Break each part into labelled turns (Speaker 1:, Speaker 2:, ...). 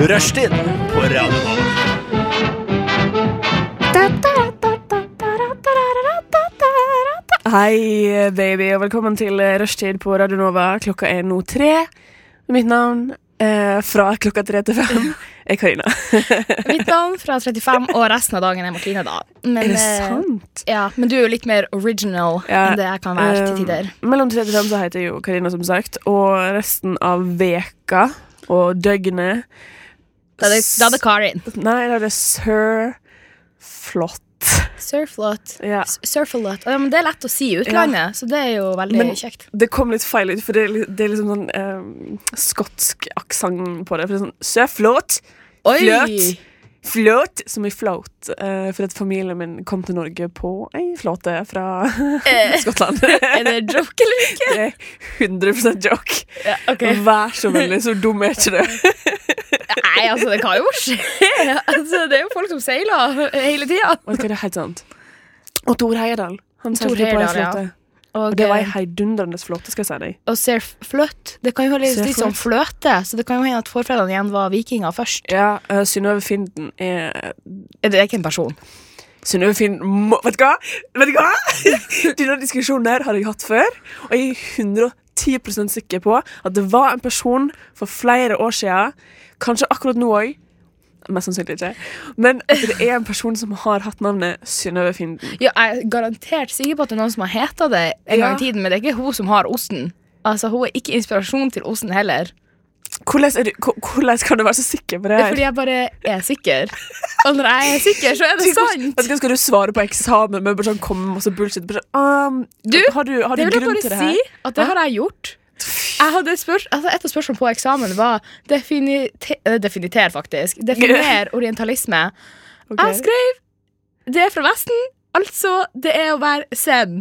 Speaker 1: Rushtid på Radio Nova.
Speaker 2: Hei, baby, og velkommen til rushtid på Radio Nova. Klokka er nå tre. Mitt navn eh, fra klokka tre til fem er Karina.
Speaker 3: Mitt navn fra 35, og resten av dagen er Martine, da. Men,
Speaker 2: Er det
Speaker 3: eh,
Speaker 2: sant?
Speaker 3: Ja, men du er jo litt mer original
Speaker 2: Ja,
Speaker 3: enn det jeg kan være til
Speaker 2: Eh,
Speaker 3: tider.
Speaker 2: mellom tre til fem så heter jeg jo Karina, som sagt. Og resten av veka og døgnet
Speaker 3: Da er det, da er det Karin.
Speaker 2: Nei, da er det sir flott.
Speaker 3: Surflot.
Speaker 2: Ja.
Speaker 3: S- Surfalot. Ja, men det er lett å si i utlandet, så det er jo veldig
Speaker 2: Men-
Speaker 3: kjekt.
Speaker 2: Det kom litt feil ut, for det er, li- det er liksom sånn eh, skotsk aksent på det. For det er sånn sir flott.
Speaker 3: Oi!
Speaker 2: fløt. Fløt, som i float, eh, for at familien min kom til Norge på ei flåte fra Skottland.
Speaker 3: Eh, Er det en joke, eller?
Speaker 2: Det er 100 joke.
Speaker 3: Ja, ok.
Speaker 2: Vær så vennlig, så dum er ikke du.
Speaker 3: Nei, altså, det kan jo skje. Altså, det er jo folk som seiler hele tida.
Speaker 2: Vet du hva, det er helt sant. Og Tor Heyerdahl. Han
Speaker 3: Thor
Speaker 2: seilte på ei
Speaker 3: Heyerdahl, ja.
Speaker 2: flåte.
Speaker 3: Og, eh,
Speaker 2: Og det var ei heidundrende flåte, skal jeg si deg.
Speaker 3: og surfløt. Det kan jo være litt,
Speaker 2: Surfløt.
Speaker 3: litt som fløte, så det kan jo hende at forfedrene igjen var vikinger først.
Speaker 2: Ja, eh, Synnøve Finden er
Speaker 3: Er det ikke en person?
Speaker 2: Synnøve Finn må Vet du hva? Vet du hva? Denne diskusjonen her har jeg hatt før, og jeg er 110 sikker på at det var en person for flere år siden, kanskje akkurat nå òg Mest sannsynlig ikke. Men at det er en person som har hatt navnet Synnøve Finden.
Speaker 3: Ja, jeg er garantert sikker på at det er noen som har heta det en
Speaker 2: Ja.
Speaker 3: gang i tiden, men det er ikke hun som har osten. Altså, Hun er ikke inspirasjon til osten heller.
Speaker 2: Hvordan, er du, ko- hvordan kan du være så sikker på det
Speaker 3: Det er
Speaker 2: her?
Speaker 3: fordi jeg bare er sikker. Og når jeg er sikker, så er det sant!
Speaker 2: Vet du hva, Skal du svare på eksamen med bare sånn komme med masse bullshit? Bare, sånn, «Ah,
Speaker 3: Du,
Speaker 2: har du, har du
Speaker 3: Det vil jeg
Speaker 2: grunn
Speaker 3: bare
Speaker 2: til det
Speaker 3: si
Speaker 2: her?
Speaker 3: at det har jeg gjort. Jeg hadde et spørs- altså et av spørsmålene på eksamen var definite- eh, definiter, faktisk. Definer orientalisme.
Speaker 2: Ok.
Speaker 3: Jeg skrev Det er fra Vesten, altså det er å være zen.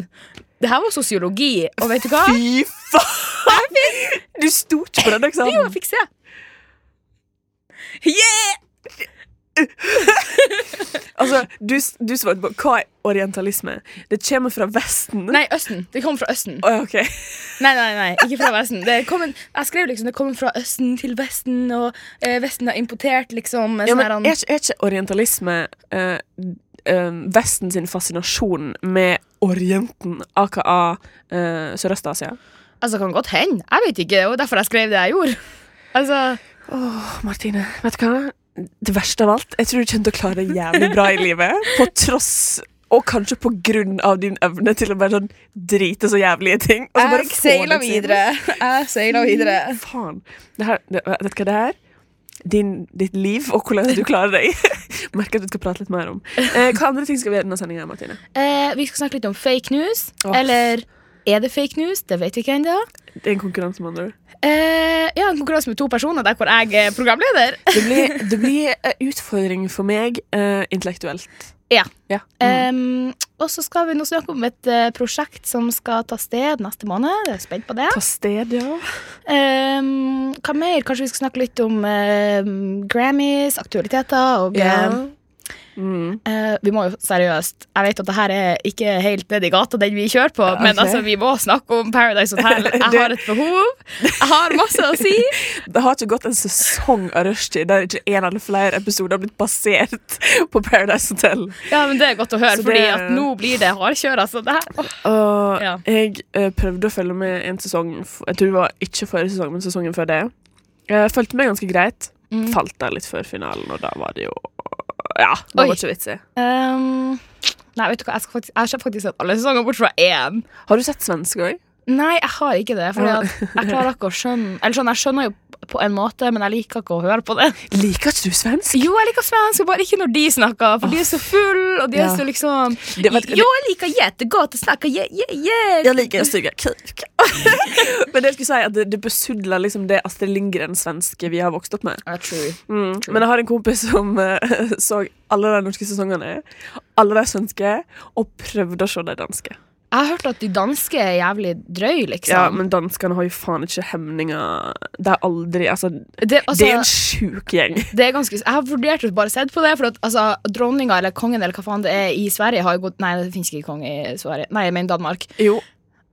Speaker 3: Det her var sosiologi, og vet du hva?
Speaker 2: Fy faen! Du sto ikke på den
Speaker 3: Jo,
Speaker 2: eksamen.
Speaker 3: jeg fikk se. Yeah!
Speaker 2: Altså, du, du svarte på hva er orientalisme? Det kommer fra Vesten.
Speaker 3: Nei, Østen. Det kommer fra Østen.
Speaker 2: Å, ja, ok.
Speaker 3: Nei, nei, nei, ikke fra Vesten. Det kom en, jeg skrev liksom det kommer fra Østen til Vesten, og eh, Vesten har importert liksom
Speaker 2: ja,
Speaker 3: sånn
Speaker 2: men
Speaker 3: her,
Speaker 2: er,
Speaker 3: han-
Speaker 2: ikke- er ikke orientalisme eh, eh, Vesten sin fascinasjon med Orienten, aka eh, Sørøst-Asia?
Speaker 3: Altså, kan godt hende. Jeg vet ikke, og derfor jeg skrev det jeg gjorde. Altså,
Speaker 2: Åh, Martine, vet du hva? Det verste av alt, jeg tror du kommer til å klare det jævlig bra i livet. På tross og kanskje på grunn av din evne til å bare sånn drite så jævlig i ting. Og så bare få
Speaker 3: jeg seiler
Speaker 2: det til.
Speaker 3: videre. Jeg seiler videre.
Speaker 2: Faen. Det her, det, vet du hva det er? Din, ditt liv og hvordan du klarer deg. Merker at vi skal prate litt mer om. Eh, hva andre ting skal vi gjøre i denne sendinga, Martine?
Speaker 3: Eh, vi skal snakke litt om fake news.
Speaker 2: Åh.
Speaker 3: Eller er det fake news? Det vet vi ikke ennå.
Speaker 2: Det er en konkurranse med andre. ord.
Speaker 3: Eh, ja, en konkurranse med to personer der hvor jeg er programleder.
Speaker 2: Det blir, det blir en utfordring for meg eh, intellektuelt.
Speaker 3: Ja.
Speaker 2: Ja. Mm.
Speaker 3: Um, og så skal vi nå snakke om et eh, prosjekt som skal ta sted neste måned. Jeg er spent på det.
Speaker 2: Mm. Ta sted, ja.
Speaker 3: Um, hva mer? Kanskje vi skal snakke litt om eh, Grammys, aktualiteter og eh,
Speaker 2: Mm.
Speaker 3: eh, Vi må jo seriøst Jeg vet at det her er ikke helt nede i gata, den vi kjører på,
Speaker 2: Ja,
Speaker 3: men
Speaker 2: ok.
Speaker 3: altså, vi må snakke om Paradise Hotel. Jeg har et behov. Jeg har masse å si.
Speaker 2: Det har ikke gått en sesong av rushtid der ikke en eller flere episoder har blitt basert på Paradise Hotel.
Speaker 3: Ja, men Det er godt å høre,
Speaker 2: Så det-
Speaker 3: Fordi at nå blir det hardkjør. Altså, det her. Åh.
Speaker 2: Og
Speaker 3: Ja.
Speaker 2: jeg eh, prøvde å følge med en sesong f- Jeg tror det var ikke forrige sesong, men sesongen før det. Jeg fulgte med ganske greit.
Speaker 3: Mm.
Speaker 2: Falt der litt før finalen, og da var det jo Ja, da
Speaker 3: Oi.
Speaker 2: var det ikke vits i.
Speaker 3: Um, nei, vet du hva, jeg, skal faktisk, jeg har faktisk sett alle sesonger bort fra én.
Speaker 2: Har du sett svensk òg?
Speaker 3: Nei, jeg har ikke det. Fordi
Speaker 2: Ja.
Speaker 3: at jeg klarer ikke å skjønne Eller sånn, Jeg skjønner jo på en måte, men jeg liker ikke å høre på det.
Speaker 2: Liker ikke du svensk?
Speaker 3: Jo, jeg liker svensk, bare ikke når de snakker, for de er så fulle, og de er
Speaker 2: Ja.
Speaker 3: så liksom
Speaker 2: Det var-
Speaker 3: Jo, jeg liker jettegodt å snakke je, je, je.
Speaker 2: Jeg liker stygge kuk. Men det jeg skulle si at det, det besudler liksom det Astrid Lindgren-svenske vi har vokst opp med.
Speaker 3: Ja, true.
Speaker 2: Mm. Men jeg har en kompis som eh, så alle de norske sesongene, alle de svenske, og prøvde å se de danske.
Speaker 3: Jeg har hørt at de danske er jævlig drøy, liksom.
Speaker 2: Ja, men danskene har jo faen ikke hemninger. Det er aldri Altså,
Speaker 3: det, altså,
Speaker 2: det er en sjuk gjeng.
Speaker 3: Det er ganske, jeg har vurdert å bare sett på det, for at, altså, dronninga eller kongen eller hva faen det er i Sverige har jo gått Nei, det finnes ikke konge i Sverige. Nei, jeg mener Danmark.
Speaker 2: Jo,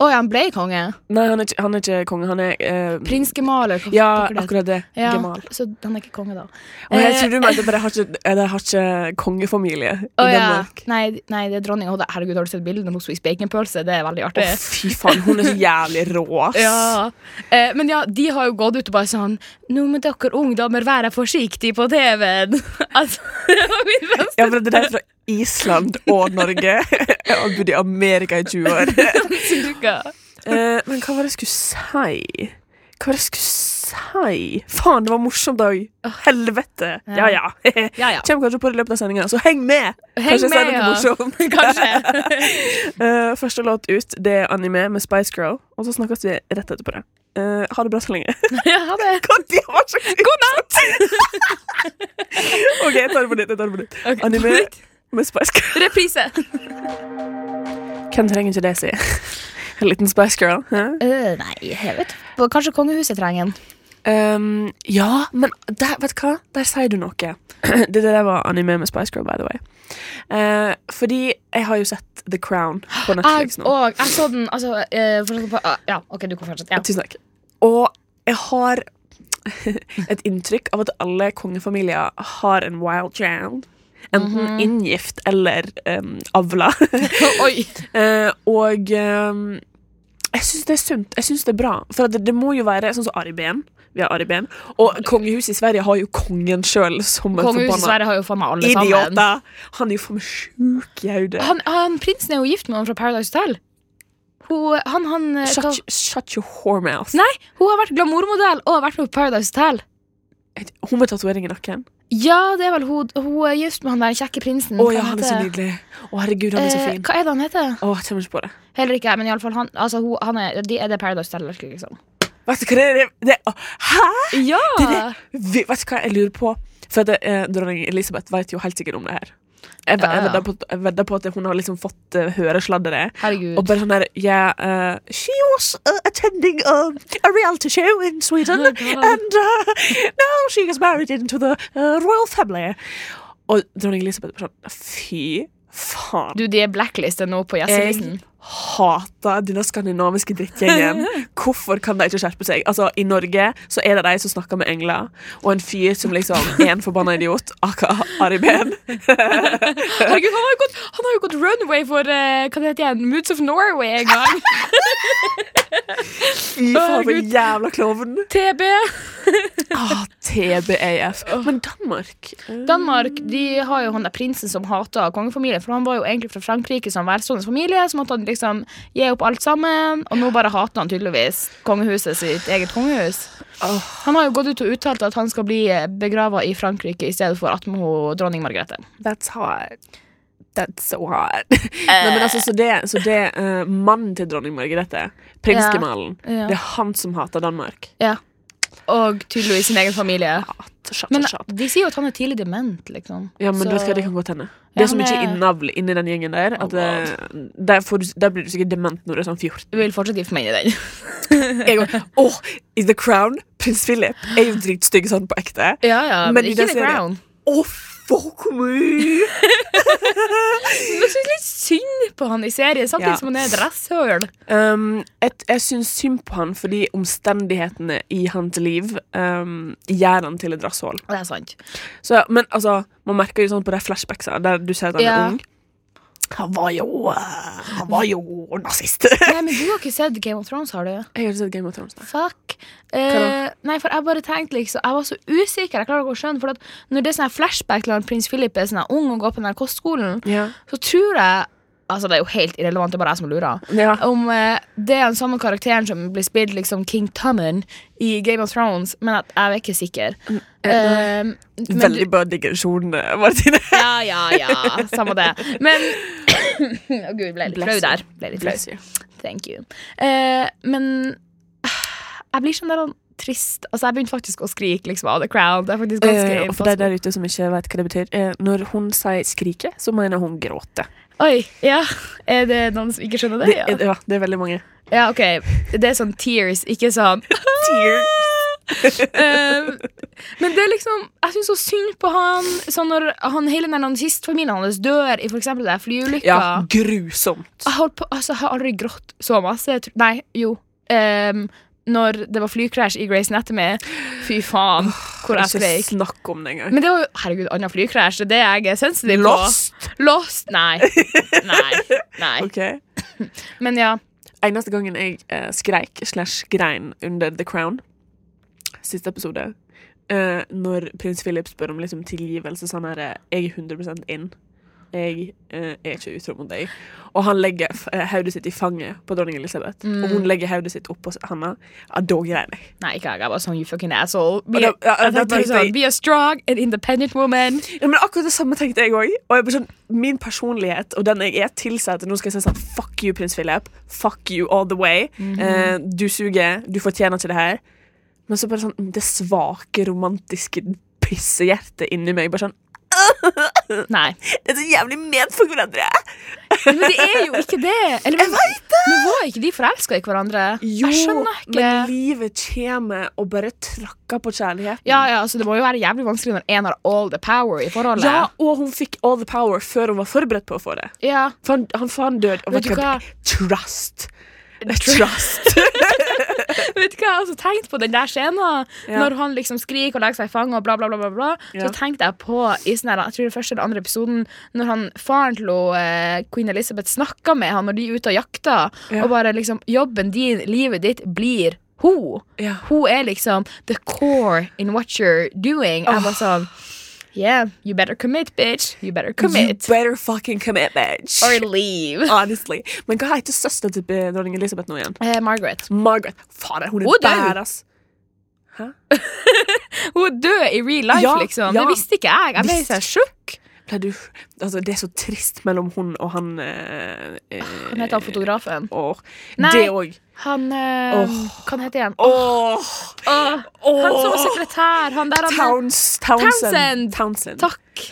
Speaker 3: Å ja, han ble konge?
Speaker 2: Nei, han er ikke, han er ikke konge. Han er eh,
Speaker 3: Prinsgemaler. hva-
Speaker 2: Ja,
Speaker 3: hva det heter.
Speaker 2: akkurat det.
Speaker 3: Ja,
Speaker 2: Gemal.
Speaker 3: Så han er ikke konge, da.
Speaker 2: Og jeg
Speaker 3: Eh, eh,
Speaker 2: tror du mente bare har ikke, eller har ikke kongefamilie
Speaker 3: Å
Speaker 2: i
Speaker 3: ja.
Speaker 2: Danmark.
Speaker 3: Nei, nei, det er dronning. Å, det- Herregud, har du sett bildet når hun spiser baconpølse? Det er veldig
Speaker 2: Å,
Speaker 3: artig.
Speaker 2: fy faen, hun er så jævlig rå, ass.
Speaker 3: Ja. Eh, men ja, de har jo gått ut og bare sånn Nå må dere ungdommer være forsiktige på TV-en. altså, det var min beste.
Speaker 2: Ja, for det er fra Island og Norge. Jeg har bodd i Amerika i 20 år.
Speaker 3: uke.
Speaker 2: Eh, men hva var det jeg skulle si? Hva var det jeg skulle si? Faen, det var en morsom dag. Helvete. Ja, ja.
Speaker 3: Ja, ja.
Speaker 2: Kommer kanskje på det i løpet av sendinga, så heng med!
Speaker 3: Heng
Speaker 2: kanskje
Speaker 3: med,
Speaker 2: jeg
Speaker 3: ja.
Speaker 2: sier noe morsomt.
Speaker 3: Kanskje.
Speaker 2: Eh, første låt ut, det er anime med Spice Girl, og så snakkes vi rett etterpå det. Eh, ha det bra så lenge.
Speaker 3: ja, ha det.
Speaker 2: God natt! OK, jeg tar det på nytt. Jeg tar det på nytt.
Speaker 3: Ok, på
Speaker 2: Anime
Speaker 3: nytt.
Speaker 2: med Spice Girl.
Speaker 3: Reprise.
Speaker 2: Hvem trenger ikke det, si? En liten Spice Girl. hæ?
Speaker 3: Øh, nei, jeg vet ikke. Kanskje kongehuset trenger en.
Speaker 2: Um, ja, men der, vet du hva? Der sier du noe. det der var anime med Spice Girl, by the way. Eh, fordi jeg har jo sett The Crown på Netflix
Speaker 3: Jeg,
Speaker 2: nå.
Speaker 3: og, jeg så den altså, eh, fortsatt på, ah, Ja, OK, du kan fortsette. Ja.
Speaker 2: Tusen takk. Og jeg har et inntrykk av at alle kongefamilier har en wild child. Enten
Speaker 3: Mhm.
Speaker 2: inngift eller um, avla.
Speaker 3: Oi.
Speaker 2: Eh, og ehm, jeg syns det er sunt. Jeg synes det er bra. For at det, det må jo være sånn som Ari Behn. Vi har Ari Behn. Og kongehuset i Sverige har jo kongen sjøl som en
Speaker 3: Kongehuset i
Speaker 2: forbanna
Speaker 3: Sverige har jo faen meg alle sammen.
Speaker 2: idiota. Han er jo faen meg sjuk i hodet.
Speaker 3: Han, han, prinsen er jo gift med noen fra Paradise Hotel. Hun, han, han, eh, hva-
Speaker 2: Shut, shut your whoremouth.
Speaker 3: Nei, hun har vært glamourmodell og har vært med på Paradise Hotel.
Speaker 2: Hun med tatovering i nakken.
Speaker 3: Ja, det er vel hun. Hun er gift med han der kjekke prinsen.
Speaker 2: Å
Speaker 3: Hva
Speaker 2: ja, han er så
Speaker 3: heter-
Speaker 2: nydelig. Å herregud, han er så
Speaker 3: Eh,
Speaker 2: fin.
Speaker 3: hva er det han heter?
Speaker 2: Å, jeg kommer ikke på det.
Speaker 3: Heller ikke jeg, men iallfall han, altså, hun, han er, de er det Paradise Hotel, liksom.
Speaker 2: Vet du hva det er? Det, å, hæ?
Speaker 3: Ja!
Speaker 2: Det er Vi, vet du hva jeg lurer på? For det, eh, dronning Elisabeth vet jo helt sikkert om det her. Jeg, ve-
Speaker 3: Ja,
Speaker 2: jeg,
Speaker 3: ja.
Speaker 2: vedder, på, jeg vedder på at hun har liksom fått eh, høre sladderet.
Speaker 3: Herregud.
Speaker 2: Og bare sånn her yeah, uh, She was uh, attending a, a reality show in Sweden.
Speaker 3: Oh my God.
Speaker 2: and uh, now she is married into the uh, royal family. Og dronning Elisabeth bare sånn Fy faen.
Speaker 3: Du, de er blacklistet nå på
Speaker 2: Jeg
Speaker 3: gjestelisten.
Speaker 2: hater denne skandinaviske drittgjengen. Hvorfor kan de ikke skjerpe seg? Altså, I Norge så er det de som snakker med engler, og en fyr som liksom er en forbanna idiot, aka Ari Behn.
Speaker 3: Herregud, han har jo gått, han har jo gått runway for eh, hva det heter igjen, Moods of Norway en gang.
Speaker 2: Fy faen, for en jævla klovn.
Speaker 3: TB.
Speaker 2: Ah, TBAF. Men Danmark eh,
Speaker 3: Danmark de har jo han der prinsen som hater kongefamilien. For han var jo egentlig fra Frankrike, som velstående familie. Så måtte han liksom gi opp alt sammen. Og nå bare hater han tydeligvis kongehuset sitt eget kongehus. Han har jo gått ut og uttalt at han skal bli begrava i Frankrike i stedet for attmed ho- dronning Margrethe.
Speaker 2: That's hard. That's so hard. Nei, men altså, så det, så det eh, mannen til dronning Margrethe, prinsgemalen,
Speaker 3: Ja, ja.
Speaker 2: det er han som hater Danmark.
Speaker 3: Ja. Og tydeligvis sin egen familie.
Speaker 2: Ah, Shut,
Speaker 3: Men
Speaker 2: shut, shut.
Speaker 3: de sier jo at han er tidlig dement, liksom.
Speaker 2: Ja, men
Speaker 3: Så-
Speaker 2: vet du hva, det kan godt hende.
Speaker 3: Ja,
Speaker 2: Det er så
Speaker 3: han
Speaker 2: mye
Speaker 3: er-
Speaker 2: innavl inni den gjengen der at eh, der, får du, der blir du sikkert dement når du er sånn 14.
Speaker 3: Jeg vil fortsatt gifte meg inn i den.
Speaker 2: Jeg går, Åh, I The Crown, prins Philip er jo dritstygg sånn på ekte.
Speaker 3: Ja, ja, men,
Speaker 2: Men i
Speaker 3: ikke
Speaker 2: den
Speaker 3: The
Speaker 2: serien-
Speaker 3: Crown.
Speaker 2: Åh, fuck me!
Speaker 3: Men jeg syns litt synd på han i serien, samtidig
Speaker 2: Ja.
Speaker 3: som han er et rasshøl.
Speaker 2: Um, et, jeg syns synd på han fordi omstendighetene i hans liv um, gjør han til et rasshold.
Speaker 3: Det er sant.
Speaker 2: Så, men altså, man merker jo sånn på de flashbacksene der du ser at han
Speaker 3: Ja.
Speaker 2: er ung. Han var jo eh, Han var jo nazist.
Speaker 3: Nei, men du har ikke sett Game of Thrones, har du?
Speaker 2: Jeg har ikke sett Game of Thrones. nei.
Speaker 3: Fuck.
Speaker 2: Hva
Speaker 3: Eh, nei, for jeg bare tenkte liksom Jeg var så usikker. Jeg klarer ikke å skjønne For at når det er sånn her flashback til han prins Philip er sånn her ung og går på den her kostskolen,
Speaker 2: Ja.
Speaker 3: så tror jeg Altså, det er jo helt irrelevant, det er bare jeg som lurer.
Speaker 2: Ja.
Speaker 3: Om eh, det er den samme karakteren som blir spilt liksom King Tommen i Game of Thrones, men at jeg er ikke sikker. Eh, men du-
Speaker 2: Mm. Veldig bra digresjon, eh, Martine.
Speaker 3: Ja, ja, ja. Samme det. Men Å gud, ble litt
Speaker 2: Bless
Speaker 3: flau
Speaker 2: you.
Speaker 3: der. Ble litt flau. Thank you. Eh, men ah, jeg blir sånn der sånn trist. Altså, jeg begynte faktisk å skrike liksom, av The Crown. Det er faktisk ganske altså.
Speaker 2: Eh, og for
Speaker 3: impossible.
Speaker 2: de der ute som ikke vet hva det betyr, eh, når hun sier 'skrike', så mener hun 'gråte'.
Speaker 3: Oi, ja. Er det noen som ikke skjønner
Speaker 2: Det,
Speaker 3: det?
Speaker 2: ja,
Speaker 3: Ja,
Speaker 2: det er veldig mange.
Speaker 3: ja ok. Det er sånn tears, ikke sånn
Speaker 2: Tears.
Speaker 3: Eh, men det er liksom Jeg syns så synd på han sånn når han, hele den nazistfamilien hans dør i for eksempel det flyulykka.
Speaker 2: Ja, grusomt.
Speaker 3: Jeg, holdt på, altså, jeg har aldri grått så masse. Jeg tror- Nei, jo. Ehm, når det var flykrasj i Grey's Anatomy. Fy faen, hvor jeg
Speaker 2: Ikke
Speaker 3: skreik.
Speaker 2: snakk om det engang.
Speaker 3: Men det var jo Herregud, annen flykrasj. Det er det jeg er sensitiv på.
Speaker 2: Lost!
Speaker 3: Lost? Nei. Nei. Nei.
Speaker 2: Ok.
Speaker 3: Men ja.
Speaker 2: Eneste gangen jeg eh, skreik slash grein under The Crown, siste episode, eh, når prins Philip spør om liksom, tilgivelse, sånn her eh, Jeg er 100 inn. Jeg eh, er ikke utro mot deg. Og han legger f- eh, hodet sitt i fanget på dronning Elisabeth, og hun legger hodet sitt oppå henne. Ja, da grein jeg.
Speaker 3: Nei, ikke jeg. Jeg var sånn you fucking asshole. Be,
Speaker 2: Og da- ja,
Speaker 3: jeg
Speaker 2: da
Speaker 3: tenkte bare
Speaker 2: tenkte jeg-
Speaker 3: sånn, be a strong and independent woman.
Speaker 2: Ja, men akkurat det samme tenkte jeg òg. Og jeg bare sånn, min personlighet og den jeg er, tilsier at nå skal jeg si sånn Fuck you, prins Philip. Fuck you all the way. eh, du suger. Du fortjener ikke det her. Men så bare sånn det svake, romantiske pissehjertet inni meg. Bare sånn
Speaker 3: Nei.
Speaker 2: Det er så jævlig ment for hverandre!
Speaker 3: Men det er jo ikke det. Eller, men, men var ikke de forelska i hverandre?
Speaker 2: Jo,
Speaker 3: jeg skjønner ikke.
Speaker 2: men livet kommer og bare trakker på kjærligheten.
Speaker 3: Ja, ja, altså Det må jo være jævlig vanskelig når én har all the power i forholdet.
Speaker 2: Ja, og hun fikk all the power før hun var forberedt på å få det.
Speaker 3: Ja.
Speaker 2: For han, han, for han døde. Og
Speaker 3: Vet
Speaker 2: vet
Speaker 3: du
Speaker 2: du hva?
Speaker 3: hva?
Speaker 2: Trust. Trust.
Speaker 3: Vet du hva, jeg har også tenkt på den der scenen
Speaker 2: Ja.
Speaker 3: Når han liksom skriker og legger seg i fanget Og bla bla bla, bla, bla.
Speaker 2: Ja.
Speaker 3: Så tenkte jeg på i sånn her, Jeg tror det første eller andre episoden Når han, faren til hun, eh, Queen Elizabeth snakket med han Når de er ute og jakter
Speaker 2: Ja.
Speaker 3: Og bare liksom, jobben din, livet ditt blir Hun
Speaker 2: Ja.
Speaker 3: Hun er liksom the core in what you're doing Jeg bare sånn Yeah, you better commit, bitch You better commit
Speaker 2: You better fucking commit, bitch.
Speaker 3: Or leave
Speaker 2: Honestly. Men hva heter søsteren til eh, dronning Elisabeth nå igjen?
Speaker 3: eh, Margaret
Speaker 2: Margaret. Fader, hun er
Speaker 3: Hun er død.
Speaker 2: badass.
Speaker 3: Hun er død i real life
Speaker 2: Ja,
Speaker 3: liksom
Speaker 2: ja.
Speaker 3: Det visste ikke jeg Jeg ble
Speaker 2: Visst.
Speaker 3: sånn sjukk
Speaker 2: Ble du Altså, det er så trist mellom hun og han eh, eh,
Speaker 3: Han heter han fotografen
Speaker 2: og
Speaker 3: Nei.
Speaker 2: Det òg.
Speaker 3: Han eh, Hva heter han?
Speaker 2: Åh!
Speaker 3: Åh, Han som var sekretær. Han der, han der.
Speaker 2: Towns, Townsend.
Speaker 3: Townsend.
Speaker 2: Townsend.
Speaker 3: Takk.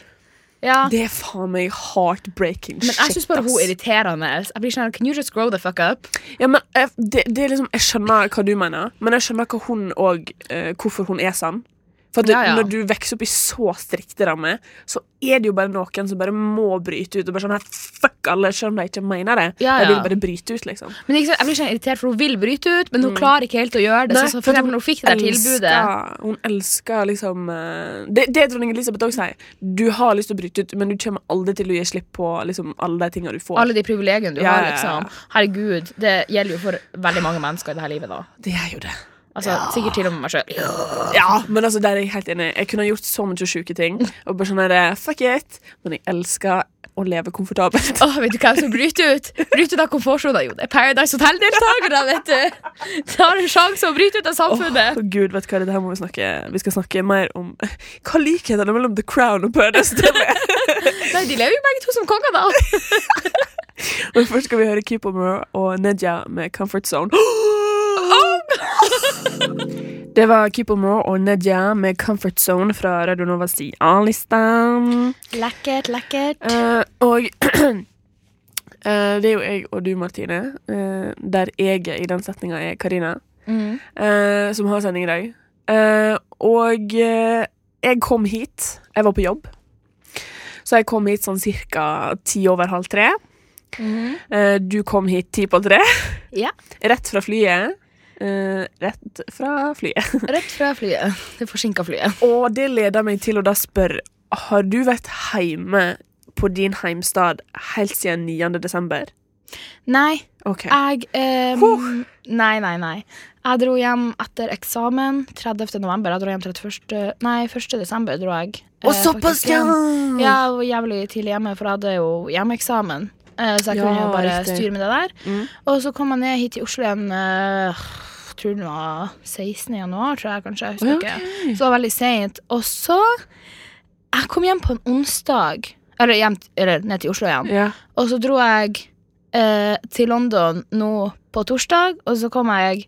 Speaker 3: Ja.
Speaker 2: Det er faen meg heartbreaking
Speaker 3: Men jeg syns bare hun er
Speaker 2: ass.
Speaker 3: irriterende. Jeg blir sånn, Can you just grow the fuck up?
Speaker 2: Ja, men jeg, det, det er liksom, jeg skjønner hva du mener, men jeg skjønner hva hun og eh, hvorfor hun er sånn. For at det,
Speaker 3: Ja, ja.
Speaker 2: Når du vokser opp i så strikte rammer, så er det jo bare noen som bare må bryte ut. Og bare sånn her, Fuck alle, selv om de ikke mener det.
Speaker 3: Ja,
Speaker 2: De
Speaker 3: ja.
Speaker 2: vil bare bryte ut, liksom.
Speaker 3: Men ikke sant, Jeg blir sånn irritert, for hun vil bryte ut, men hun klarer ikke helt å gjøre det. sånn
Speaker 2: Mm.
Speaker 3: som for
Speaker 2: for
Speaker 3: eksempel, når hun fikk det der tilbudet
Speaker 2: elsker- Hun elsker liksom eh, Det, det dronning Elisabeth òg sier. Du har lyst til å bryte ut, men du kommer aldri til å gi slipp på liksom, alle de tingene du får.
Speaker 3: alle de privilegiene du
Speaker 2: Ja, ja,
Speaker 3: har.
Speaker 2: ja.
Speaker 3: liksom Herregud, Det gjelder jo for veldig mange mennesker i dette livet. da
Speaker 2: Det gjør jo det.
Speaker 3: Altså, Sikkert til og med meg sjøl.
Speaker 2: Ja, men altså, der er jeg helt enig. Jeg kunne ha gjort så mye sjuke ting. Og bare sånn der, fuck it Men jeg elsker å leve komfortabelt.
Speaker 3: Åh, vet du hvem som bryter ut? Bryter ut av komfortsona? Jo, det er Paradise Hotel-deltakere, vet du! Tar en sjanse og bryter ut av
Speaker 2: Åh,
Speaker 3: samfunnet.
Speaker 2: Gud, vet du hva, det her må Vi snakke Vi skal snakke mer om hva likhetene mellom The Crown og Paradise Hotel er.
Speaker 3: Nei, De lever jo begge to som konger, da.
Speaker 2: Men først skal vi høre Keep Omer og Nedja med Comfort Zone. Det var Keep Omer og Nedja med Comfort Zone fra Radio Novas A-lista.
Speaker 3: Lekkert, lekkert.
Speaker 2: Eh, og eh, det er jo jeg og du, Martine, eh, der jeg i den setninga er Karina, eh, som har sending i dag. Eh, og eh, jeg kom hit. Jeg var på jobb. Så jeg kom hit sånn cirka ti over halv tre. Eh, du kom hit ti på tre.
Speaker 3: Mhm. Ja.
Speaker 2: Rett fra flyet. Eh, rett fra flyet.
Speaker 3: Rett fra flyet. Det forsinka flyet.
Speaker 2: Og det leder meg til å da spørre Har du vært hjemme på din heimstad helt siden 9. desember?
Speaker 3: Nei,
Speaker 2: Ok.
Speaker 3: jeg ehm,
Speaker 2: Huh.
Speaker 3: Nei, nei, nei. Jeg dro hjem etter eksamen 30. november. Jeg dro hjem 31. Nei, 1. desember dro jeg.
Speaker 2: Og
Speaker 3: eh,
Speaker 2: såpass,
Speaker 3: faktisk
Speaker 2: ja!
Speaker 3: hjem. Ja,
Speaker 2: Mm.
Speaker 3: jeg var jævlig tidlig hjemme, for jeg hadde jo hjemmeeksamen. Eh, Så jeg
Speaker 2: Ja,
Speaker 3: kunne jo bare
Speaker 2: riktig.
Speaker 3: styre med det der.
Speaker 2: Mm.
Speaker 3: Og så kom jeg ned hit til Oslo igjen eh, tror det var 16. januar, tror jeg kanskje. Jeg husker
Speaker 2: Ja,
Speaker 3: ikke. Så det var veldig seint. Og så Jeg kom hjem på en onsdag. Eller, hjem, eller ned til Oslo igjen.
Speaker 2: Ja.
Speaker 3: Og så dro jeg eh, til London nå på torsdag, og så kom jeg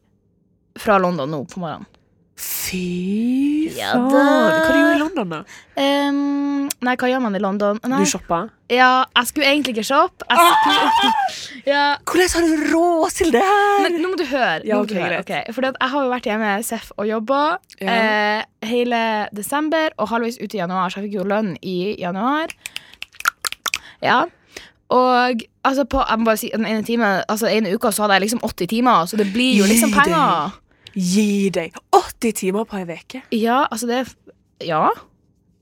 Speaker 3: fra London nå på morgenen.
Speaker 2: Fy
Speaker 3: Ja
Speaker 2: faen.
Speaker 3: da.
Speaker 2: Hva du gjorde du i London? London, da?
Speaker 3: Ehm, nei, hva gjør man i London? Nei.
Speaker 2: Du shoppa?
Speaker 3: Ja, jeg skulle egentlig ikke shoppe. Jeg
Speaker 2: Ah!
Speaker 3: skulle... ja.
Speaker 2: Hvordan har du råd til det her?
Speaker 3: Men nå må du høre.
Speaker 2: Ja,
Speaker 3: nå må
Speaker 2: ok,
Speaker 3: du høre.
Speaker 2: greit.
Speaker 3: ok. Fordi at jeg har jo vært hjemme med Seff og jobba
Speaker 2: Ja.
Speaker 3: eh, hele desember og halvveis ut i januar, så jeg fikk jo lønn i januar. Ja. Og altså på, jeg må bare si, den ene timen, altså ene uka så hadde jeg liksom 80 timer, så det blir jo liksom
Speaker 2: Gi deg.
Speaker 3: penger.
Speaker 2: Gi deg 80 timer på ei uke.
Speaker 3: Ja, altså det er- Ja.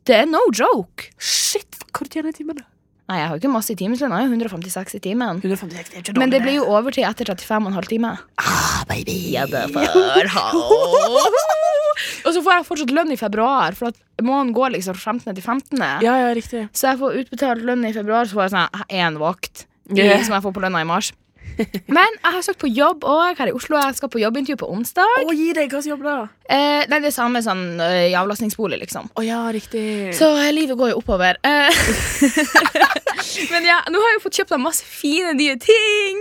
Speaker 3: Det er no joke.
Speaker 2: Shit, hva tjener du i timen, da?
Speaker 3: Nei, jeg har jo ikke masse i timeslønn. Jeg har jo 156 i timen.
Speaker 2: 156, det er ikke
Speaker 3: Men
Speaker 2: dårlig,
Speaker 3: det blir jo overtid etter 35,5 timer.
Speaker 2: Ah, baby.
Speaker 3: Ja, det er for halv. Og så får jeg fortsatt lønn i februar, for at måneden går liksom fra 15. til 15.
Speaker 2: Ja, ja, riktig.
Speaker 3: Så jeg får utbetalt lønn i februar, så får jeg sånn én vakt i-
Speaker 2: Yeah.
Speaker 3: som jeg får på lønna i mars. Men jeg har søkt på jobb òg her i Oslo. Jeg skal på jobbintervju på onsdag.
Speaker 2: Å, gi deg, hva slags jobb da?
Speaker 3: Eh, nei, det er samme sånn eh, i avlastningsbolig, liksom.
Speaker 2: Å ja, riktig.
Speaker 3: Så eh, livet går jo oppover. Eh, Men ja, nå har jeg jo fått kjøpt meg masse fine, nye ting.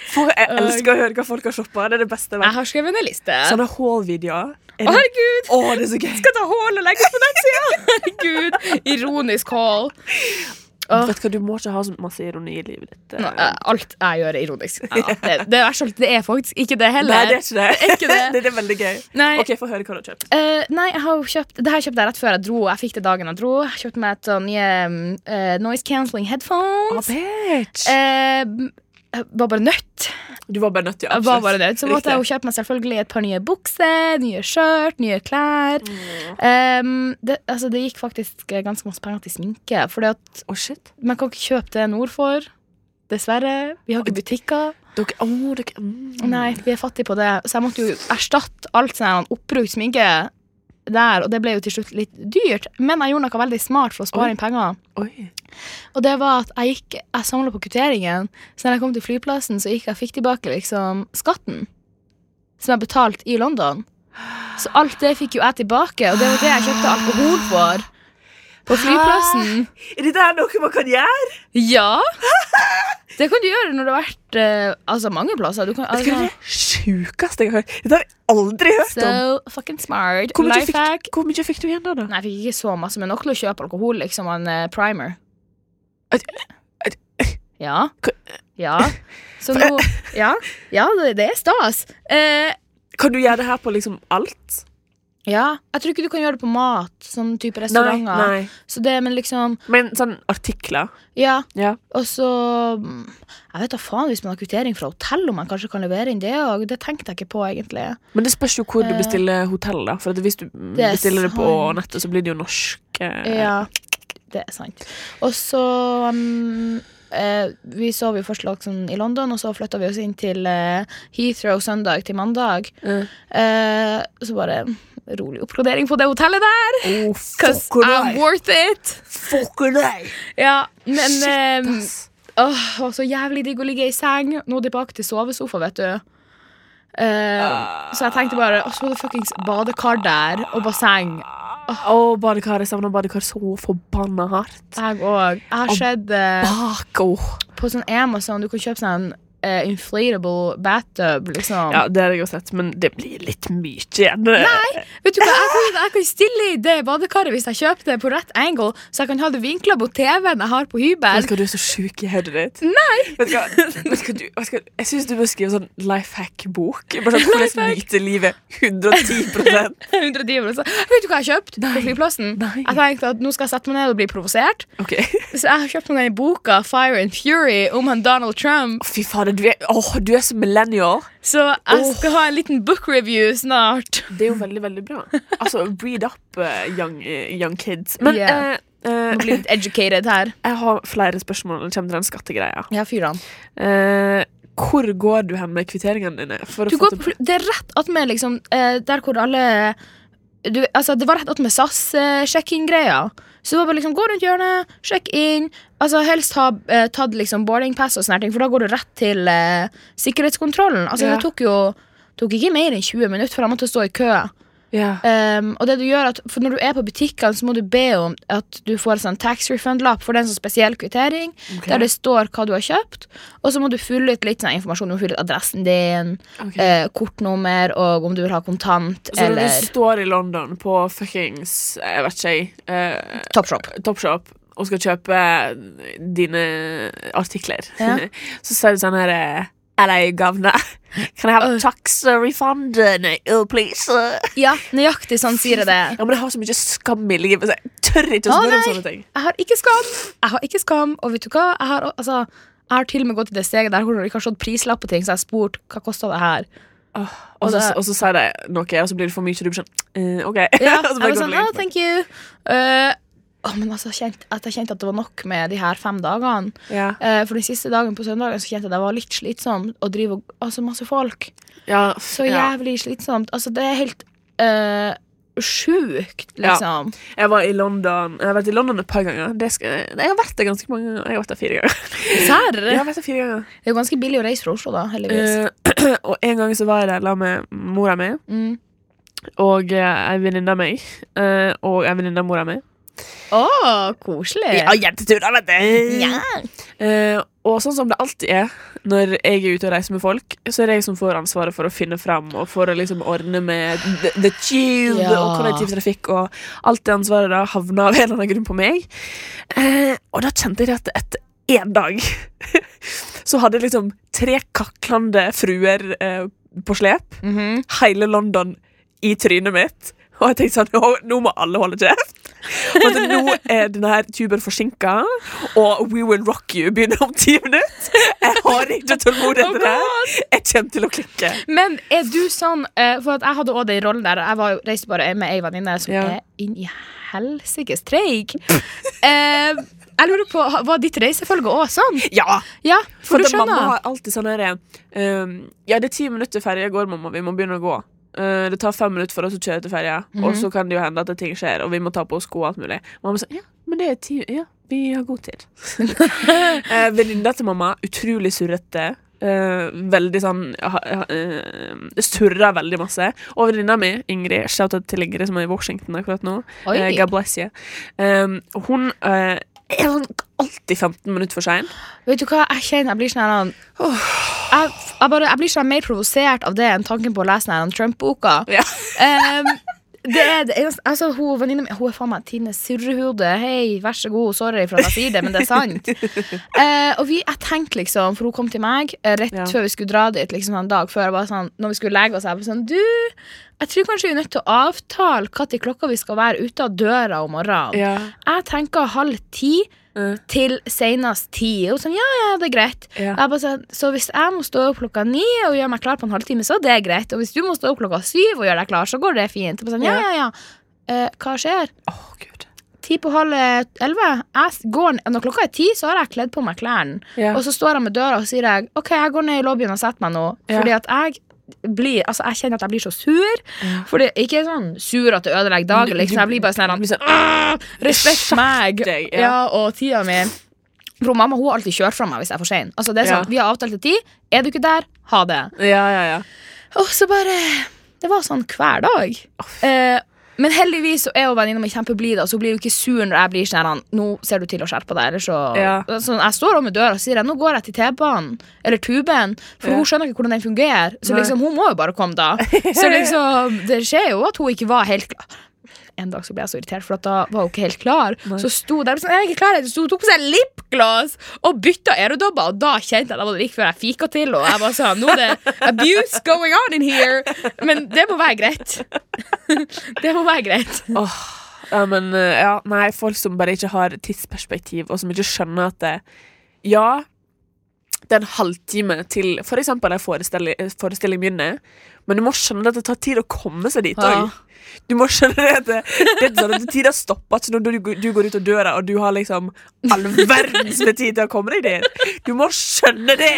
Speaker 2: For jeg elsker å høre hva folk har shoppa. Det er det beste.
Speaker 3: Jeg
Speaker 2: Vet.
Speaker 3: har skrevet en liste. Å,
Speaker 2: Sånne haul-videoer. er det-
Speaker 3: herregud!
Speaker 2: Å, det er så gøy.
Speaker 3: skal ta hål og legge på nettsida! Herregud, ironisk haul. Åh.
Speaker 2: Vet du hva, Du må ikke ha så masse ironi i livet ditt.
Speaker 3: Nå, eh, Alt jeg gjør, er ironisk. Ja, det, det, er verst, alt, det er faktisk ikke det heller.
Speaker 2: Nei, det er ikke det.
Speaker 3: ikke det.
Speaker 2: er veldig gøy.
Speaker 3: Nei.
Speaker 2: OK, få høre hva du har kjøpt.
Speaker 3: Eh, nei, jeg har jo kjøpt Det her kjøpte jeg rett før jeg dro. Jeg fikk det dagen jeg dro. Jeg kjøpte meg et sånn nye eh, noise cancelling headphones.
Speaker 2: bitch.
Speaker 3: Eh, jeg var bare nødt.
Speaker 2: Du var bare nødt til å
Speaker 3: Jeg var bare nødt Så måtte
Speaker 2: Riktig.
Speaker 3: jeg jo kjøpe meg selvfølgelig et par nye bukser, nye skjørt, nye klær. Eh, det, altså, det gikk faktisk ganske masse penger til sminke. Fordi at
Speaker 2: Å, shit.
Speaker 3: Man kan ikke kjøpe det nord for. Dessverre. Vi har ikke butikker.
Speaker 2: Dere, å, dere mm.
Speaker 3: Nei, vi er fattige på det. Så jeg måtte jo erstatte alt sånn her oppbrukt sminke der, og det ble jo til slutt litt dyrt. Men jeg gjorde noe veldig smart for å
Speaker 2: Oi.
Speaker 3: spare inn penger.
Speaker 2: Oi.
Speaker 3: Og det var at jeg gikk Jeg samla på kvitteringen, så når jeg kom til flyplassen, så gikk jeg og fikk tilbake liksom skatten som jeg betalte i London. Så alt det fikk jo jeg tilbake, og det var det jeg kjøpte alkohol for på flyplassen.
Speaker 2: Er det der noe man kan gjøre?
Speaker 3: Ja! Det kan du gjøre når du har vært eh, altså mange plasser. Du kan,
Speaker 2: Vet du hva Det
Speaker 3: altså,
Speaker 2: er det sjukeste jeg har hørt. Dette har jeg aldri hørt
Speaker 3: so
Speaker 2: om.
Speaker 3: fucking smart.
Speaker 2: Hvor mye,
Speaker 3: Life
Speaker 2: fikk,
Speaker 3: hack.
Speaker 2: hvor mye fikk du igjen da? da?
Speaker 3: Nei, jeg fikk ikke så masse, men nok til å kjøpe alkohol, liksom, og en eh, primer.
Speaker 2: Et- et-
Speaker 3: Ja.
Speaker 2: Hva-
Speaker 3: Ja. Så nå Ja, ja det, det er stas. Eh,
Speaker 2: Kan du gjøre det her på liksom alt?
Speaker 3: ja. Jeg tror ikke du kan gjøre det på mat, sånn type restauranter.
Speaker 2: nei.
Speaker 3: Så det, men liksom
Speaker 2: Men sånn artikler.
Speaker 3: Ja.
Speaker 2: Ja.
Speaker 3: Og så mm, Jeg vet da faen hvis man har kvittering fra hotell, om man kanskje kan levere inn det òg. Det tenkte jeg ikke på, egentlig.
Speaker 2: Men det spørs jo hvor du
Speaker 3: Eh.
Speaker 2: bestiller hotell. da For at hvis du
Speaker 3: er
Speaker 2: bestiller det på
Speaker 3: sant.
Speaker 2: nettet, så blir det jo norsk. eh,
Speaker 3: Ja, det er sant. Og så um, eh, Vi sov jo først liksom, i London, og så flytta vi oss inn til eh, Heathrow søndag til mandag.
Speaker 2: eh.
Speaker 3: Eh, så bare rolig oppgradering på det hotellet der.
Speaker 2: Oh,
Speaker 3: Cause
Speaker 2: fuck
Speaker 3: I'm
Speaker 2: deg!
Speaker 3: worth it!
Speaker 2: Fuck deg!
Speaker 3: Ja, men
Speaker 2: Shit,
Speaker 3: um,
Speaker 2: ass.
Speaker 3: åh, det var så jævlig digg å ligge i seng. Nå er det tilbake til sovesofa, vet du. Eh, Så jeg tenkte bare Og så var det fuckings badekar der, og basseng.
Speaker 2: Å, badekar. Jeg savner badekar så forbanna hardt.
Speaker 3: Jeg òg. Jeg har
Speaker 2: Og
Speaker 3: sett eh,
Speaker 2: Bak, åh.
Speaker 3: på sånn Amazon Du kan kjøpe sånn eh, inflatable bathtub, liksom.
Speaker 2: Ja, det har jeg jo sett, men det blir litt mye igjen. Nei.
Speaker 3: Vet du hva, jeg kan, jeg kan stille i det badekaret hvis jeg kjøper det på rett angle, så jeg kan ha det vinkla mot TV-en jeg har på hybel.
Speaker 2: Vet du hva, du er så sjuk i hodet ditt. Nei! Vet du hva, vet du hva, du, vet du hva jeg syns du bør skrive sånn lifehack-bok. Bare sånn Hvordan nyte livet 110
Speaker 3: 110 prosent. altså. Vet du hva jeg kjøpte
Speaker 2: Nei.
Speaker 3: på flyplassen?
Speaker 2: Nei.
Speaker 3: Jeg tenkte at nå skal jeg sette meg ned og bli provosert.
Speaker 2: Ok.
Speaker 3: Så jeg har kjøpt meg den boka Fire and Fury om han Donald Trump.
Speaker 2: Fy fader, du er, åh, du er så millennial.
Speaker 3: Så jeg skal ha en liten book review snart.
Speaker 2: Det er jo veldig, veldig bra. Altså, breed up, eh, young, eh, young kids. Men
Speaker 3: Yeah.
Speaker 2: eh, eh,
Speaker 3: Jeg blir litt educated her.
Speaker 2: jeg har flere spørsmål når det kommer til den skattegreia.
Speaker 3: Ja, fyr han.
Speaker 2: Eh, hvor går du hen med kvitteringene dine? For
Speaker 3: Du
Speaker 2: å få
Speaker 3: går
Speaker 2: til-
Speaker 3: på, fly- det er rett attmed liksom, eh, der hvor alle du, altså, Det var rett attmed SAS-sjekk-inn-greia. eh, så det var bare liksom, gå rundt hjørnet, sjekk inn. Altså, helst ha eh, tatt liksom boarding pass, og sånne her ting, for da går du rett til eh, sikkerhetskontrollen. Altså,
Speaker 2: Ja.
Speaker 3: Det tok jo tok ikke mer enn 20 minutter, for jeg måtte stå i kø.
Speaker 2: Ja.
Speaker 3: Um, og det du gjør at, for Når du er på butikkene, så må du be om at du får sånn tax refund-lapp for den som sånn spesiell kvittering,
Speaker 2: Ok.
Speaker 3: der det står hva du har kjøpt. Og så må du fylle ut litt sånn informasjon. Du må fylle ut adressen din,
Speaker 2: Ok.
Speaker 3: eh, kortnummer og om du vil ha kontant
Speaker 2: Så når du
Speaker 3: eller
Speaker 2: står i London på fuckings Jeg vet ikke, jeg. eh,
Speaker 3: Topshop.
Speaker 2: Topshop og skal kjøpe dine artikler,
Speaker 3: Ja.
Speaker 2: så sier du sånn her eh, Hello, governor. Can I have a tax refund, oh, please? Ja,
Speaker 3: Ja, nøyaktig sånn sier jeg det.
Speaker 2: men jeg har så mye skam i livet, så jeg tør ikke å
Speaker 3: Å,
Speaker 2: spørre om
Speaker 3: nei.
Speaker 2: sånne ting.
Speaker 3: Jeg har ikke skam. Jeg har ikke skam, og vet du hva? Jeg har, altså, jeg har til og med gått til det steget der hvor jeg ikke har sett prislapp på ting, så jeg har spurt hva kosta det her.
Speaker 2: Og så,
Speaker 3: det-
Speaker 2: og så sier de noe, og så blir det for mye, og du blir sånn eh, OK.
Speaker 3: Ja,
Speaker 2: Og så bare
Speaker 3: jeg var
Speaker 2: går
Speaker 3: sånn,
Speaker 2: du
Speaker 3: oh,
Speaker 2: litt bak.
Speaker 3: thank you. Eh, å, men altså, jeg kjente- at jeg kjente at det var nok med de her fem dagene.
Speaker 2: ja.
Speaker 3: Eh, for den siste dagen på søndagen så kjente jeg at jeg var litt slitsom å drive og Altså, masse folk.
Speaker 2: Ja,
Speaker 3: Så
Speaker 2: ja.
Speaker 3: jævlig slitsomt. Altså, det er helt uh, sjukt,
Speaker 2: Ja.
Speaker 3: liksom.
Speaker 2: Jeg var i London Jeg har vært i London et par ganger. Det skal, jeg har vært der ganske mange ganger. Jeg har vært der fire ganger.
Speaker 3: Serr?
Speaker 2: Jeg har vært der fire ganger
Speaker 3: Det er jo ganske billig å reise fra Oslo, da, heldigvis.
Speaker 2: Eh, Og en gang så var jeg der la med mora mi
Speaker 3: Mm.
Speaker 2: og eh, ei venninne av meg. eh, Og ei venninne av mora mi.
Speaker 3: Å, koselig.
Speaker 2: Ja, jentetur, da, vet du!
Speaker 3: Ja.
Speaker 2: Eh, og sånn som det alltid er når jeg er ute og reiser med folk, så er det jeg som får ansvaret for å finne fram og for å liksom ordne med the, the tube
Speaker 3: Ja.
Speaker 2: og kollektivtrafikk og alt det ansvaret da havna av en eller annen grunn på meg. Eh, og da kjente jeg at etter én dag så hadde jeg liksom tre kaklende fruer eh, på slep,
Speaker 3: Mhm.
Speaker 2: hele London i trynet mitt. Og jeg tenkte sånn, nå, nå må alle holde kjeft. Og at nå er denne her tuben forsinka, og We Will Rock You begynner om ti minutter. Jeg har ikke tålmodighet til det. her. Jeg kommer til å klikke.
Speaker 3: Men er du sånn eh, For at jeg hadde òg den rollen der. Jeg var, jo- reiste bare med ei venninne som
Speaker 2: Ja.
Speaker 3: er inn i helsikes treig. Eh, jeg lurer på, ha- Var ditt reisefølge òg sånn?
Speaker 2: Ja,
Speaker 3: Ja,
Speaker 2: for
Speaker 3: for, du
Speaker 2: at mamma
Speaker 3: skjønner.
Speaker 2: har alltid sånn her ehm, Ja, det er ti minutter til ferja går, mamma. Vi må begynne å gå. Eh, det tar fem minutter for oss å kjøre til ferja, og
Speaker 3: Mhm.
Speaker 2: så kan det jo hende at det ting skjer, og vi må ta på oss sko og alt mulig. Mamma sa ja, men det er ti Ja, vi har god tid. Eh, Venninna til mamma, utrolig surrete. eh, veldig sånn ha, ha, eh, Surra veldig masse. Og venninna mi, Ingrid, shout out til Ingrid som er i Washington akkurat nå.
Speaker 3: Oi.
Speaker 2: Eh, God bless you. Eh, hun eh, er sånn alltid 15 minutter for sein.
Speaker 3: Vet du hva, jeg kjenner jeg blir sånn her, jeg, jeg, bare, jeg blir sånn mer provosert av det enn tanken på å lese den her Trump-boka.
Speaker 2: Ja.
Speaker 3: Em, Ehm, det er det eneste Altså, hun venninna mi Hun er faen meg Tine surrehode. Hei, vær så god, sorry for at jeg sier det, men det er sant. Eh, og vi, jeg tenkte liksom, for hun kom til meg eh, rett
Speaker 2: Ja.
Speaker 3: før vi skulle dra dit, liksom en dag før, bare sånn, når vi skulle legge oss, jeg var sånn Du, jeg tror kanskje vi er nødt til å avtale når klokka vi skal være ute av døra om morgenen.
Speaker 2: Ja.
Speaker 3: Jeg tenker halv ti
Speaker 2: Mm.
Speaker 3: til senest ti. Og sånn, ja, ja, det er greit.
Speaker 2: Ja.
Speaker 3: Jeg bare sånn, så hvis jeg må stå opp klokka ni og gjøre meg klar på en halvtime, så er det greit. Og hvis du må stå opp klokka syv og gjøre deg klar, så går det fint. Jeg bare sånn, ja, ja, ja. Eh, hva skjer?
Speaker 2: Åh, Gud.
Speaker 3: Ti på halv eh, elleve? Jeg s- går, n- når klokka er ti, så har jeg kledd på meg klærne.
Speaker 2: Ja.
Speaker 3: Og så står jeg med døra og sier jeg, OK, jeg går ned i lobbyen og setter meg nå.
Speaker 2: Ja.
Speaker 3: Fordi at jeg blir, altså jeg kjenner at jeg blir så sur. Fordi, ikke sånn sur at det ødelegger dagen, liksom. Jeg blir bare sånn her,
Speaker 2: Blir sånn,
Speaker 3: Respekt
Speaker 2: Skjerp
Speaker 3: meg
Speaker 2: deg, ja.
Speaker 3: ja. og tida mi. For mamma hun har alltid kjørt fra meg hvis jeg er for sein. Altså, det er
Speaker 2: Ja.
Speaker 3: sånn, Vi har avtalt til ti. Er du ikke der, ha det.
Speaker 2: Ja, ja, ja.
Speaker 3: Og så bare Det var sånn hver dag. Eh, men heldigvis så er jo venninna mi kjempeblid, da, så hun blir jo ikke sur når jeg blir sånn her, Nå ser du til å skjerpe deg. Eller så,
Speaker 2: Ja.
Speaker 3: så jeg står om med døra og sier jeg, nå går jeg til T-banen eller tuben, for
Speaker 2: Ja.
Speaker 3: hun skjønner ikke hvordan den fungerer. Så
Speaker 2: Nei.
Speaker 3: liksom, hun må jo bare komme, da. Så liksom, det skjer jo at hun ikke var helt klar. En dag så ble jeg så irritert, for at da var hun ikke helt klar. Så sto der sånn, jeg er ikke klar, jeg», så hun tok på seg lipgloss og bytta øredobber, og da kjente jeg at det var like før jeg fika til, og jeg bare sa nå er det abuse going on in here. Men det må være greit. Det må være greit.
Speaker 2: Ja, men eh, ja, nei, folk som bare ikke har tidsperspektiv, og som ikke skjønner at det, Ja, det er en halvtime til for eksempel en forestilling, forestilling begynner, men du må skjønne at det tar tid å komme seg dit
Speaker 3: Ja.
Speaker 2: òg. Du må skjønne det at det, det er sånn at tida stopper ikke når du, du går ut av døra, og du har liksom all verdens med tid til å komme deg dit. Du må skjønne det,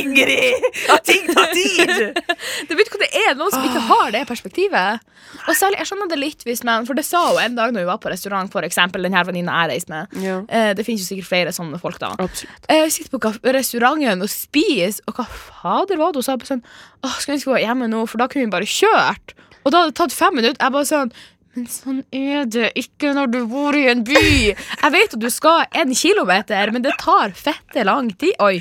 Speaker 2: Ingrid! At ting tar tid!
Speaker 3: Det vet du hva det er noen som ikke har det perspektivet. Og særlig, jeg skjønner det litt hvis man For det sa hun en dag når vi var på restaurant, for eksempel, den her venninna jeg reiste med.
Speaker 2: Ja.
Speaker 3: Eh, Det finnes jo sikkert flere sånne folk, da.
Speaker 2: Absolutt.
Speaker 3: Eh, sitter på kaf- restauranten og spiser, og hva fader var det hun sa? På sånn, Åh, Skulle ønske vi var hjemme nå, for da kunne vi bare kjørt. Og da hadde det tatt fem minutter. Jeg bare sånn Men sånn er det ikke når du bor i en by. Jeg vet at du skal en kilometer, men det tar fette lang tid. Oi,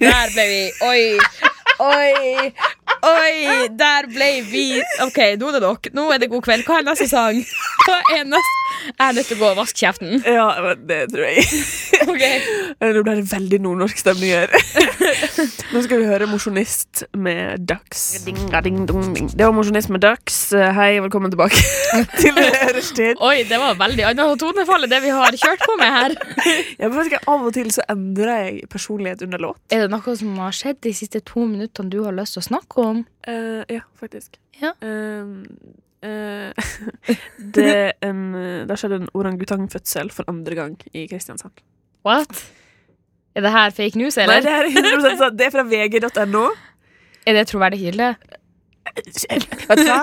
Speaker 3: der ble vi. Oi. Oi, oi, der ble vi OK, nå er det nok. Nå er det god kveld. Hva er neste sang? Hva er neste? Jeg er nødt til å gå og vaske kjeften.
Speaker 2: Ja, men det tror jeg.
Speaker 3: Ok
Speaker 2: Eh, Nå ble det veldig nordnorsk stemning her. Nå skal vi høre Mosjonist med Dax. Det var Mosjonist med Dax. Hei, velkommen tilbake til rushtid.
Speaker 3: Oi, det var veldig annet tonefall enn det vi har kjørt på med her.
Speaker 2: Jeg vet ikke, Av og til så endrer jeg personlighet under låt.
Speaker 3: Er det noe som har skjedd de siste to minuttene du har lyst til å snakke om?
Speaker 2: Eh, ja, faktisk.
Speaker 3: Ja.
Speaker 2: Eh, eh, det, en, eh, det skjedde en orangutangfødsel for andre gang i Kristiansand.
Speaker 3: What? Er det her fake news,
Speaker 2: Nei,
Speaker 3: eller?
Speaker 2: det er 100 sant. Det er fra vg.no.
Speaker 3: Er det troverdig kilde?
Speaker 2: Vet du hva?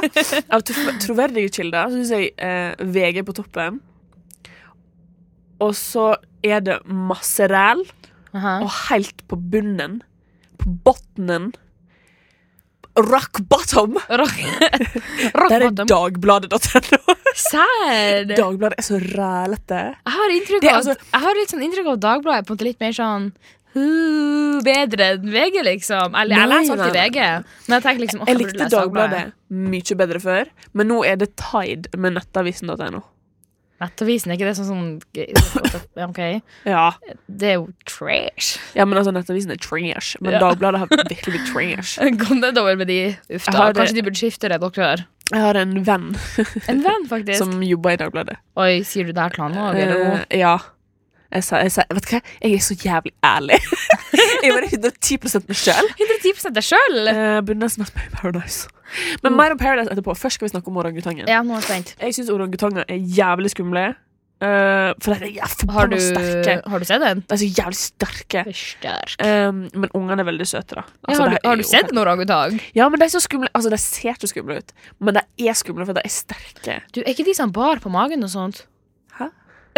Speaker 2: Av tro- troverdige kilder så syns jeg eh, VG på toppen. Og så er det masse ræl,
Speaker 3: Aha.
Speaker 2: og helt på bunnen, på bunnen Rock bottom!
Speaker 3: Rock, rock
Speaker 2: Der er
Speaker 3: bottom.
Speaker 2: dagbladet.no.
Speaker 3: Sær!
Speaker 2: Dagbladet er så rælete.
Speaker 3: Jeg har, inntrykk
Speaker 2: Det er
Speaker 3: av,
Speaker 2: altså-
Speaker 3: jeg har litt sånn inntrykk av at Dagbladet er på en måte litt mer sånn «Huh, bedre enn VG, liksom. Eller jeg
Speaker 2: Nei,
Speaker 3: leser alltid
Speaker 2: nei,
Speaker 3: VG. Men jeg tenker liksom «Åh,
Speaker 2: Jeg
Speaker 3: burde
Speaker 2: likte
Speaker 3: lese
Speaker 2: Dagbladet mye bedre før, men nå er det Tide med nettavisen.no.
Speaker 3: Nettavisen, er ikke det sånn sånn OK.
Speaker 2: Ja.
Speaker 3: Det er jo trash.
Speaker 2: ja, men altså, nettavisen er trash, men
Speaker 3: Ja.
Speaker 2: Dagbladet har virkelig blitt trash.
Speaker 3: Kom deg over med de. eh, Uff
Speaker 2: Jeg
Speaker 3: da,
Speaker 2: har-
Speaker 3: kanskje de burde skifte redaktør.
Speaker 2: Jeg har en venn
Speaker 3: En venn, faktisk.
Speaker 2: som jobber i Dagbladet.
Speaker 3: Oi, sier du det her til han òg?
Speaker 2: Eh, ja. Jeg sa, jeg sa, vet du hva, jeg er så jævlig ærlig. jeg er bare 110 meg sjøl.
Speaker 3: 110 deg sjøl!
Speaker 2: Uh, Begynner nesten å spørre Paradise. Men mer om Paradise etterpå. Først skal vi snakke om orangutangen.
Speaker 3: Mm. Ja, nå er jeg spent.
Speaker 2: Jeg syns orangutanger er jævlig skumle. eh, for de er
Speaker 3: Har du,
Speaker 2: forbanna sterke.
Speaker 3: har du sett den?
Speaker 2: De er så jævlig sterke.
Speaker 3: Sterk.
Speaker 2: Um, men ungene er veldig søte, da. Altså, det
Speaker 3: har, du,
Speaker 2: her er
Speaker 3: har du
Speaker 2: jo-
Speaker 3: sett en orangutang?
Speaker 2: Ja, men de er så skumle. Altså, de ser ikke skumle ut, men de er skumle fordi de er sterke.
Speaker 3: Du, Er ikke de som har bar på magen og sånt?
Speaker 2: Hæ?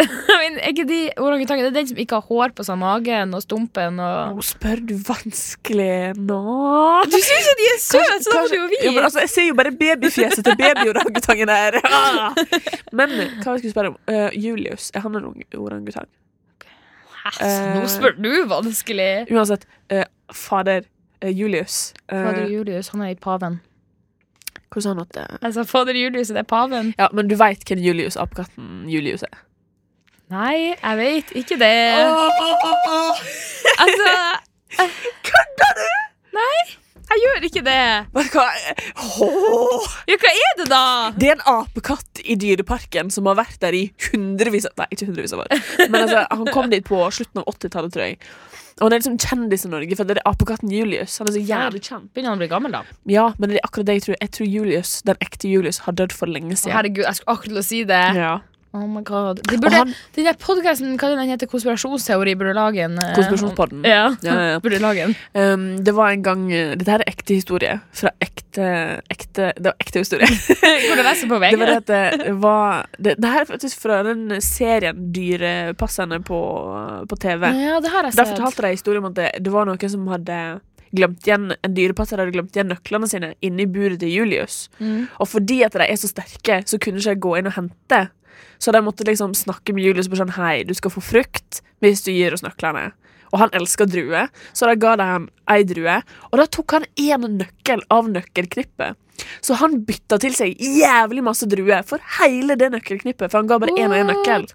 Speaker 3: Men er ikke de orangutangene Det er den som ikke har hår på seg magen og stumpen og
Speaker 2: Nå spør du vanskelig nå.
Speaker 3: Du syns jo de er søte, så da må du jo
Speaker 2: Ja, men
Speaker 3: vite!
Speaker 2: altså, jeg ser jo bare babyfjeset til babyorangutangen her. Ah! Men hva jeg skulle spørre om? Eh, Julius, er han en ung- orangutang?
Speaker 3: Hæ, Nå spør du vanskelig.
Speaker 2: Uansett, eh, fader eh, Julius eh,
Speaker 3: Fader Julius, han er ikke paven.
Speaker 2: Hvordan sa han at det?
Speaker 3: Jeg sa Altså, fader Julius, det er paven.
Speaker 2: Ja, men du veit hvem Julius apekatten Julius er?
Speaker 3: Nei, jeg vet ikke det. Altså
Speaker 2: Kødder du?!
Speaker 3: Jeg gjør ikke det.
Speaker 2: Vet du hva? Åh!
Speaker 3: Ja, hva er det, da?
Speaker 2: Det er en apekatt i dyreparken som har vært der i hundrevis av Nei, ikke hundrevis av år. Men altså, han kom dit på slutten av 80-tallet, tror jeg. Og han er liksom kjendis i Norge, for det er apekatten Julius. Han er så jævlig kjent.
Speaker 3: Begynner han å bli gammel, da?
Speaker 2: Ja, men det er akkurat det jeg tror. Jeg tror Julius, den ekte Julius har dødd for lenge
Speaker 3: Å,
Speaker 2: siden.
Speaker 3: herregud, jeg skulle akkurat til å si det.
Speaker 2: Ja.
Speaker 3: Oh my god. De burde,
Speaker 2: han-
Speaker 3: den der podkasten, hva er den heter, Konspirasjonsteori, burde lage en eh,
Speaker 2: Konspirasjonspodden.
Speaker 3: Ja.
Speaker 2: Ja, ja, ja.
Speaker 3: Burde lage en.
Speaker 2: Um, det var en gang eh, Dette her er ekte historie. Fra ekte, ekte Det var ekte historie.
Speaker 3: Går det lese på
Speaker 2: Det
Speaker 3: VG?
Speaker 2: var det at det var Det, det her er faktisk fra den serien Dyrepasserne på, på TV.
Speaker 3: Ja, det har jeg
Speaker 2: Der
Speaker 3: sett.
Speaker 2: fortalte de historien om at det, det var noen som hadde glemt igjen En dyrepasser hadde glemt igjen nøklene sine inni buret til Julius.
Speaker 3: Mm.
Speaker 2: Og fordi at de er så sterke, så kunne ikke de gå inn og hente. Så de måtte liksom snakke med Julius på sånn Hei, du skal få frukt hvis du gir oss nøklene. Og han elsker druer, så da ga de ham ei drue. Og da tok han én nøkkel av nøkkelknippet. Så han bytta til seg jævlig masse druer for hele det nøkkelknippet. For han ga bare én og én nøkkel.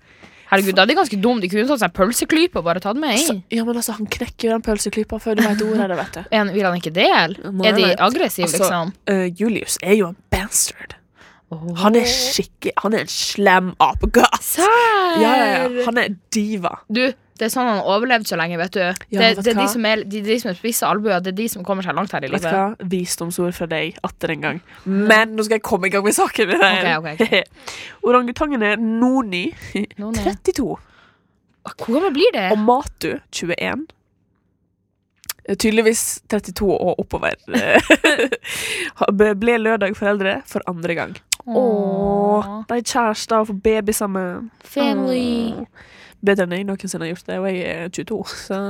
Speaker 3: Herregud, da er de ganske dumme. De kunne tatt seg en pølseklype og bare tatt med
Speaker 2: Så,
Speaker 3: en.
Speaker 2: ja, men altså, han knekker jo den pølseklypa før du veit ordet av det, vet du.
Speaker 3: En, vil han ikke dele?
Speaker 2: Nei,
Speaker 3: Er de
Speaker 2: nei.
Speaker 3: aggressive,
Speaker 2: Altså,
Speaker 3: liksom?
Speaker 2: Eh, Julius er jo en bastard.
Speaker 3: Åh.
Speaker 2: Han er skikke, han er en slem apekatt.
Speaker 3: Sær!
Speaker 2: Ja, ja, ja. Han er diva.
Speaker 3: Du, det er sånn han har overlevd så lenge, vet du. det,
Speaker 2: vet
Speaker 3: det er
Speaker 2: hva?
Speaker 3: de som er, de, de som er spisse albuer, det er de som kommer seg langt her i
Speaker 2: Vet du
Speaker 3: livet.
Speaker 2: hva? Visdomsord fra deg atter en gang. Men nå skal jeg komme i gang med saken. min her.
Speaker 3: Ok, ok,
Speaker 2: Orangutangen er Noni,
Speaker 3: Nå, nå.
Speaker 2: 32,
Speaker 3: Hvor gammel blir det?
Speaker 2: og Matu, 21. Eh, Tydeligvis 32 og oppover. Eh, Ble lørdag foreldre for andre gang. Åh, de er kjærester og får baby sammen.
Speaker 3: Family.
Speaker 2: Bedre enn jeg noensinne har gjort det, og jeg er 22, så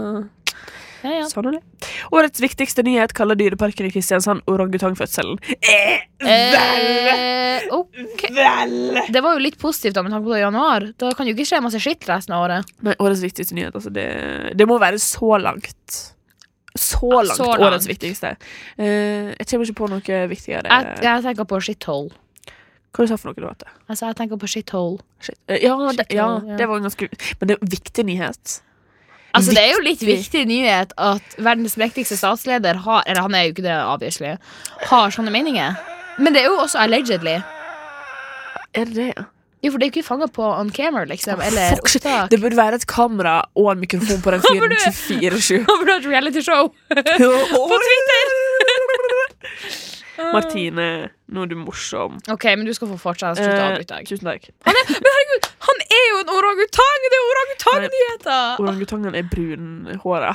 Speaker 3: Ja, ja.
Speaker 2: Sånn er det. Årets viktigste nyhet kaller Dyreparken i Kristiansand orangutangfødselen. Eh, vel,
Speaker 3: Eh, ok.
Speaker 2: vel.
Speaker 3: Det var jo litt positivt da, med tanke på det i januar. Da kan jo ikke skje masse skitt resten av året.
Speaker 2: Nei, årets viktigste nyhet, altså det, det må være så langt. Så langt,
Speaker 3: så langt.
Speaker 2: årets viktigste. Eh, jeg kommer ikke på noe viktigere.
Speaker 3: Jeg, jeg tenker på shithole.
Speaker 2: Hva du sa for noe du hette?
Speaker 3: Altså, jeg tenker på shithole.
Speaker 2: Shit. Eh, ja, det,
Speaker 3: Shit,
Speaker 2: ja,
Speaker 3: ja.
Speaker 2: det var en ganske Men det er en viktig nyhet.
Speaker 3: Altså, det er jo litt viktig nyhet at verdens mektigste statsleder har Eller han er jo ikke det, obviously. Har sånne meninger. Men det er jo også allegedly.
Speaker 2: Er det det?
Speaker 3: Jo, for det er jo ikke fanga på on camera, liksom. Eller
Speaker 2: Fuck, shit.
Speaker 3: opptak.
Speaker 2: Det burde være et kamera og en mikrofon på den
Speaker 3: Hvorfor
Speaker 2: fyren 24-7.
Speaker 3: du- Han burde ha et realityshow på Twitter!
Speaker 2: Martine, nå er du morsom.
Speaker 3: OK, men du skal få fortsette. Slutt å
Speaker 2: Eh,
Speaker 3: avbryte deg.
Speaker 2: tusen takk.
Speaker 3: Eh, Han er jo en orangutang! Det er orangutangnyheter!
Speaker 2: Orangutangene er brunhåra,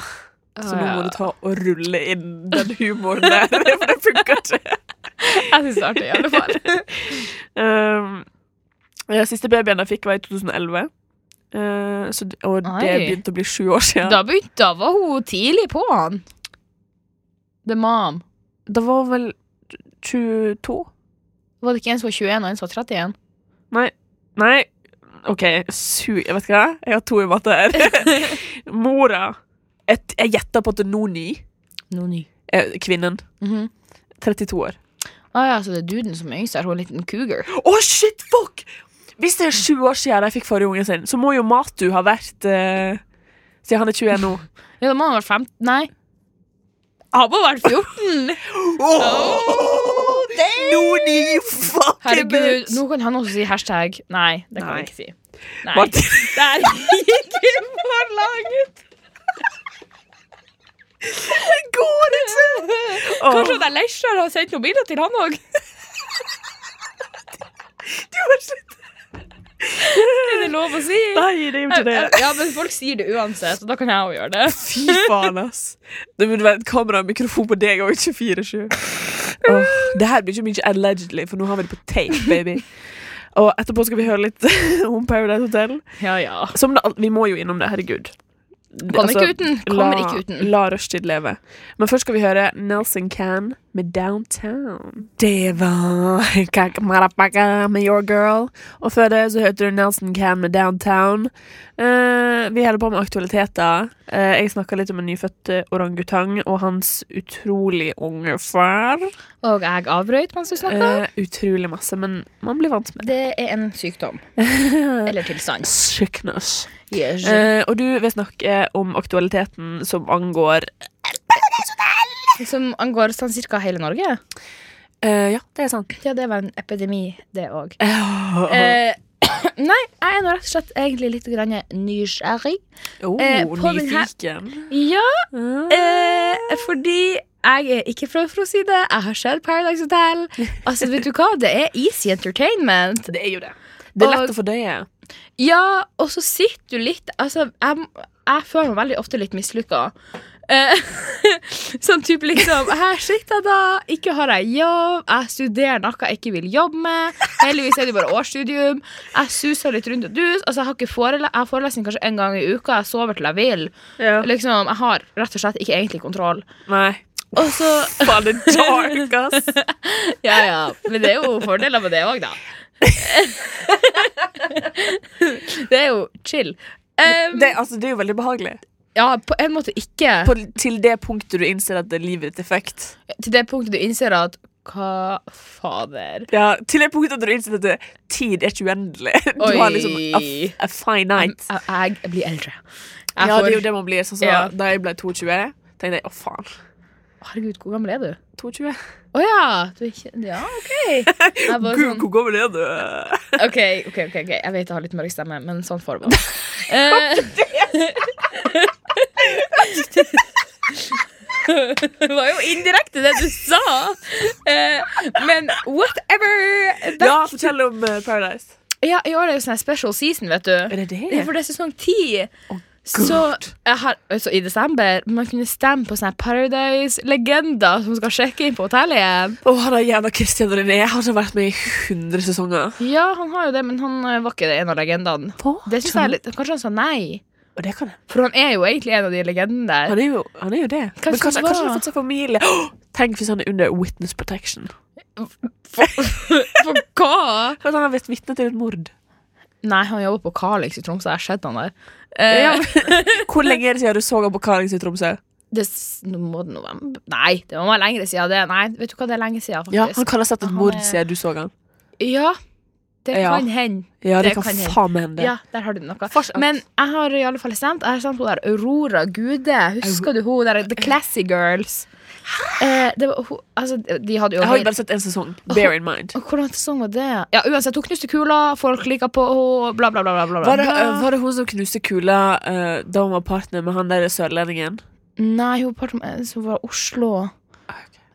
Speaker 2: så nå må
Speaker 3: Ja.
Speaker 2: du ta og rulle inn den humoren der, for det funker ikke.
Speaker 3: Jeg syns det er artig, i alle fall.
Speaker 2: Um, ja, siste babyen jeg fikk, var i 2011. Eh, så, d- og det
Speaker 3: Oi.
Speaker 2: begynte å bli sju år siden. Da,
Speaker 3: Da begynte Da var hun tidlig på han. The mom.
Speaker 2: var hun vel 22?
Speaker 3: Var det ikke en som var 21, og en som var 31?
Speaker 2: Nei. Nei. OK, su... Jeg vet ikke hva. Jeg har to i matte her. Mora Et, Jeg gjetter på at det er nå ny.
Speaker 3: Noe ny.
Speaker 2: Eh, kvinnen.
Speaker 3: Mm
Speaker 2: 32 år.
Speaker 3: ah, ja, så det er duden som er yngst her. Hun er en liten cougar.
Speaker 2: Å, shit, fuck! Hvis det er sju år siden de fikk forrige ungen sin, så må jo Matu ha vært eh, Siden han er 21 nå.
Speaker 3: Ja, da må han ha vært 15 Nei. Han må ha vært 14!
Speaker 2: Oh, Noni, fucking
Speaker 3: Herregud. Nå kan han også si hashtag. Nei, det kan
Speaker 2: Nei.
Speaker 3: han ikke si. Nei.
Speaker 2: Martin.
Speaker 3: Der gikk vi for langt!
Speaker 2: Det går ikke!
Speaker 3: Kanskje han der Leisjar har sendt noen bilder til han òg?
Speaker 2: du har slutt.
Speaker 3: Er det lov å si?
Speaker 2: Nei, det er jo ikke det.
Speaker 3: Ja, men folk sier det uansett, og da kan jeg òg gjøre det.
Speaker 2: Fy faen, ass. Det burde være et kamera og mikrofon på deg og ikke 24-7. Åh, det her blir ikke mye allegedly, for nå har vi det på tape, baby. Og etterpå skal vi høre litt om Paradise Hotel.
Speaker 3: Ja, ja.
Speaker 2: Som det, al- vi må jo innom det, herregud. Det-
Speaker 3: Kommer ikke uten. Kommer
Speaker 2: la,
Speaker 3: ikke uten.
Speaker 2: La rushtid leve. Men først skal vi høre Nelson Can med Downtown. Det var Kaka Marapaka med Your Girl. Og før det så hørte du Nelson Can med Downtown. Eh, vi holder på med aktualiteter. Eh, jeg snakka litt om en nyfødt eh, orangutang og hans utrolig unge far.
Speaker 3: Og jeg avbrøt mens du snakka.
Speaker 2: Eh, utrolig masse, men man blir vant med det.
Speaker 3: Det er en sykdom. Eller tilstand.
Speaker 2: Sickness.
Speaker 3: Yes.
Speaker 2: Eh, og du vil snakke om aktualiteten som angår
Speaker 3: Som angår sånn cirka hele Norge.
Speaker 2: eh, Ja, det er sant.
Speaker 3: Ja, det var en epidemi, det òg.
Speaker 2: Eh,
Speaker 3: Eh, nei, jeg er nå rett og slett egentlig litt grann nysgjerrig.
Speaker 2: oh,
Speaker 3: eh, på den her-
Speaker 2: nyfiken.
Speaker 3: Ja,
Speaker 2: Eh,
Speaker 3: eh, fordi jeg er ikke fra Froside. Jeg har sett Paradise Hotel. Altså, vet du hva? Det er easy entertainment.
Speaker 2: det er jo det. Det er
Speaker 3: og-
Speaker 2: lett å fordøye.
Speaker 3: Ja, og så sitter du litt Altså, jeg, jeg føler meg veldig ofte litt mislykka. Eh, sånn type liksom Her sitter jeg, da. Ikke har jeg jobb. Jeg studerer noe jeg ikke vil jobbe med. Heldigvis er det bare årsstudium. Jeg suser litt rundt og dus. Altså, jeg har ikke forele jeg har forelesning kanskje en gang i uka. Jeg sover til jeg vil. Liksom, Jeg har rett og slett ikke egentlig kontroll.
Speaker 2: Nei.
Speaker 3: Og så
Speaker 2: Faen, det er dark, ass.
Speaker 3: Ja, ja. Men det er jo fordeler med det òg, da. det er jo chill. Um,
Speaker 2: Det, altså, det er jo veldig behagelig.
Speaker 3: Ja, på en måte ikke.
Speaker 2: På, til det punktet du innser at det er livets effekt.
Speaker 3: til det punktet du innser at hva fader
Speaker 2: Ja, til det punktet at du innser at det, tid er ikke uendelig. Du
Speaker 3: Oi.
Speaker 2: har liksom a, f- a finite.
Speaker 3: Jeg, jeg blir eldre. Jeg
Speaker 2: Ja,
Speaker 3: får,
Speaker 2: det er jo det man blir. Sånn som
Speaker 3: Ja.
Speaker 2: Da jeg ble 22, tenkte jeg å, faen.
Speaker 3: Herregud, hvor gammel er du?
Speaker 2: 22?
Speaker 3: Å ja! Du er ikke Ja, OK. Jeg bare
Speaker 2: Gud,
Speaker 3: sånn,
Speaker 2: hvor gammel er du?
Speaker 3: OK, ok, ok, ok Jeg vet jeg har litt mørk stemme, men sånn får det Eh, være. Det var jo indirekte det du sa! Eh, men whatever.
Speaker 2: Ja, fortell om eh, Paradise.
Speaker 3: Ja, I år er det jo sånn her special season, vet du.
Speaker 2: Er det det?
Speaker 3: Ja, for det er sesong ti.
Speaker 2: Gud.
Speaker 3: Så jeg har, altså, i desember man kunne stemme på sånne Paradise-legender som skal sjekke inn på hotellet igjen.
Speaker 2: Å, han er jævla Christian René. Han har vært med i 100 sesonger.
Speaker 3: Ja, han har jo det, men han eh, var ikke det en av legendene.
Speaker 2: Hva?
Speaker 3: Det synes jeg er litt, Kanskje han sa nei?
Speaker 2: Og det kan jeg.
Speaker 3: For han er jo egentlig en av de legendene der.
Speaker 2: Han er jo, han er jo det.
Speaker 3: Kanskje
Speaker 2: Men kanskje,
Speaker 3: han var-
Speaker 2: kanskje han har fått seg familie. Åh, tenk hvis han er under witness protection.
Speaker 3: For hva?
Speaker 2: Kanskje han har vært vitne til et mord.
Speaker 3: Nei, han jobber på Kalix i Tromsø. Jeg har sett han der. Eh,
Speaker 2: Ja, men- Hvor lenge er det siden du så han på Karings i Tromsø?
Speaker 3: det, s- nå må det november Nei, det må være lengre siden det. Nei, vet du hva, det er lenge siden,
Speaker 2: Ja, han
Speaker 3: faktisk.
Speaker 2: kan ha sett et
Speaker 3: Han
Speaker 2: mord
Speaker 3: er-
Speaker 2: siden du så han.
Speaker 3: Ja, det
Speaker 2: Ja.
Speaker 3: kan hende.
Speaker 2: Ja, det,
Speaker 3: Det
Speaker 2: kan
Speaker 3: kan hende.
Speaker 2: faen meg hende.
Speaker 3: Ja, der har du noe. Men jeg har i alle fall sendt Jeg har sendt hun der Aurora Gude. Husker du hun der The Classy Girls? Eh, det var, hun, altså, de hadde jo
Speaker 2: Jeg har jo bare sett en sesong. Bear in mind.
Speaker 3: Og Hvordan sesong var det? Ja, uansett, hun knuste kula, folk liker på henne, bla, bla, bla. bla, bla, bla.
Speaker 2: Var det, øh, var det hun som knuste kula øh, da hun var partner med han der sørlendingen?
Speaker 3: Nei, hun var part- eh, så hun var i Oslo.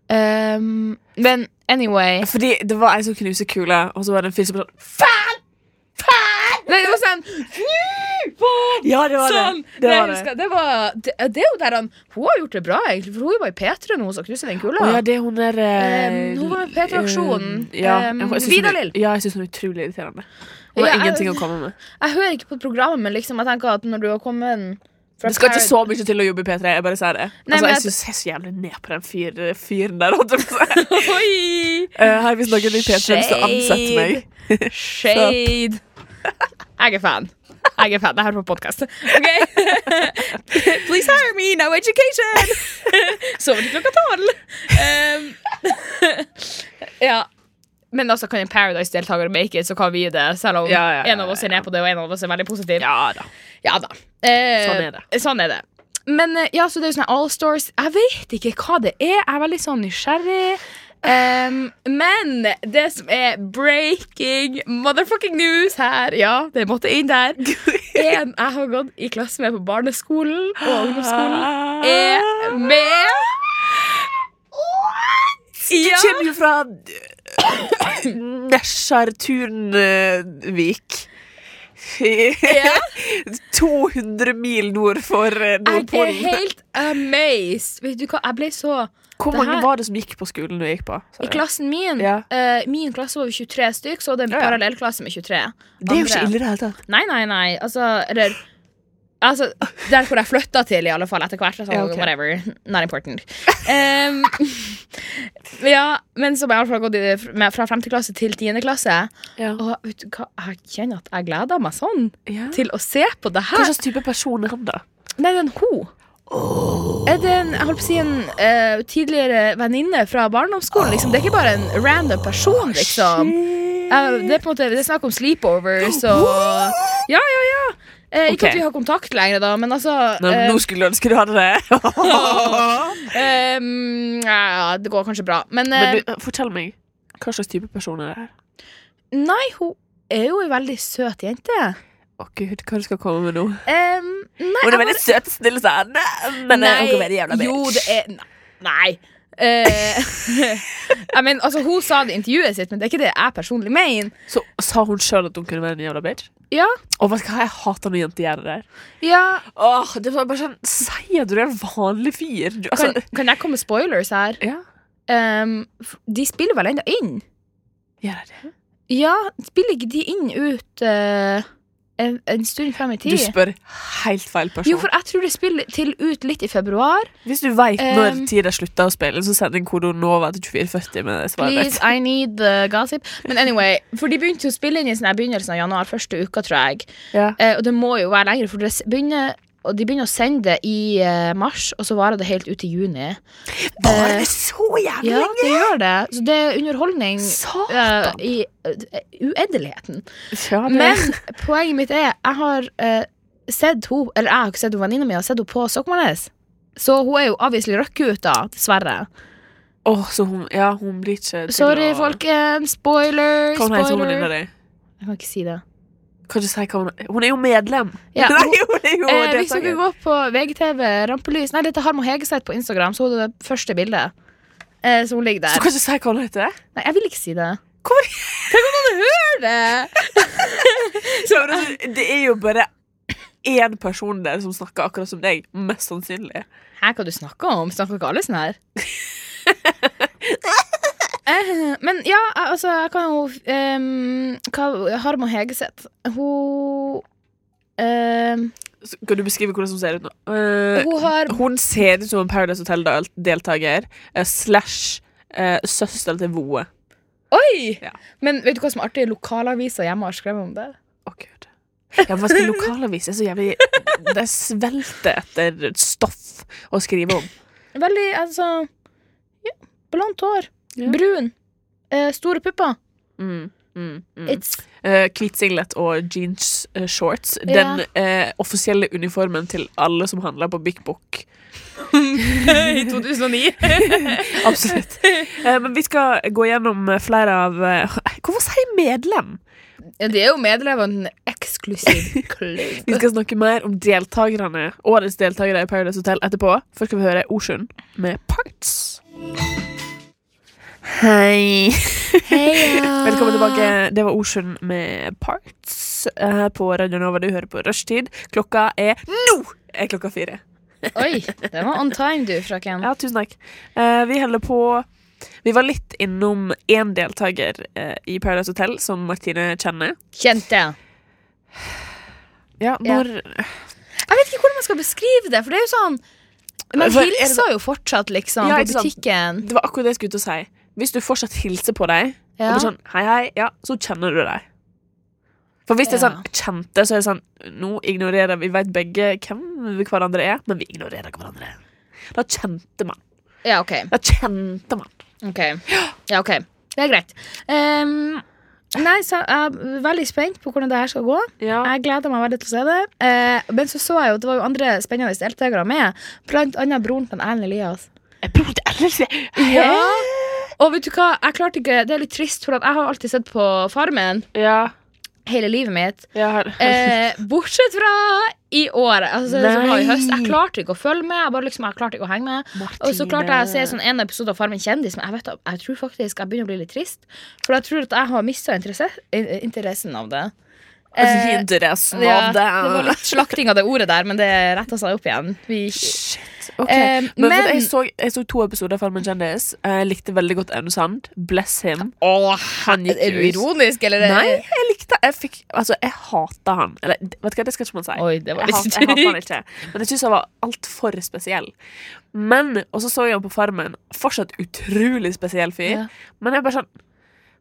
Speaker 3: Um, men anyway
Speaker 2: Fordi det var ei som knuste kula, og så var det en fyr som var sånn
Speaker 3: Nei, det var sånn
Speaker 2: Ja, det var
Speaker 3: Sånn!
Speaker 2: det. Det
Speaker 3: Nei,
Speaker 2: var
Speaker 3: jeg
Speaker 2: det.
Speaker 3: husker, det, var, det, det er jo der han Hun har gjort det bra, egentlig, for hun var i P3 når hun som knuste den kula.
Speaker 2: Å ja, det er hun der øh,
Speaker 3: Eh, hun var med på P3-aksjonen.
Speaker 2: øh, ja,
Speaker 3: Eh,
Speaker 2: jeg- jeg synes hun er-
Speaker 3: Vidar-Lill.
Speaker 2: Ja, jeg syns hun er utrolig irriterende. Hun har
Speaker 3: Ja, jeg-
Speaker 2: ingenting å komme med.
Speaker 3: Jeg hører ikke på programmet, men liksom, jeg tenker at når du har kommet fra
Speaker 2: Det skal ikke
Speaker 3: Paradise-
Speaker 2: så mye til å jobbe i P3. Jeg bare sier det.
Speaker 3: Nei,
Speaker 2: altså,
Speaker 3: men
Speaker 2: jeg
Speaker 3: jeg-
Speaker 2: synes jeg er så jævlig ned på den fyr, fyren der. holdt jeg på å si.
Speaker 3: Oi!
Speaker 2: Eh, Her hvis noen i P3 har lyst til å ansette meg.
Speaker 3: Shade. Jeg er fan. Jeg er fan. Det her er på podkast. OK? Please hire me, no education! Sover til klokka tolv. Um, ja. Men altså, kan en Paradise-deltaker make it, så kan vi det. Selv om
Speaker 2: Ja, ja, ja,
Speaker 3: en av oss er ned på det, og en av oss er veldig positiv.
Speaker 2: Ja da.
Speaker 3: Ja da. Eh,
Speaker 2: Sånn er det.
Speaker 3: Sånn er det. Men eh, ja, så det er jo sånne All Stars Jeg vet ikke hva det er. Jeg er veldig sånn nysgjerrig. Em, men det som er breaking motherfucking news her Ja, det måtte inn der. En jeg har gått i klasse med på barneskolen og ungdomsskolen, Eh, er med. Ja.
Speaker 2: Kommer jo fra eh, Nesjartunvik. 200 mil nord for eh,
Speaker 3: Jeg er
Speaker 2: Nordpolen.
Speaker 3: helt amazed. Vet du hva, jeg ble så
Speaker 2: Hvor
Speaker 3: det
Speaker 2: mange
Speaker 3: her-
Speaker 2: var det som gikk på skolen du gikk på? sa
Speaker 3: I
Speaker 2: du?
Speaker 3: klassen min
Speaker 2: Ja.
Speaker 3: eh, Min klasse var vi 23 stykk, så det er
Speaker 2: Ja,
Speaker 3: en
Speaker 2: ja.
Speaker 3: parallellklasse med 23.
Speaker 2: Det er jo ikke
Speaker 3: Andre.
Speaker 2: ille i det hele tatt.
Speaker 3: Nei, nei, nei. Altså, eller Altså, der hvor jeg flytta til, i alle fall, etter hvert. Så,
Speaker 2: Ja, ok.
Speaker 3: Whatever. Not important. Ehm, ja, men som jeg har gått i, det fr- med- fra 5. klasse til 10. klasse.
Speaker 2: Ja.
Speaker 3: Og vet du hva, jeg kjenner at jeg gleder meg sånn
Speaker 2: Ja.
Speaker 3: til å se på det
Speaker 2: Hva
Speaker 3: her.
Speaker 2: slags type person er han, da?
Speaker 3: Nei, det er en ho. Er det en, jeg holdt på å si en eh, tidligere venninne fra barndomsskolen? Liksom. Det er ikke bare en random person, liksom. Eh, det er på en måte Det er snakk om sleepovers og Ja, ja, ja. Eh,
Speaker 2: Ok.
Speaker 3: ikke at vi har kontakt lenger, da, men altså
Speaker 2: Nå,
Speaker 3: eh,
Speaker 2: nå skulle du ønske du hadde det.
Speaker 3: eh, mm, ja, ja, det går kanskje bra. Men, eh,
Speaker 2: Men du, fortell meg, hva slags type person er det her?
Speaker 3: nei, hun er jo ei veldig søt jente.
Speaker 2: Å gud, hva du skal komme med nå?
Speaker 3: Em, nei,
Speaker 2: Hun
Speaker 3: jeg
Speaker 2: er veldig søt og snill, sa han. Men eh, hun kan være jævla
Speaker 3: Jo,
Speaker 2: bitch.
Speaker 3: det er Nei. nei. Eh, jeg mener, altså, hun sa det i intervjuet sitt, men det er ikke det jeg personlig mener.
Speaker 2: Så sa hun sjøl at hun kunne være en jævla bitch?
Speaker 3: Ja,
Speaker 2: Og vet du hva, jeg hater når jenter gjør det der.
Speaker 3: ja
Speaker 2: Åh, det var bare sånn Sier du er en vanlig fyr? Du, altså,
Speaker 3: kan, kan jeg komme med spoilers her?
Speaker 2: ja,
Speaker 3: Em, f- de spiller vel ennå inn?
Speaker 2: gjør jeg det?
Speaker 3: Ja, spiller ikke de inn ut eh, en, en stund frem i
Speaker 2: Du
Speaker 3: tid?
Speaker 2: spør helt feil person.
Speaker 3: Jo, for jeg tror det spiller til ut litt i februar.
Speaker 2: Hvis du veit når
Speaker 3: Ehm.
Speaker 2: tida slutta å spille, så send inn kodeord NOVA til 2440 med det svaret.
Speaker 3: Please, I need the gossip. Men anyway, for de begynte jo å spille inn i sånn her begynnelsen av januar, første uka, tror jeg.
Speaker 2: Ja.
Speaker 3: Eh, og det må jo være lenger, for det s- begynner, og de begynner å sende det i eh, mars, og så varer det helt ut i juni.
Speaker 2: Var det så jævlig
Speaker 3: Ja,
Speaker 2: lenge?
Speaker 3: det gjør det. Så det er underholdning eh,
Speaker 2: Satan!
Speaker 3: i eh, uendeligheten.
Speaker 2: Ja, det-
Speaker 3: Men poenget mitt er Jeg har eh, sett henne Eller jeg har ikke sett henne, venninna mi har sett henne på Sokmarnes. Så hun er jo avviselig røkkuta, dessverre.
Speaker 2: Åh, så hun, ja, hun blir ikke til
Speaker 3: Sorry,
Speaker 2: å-
Speaker 3: folkens. Spoiler,
Speaker 2: Hva hun heter hun venninna
Speaker 3: spoiler.
Speaker 2: di?
Speaker 3: Jeg kan ikke si det.
Speaker 2: Kan du si hva hun Hun er jo medlem!
Speaker 3: Ja,
Speaker 2: Nei, hun
Speaker 3: hun-
Speaker 2: er jo
Speaker 3: Eh, hvis
Speaker 2: deltaker.
Speaker 3: dere går på VGTV Rampelys Nei, dette har Harmo Hegeseth på Instagram, så hun er det første bildet. Eh, så hun ligger
Speaker 2: Så
Speaker 3: der.
Speaker 2: kan du si hva hun heter?
Speaker 3: Nei, jeg vil ikke si det.
Speaker 2: Hvorfor-
Speaker 3: Tenk om noen hører det!
Speaker 2: Så, men altså, det er jo bare én person der som snakker akkurat som deg, mest sannsynlig.
Speaker 3: Hæ, hva du snakker om? Snakker ikke alle sånn her? Eh, Men ja, altså, jeg kan jo ehm, hva, Harmo Hegeseth Hun Eh,
Speaker 2: Så Kan du beskrive hvordan hun ser ut nå? Eh,
Speaker 3: hun har
Speaker 2: hun ser ut som en Paradise Hotel-deltaker eh, slash eh, søster til Voe.
Speaker 3: Oi!
Speaker 2: Ja.
Speaker 3: Men vet du hva som er artig? Lokalaviser hjemme har skrevet om det.
Speaker 2: Å, gud. Ja, hva skal lokalavis? Det er så jævlig Det svelter etter stoff å skrive om.
Speaker 3: Veldig, altså ja, Blondt hår.
Speaker 2: Ja.
Speaker 3: Brun. Eh, store pupper.
Speaker 2: Mm, mm, mm.
Speaker 3: It's
Speaker 2: Eh, Hvit singlet og jeans eh, shorts.
Speaker 3: Ja.
Speaker 2: Den eh, offisielle uniformen til alle som handler på Big Book.
Speaker 3: I 2009.
Speaker 2: Absolutt. Eh, men vi skal gå gjennom eh, flere av eh, Hvorfor sier jeg medlem?
Speaker 3: ja, de er jo medlem av en eksklusiv klubb.
Speaker 2: Vi skal snakke mer om deltakerne, årets deltakere i Paradise Hotel etterpå. Først skal vi høre Ocean med Parts. Hei.
Speaker 3: Heia.
Speaker 2: Velkommen tilbake. Det var Ocean med Parts eh, her på Radio Nova. Du hører på Rushtid. Klokka er nå! Er klokka fire.
Speaker 3: Oi, det var on time, du, frøken.
Speaker 2: Ja, tusen takk. Eh, vi holder på Vi var litt innom én deltaker eh, i Paradise Hotel som Martine kjenner.
Speaker 3: Kjente jeg.
Speaker 2: Ja,
Speaker 3: Ja.
Speaker 2: når
Speaker 3: Jeg vet ikke hvordan man skal beskrive det, for det er jo sånn Man
Speaker 2: For er det-
Speaker 3: hilser jo fortsatt, liksom,
Speaker 2: Ja,
Speaker 3: på
Speaker 2: ikke sant.
Speaker 3: butikken.
Speaker 2: Det var akkurat det jeg skulle til å si. Hvis du fortsatt hilser på dem, og
Speaker 3: Ja.
Speaker 2: bare sånn hei, hei, ja, så kjenner du dem. For hvis det er
Speaker 3: Ja.
Speaker 2: sånn kjente, så er det sånn Nå ignorerer vi vet begge hvem vi hverandre er, men vi ignorerer hverandre. Da kjente man.
Speaker 3: Ja, OK.
Speaker 2: Da kjente man.
Speaker 3: ok. Ja, ok. Det er greit. Ehm, nei, så jeg er veldig spent på hvordan det her skal gå.
Speaker 2: Ja.
Speaker 3: Jeg gleder meg veldig til å se det. Eh, men så så jeg jo at det var jo andre spennende deltakere med, blant annet broren til Erlend Elias.
Speaker 2: Jeg prøvde ellers
Speaker 3: Ja. Og vet du hva, jeg klarte ikke Det er litt trist, for at jeg har alltid sett på Farmen
Speaker 2: Ja.
Speaker 3: hele livet mitt.
Speaker 2: ja.
Speaker 3: Eh, bortsett fra i år. Altså, det som var i
Speaker 2: Nei.
Speaker 3: høst. Jeg klarte ikke å følge med. Jeg bare liksom, jeg klarte ikke å henge med Og så klarte jeg å se sånn en episode av Farmen kjendis, men jeg, vet, jeg tror faktisk jeg begynner å bli litt trist. For jeg tror at jeg har mista interesse, in- interessen av det. Eh,
Speaker 2: Altså, Interessen
Speaker 3: ja,
Speaker 2: av
Speaker 3: det var
Speaker 2: det.
Speaker 3: litt slakting av det ordet der, men det retta seg opp igjen. Vi,
Speaker 2: Shit. ok. men
Speaker 3: Eh,
Speaker 2: vet du,
Speaker 3: men-
Speaker 2: jeg, så, jeg så to episoder av Farmen kjendis. Jeg likte veldig godt Aune Sand. Bless him. han gikk
Speaker 3: er du
Speaker 2: jo ut.
Speaker 3: ironisk, eller?
Speaker 2: Nei, Eh, jeg likte Jeg fikk Altså, jeg hata han. Eller, vet du hva, det skal ikke man si.
Speaker 3: Oi, det var
Speaker 2: Jeg
Speaker 3: litt
Speaker 2: hat- jeg hater han
Speaker 3: stygt.
Speaker 2: ikke. Men jeg syns han var altfor spesiell. Men, Og så så jeg han på Farmen. Fortsatt utrolig spesiell fyr.
Speaker 3: Ja.
Speaker 2: Men jeg er bare sånn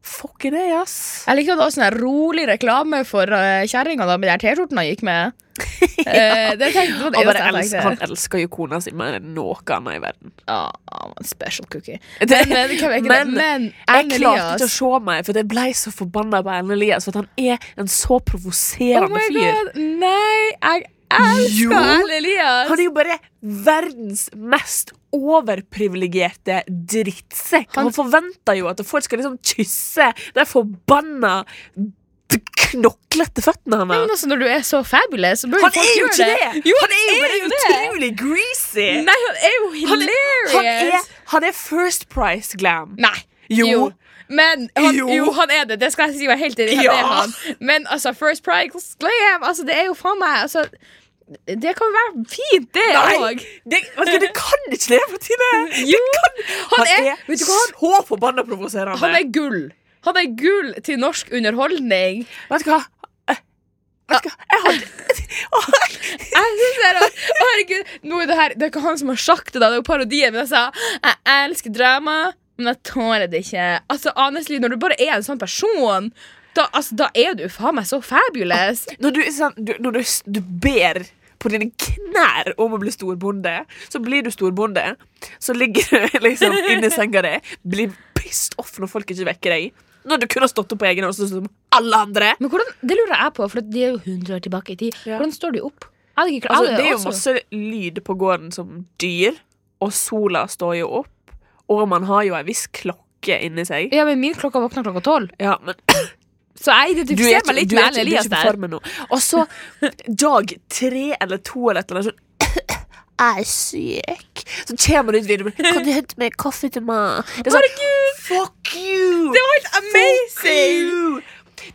Speaker 2: Fuck it, ass.
Speaker 3: Jeg likte at det var sånn her rolig reklame for uh, kjerringa da, med de her T-skjortene han gikk med. Eh, det, tenkte, det var
Speaker 2: Han, bare
Speaker 3: det eneste jeg
Speaker 2: elsker, han
Speaker 3: tenkte.
Speaker 2: elsker jo kona si mer enn noe annet i verden.
Speaker 3: Ja, han var en special cookie.
Speaker 2: Det,
Speaker 3: Men, eh, det kan være ikke det.
Speaker 2: Men
Speaker 3: Men
Speaker 2: jeg klarte
Speaker 3: Erlend
Speaker 2: ikke å
Speaker 3: Elias
Speaker 2: se meg, for jeg ble så forbanna på Erlend Elias. For at han er en så provoserende fyr.
Speaker 3: Oh Nei, jeg
Speaker 2: Jo.
Speaker 3: elsker Erlend Elias!
Speaker 2: Han er jo bare verdens mest overprivilegerte drittsekk. Han,
Speaker 3: Han-
Speaker 2: forventer jo at folk skal liksom kysse de forbanna d- knoklete føttene
Speaker 3: Nei,
Speaker 2: hans.
Speaker 3: men altså, når du er så fabulous, så bør
Speaker 2: Han
Speaker 3: folk
Speaker 2: er jo ikke
Speaker 3: gjøre
Speaker 2: det!
Speaker 3: Jo,
Speaker 2: han er jo bare
Speaker 3: jo det.
Speaker 2: utrolig greasy!
Speaker 3: Nei, han er jo
Speaker 2: Han er,
Speaker 3: hilarious!
Speaker 2: han, er, han er First Price glam.
Speaker 3: Nei.
Speaker 2: Jo.
Speaker 3: Men han,
Speaker 2: Jo.
Speaker 3: jo. han er det. Det skal jeg si meg helt enig i. Han
Speaker 2: Ja.
Speaker 3: er han. Men altså, First Price Glam, altså, det er jo faen meg altså, Det kan jo være fint, det
Speaker 2: Nei!
Speaker 3: òg.
Speaker 2: Det, vet du, hva, det kan ikke det, Martine! Det kan, han,
Speaker 3: er-
Speaker 2: er,
Speaker 3: vet du hva, han-
Speaker 2: så forbanna provoserende.
Speaker 3: Han er gull. Han er gull til norsk underholdning.
Speaker 2: Vet du hva? Eh, Vet du hva? Jeg hadde
Speaker 3: Jeg synes det er rart. Å, herregud, nå er det her Det er ikke han som har sagt det, da. Det er jo parodien. Men jeg sa jeg elsker drama, men jeg tåler det ikke. Altså, honestly, når du bare er en sånn person, da, altså, da er du faen meg så fabulous.
Speaker 2: Når du, er sånn, du, når du, s- du ber på dine knær om å bli storbonde, så blir du storbonde. Så ligger du liksom inni senga di, blir pissed off når folk ikke vekker deg. Når du kunne ha stått opp på egen hånd, sånn som alle andre.
Speaker 3: Men hvordan, det lurer jeg på, for de er jo 100 år tilbake i tid.
Speaker 2: Ja.
Speaker 3: Hvordan står de opp? Jeg hadde ikke klart
Speaker 2: Altså,
Speaker 3: jeg
Speaker 2: det er jo
Speaker 3: også-
Speaker 2: masse lyd på gården som dyr, og sola står jo opp, og man har jo ei viss klokke inni seg.
Speaker 3: Ja, men Min klokka våkner klokka tolv,
Speaker 2: Ja, men
Speaker 3: så jeg identifiserer meg litt
Speaker 2: du
Speaker 3: med
Speaker 2: er ikke, du er
Speaker 3: Erlend Elias
Speaker 2: ikke på
Speaker 3: der.
Speaker 2: formen nå. Og så dag tre eller to eller et eller annet sånn jeg er syk. Så kommer du ut videre Kan du hente meg kaffe til meg? Det er sånn, Fuck you!
Speaker 3: Det var helt
Speaker 2: Fuck
Speaker 3: amazing!
Speaker 2: you!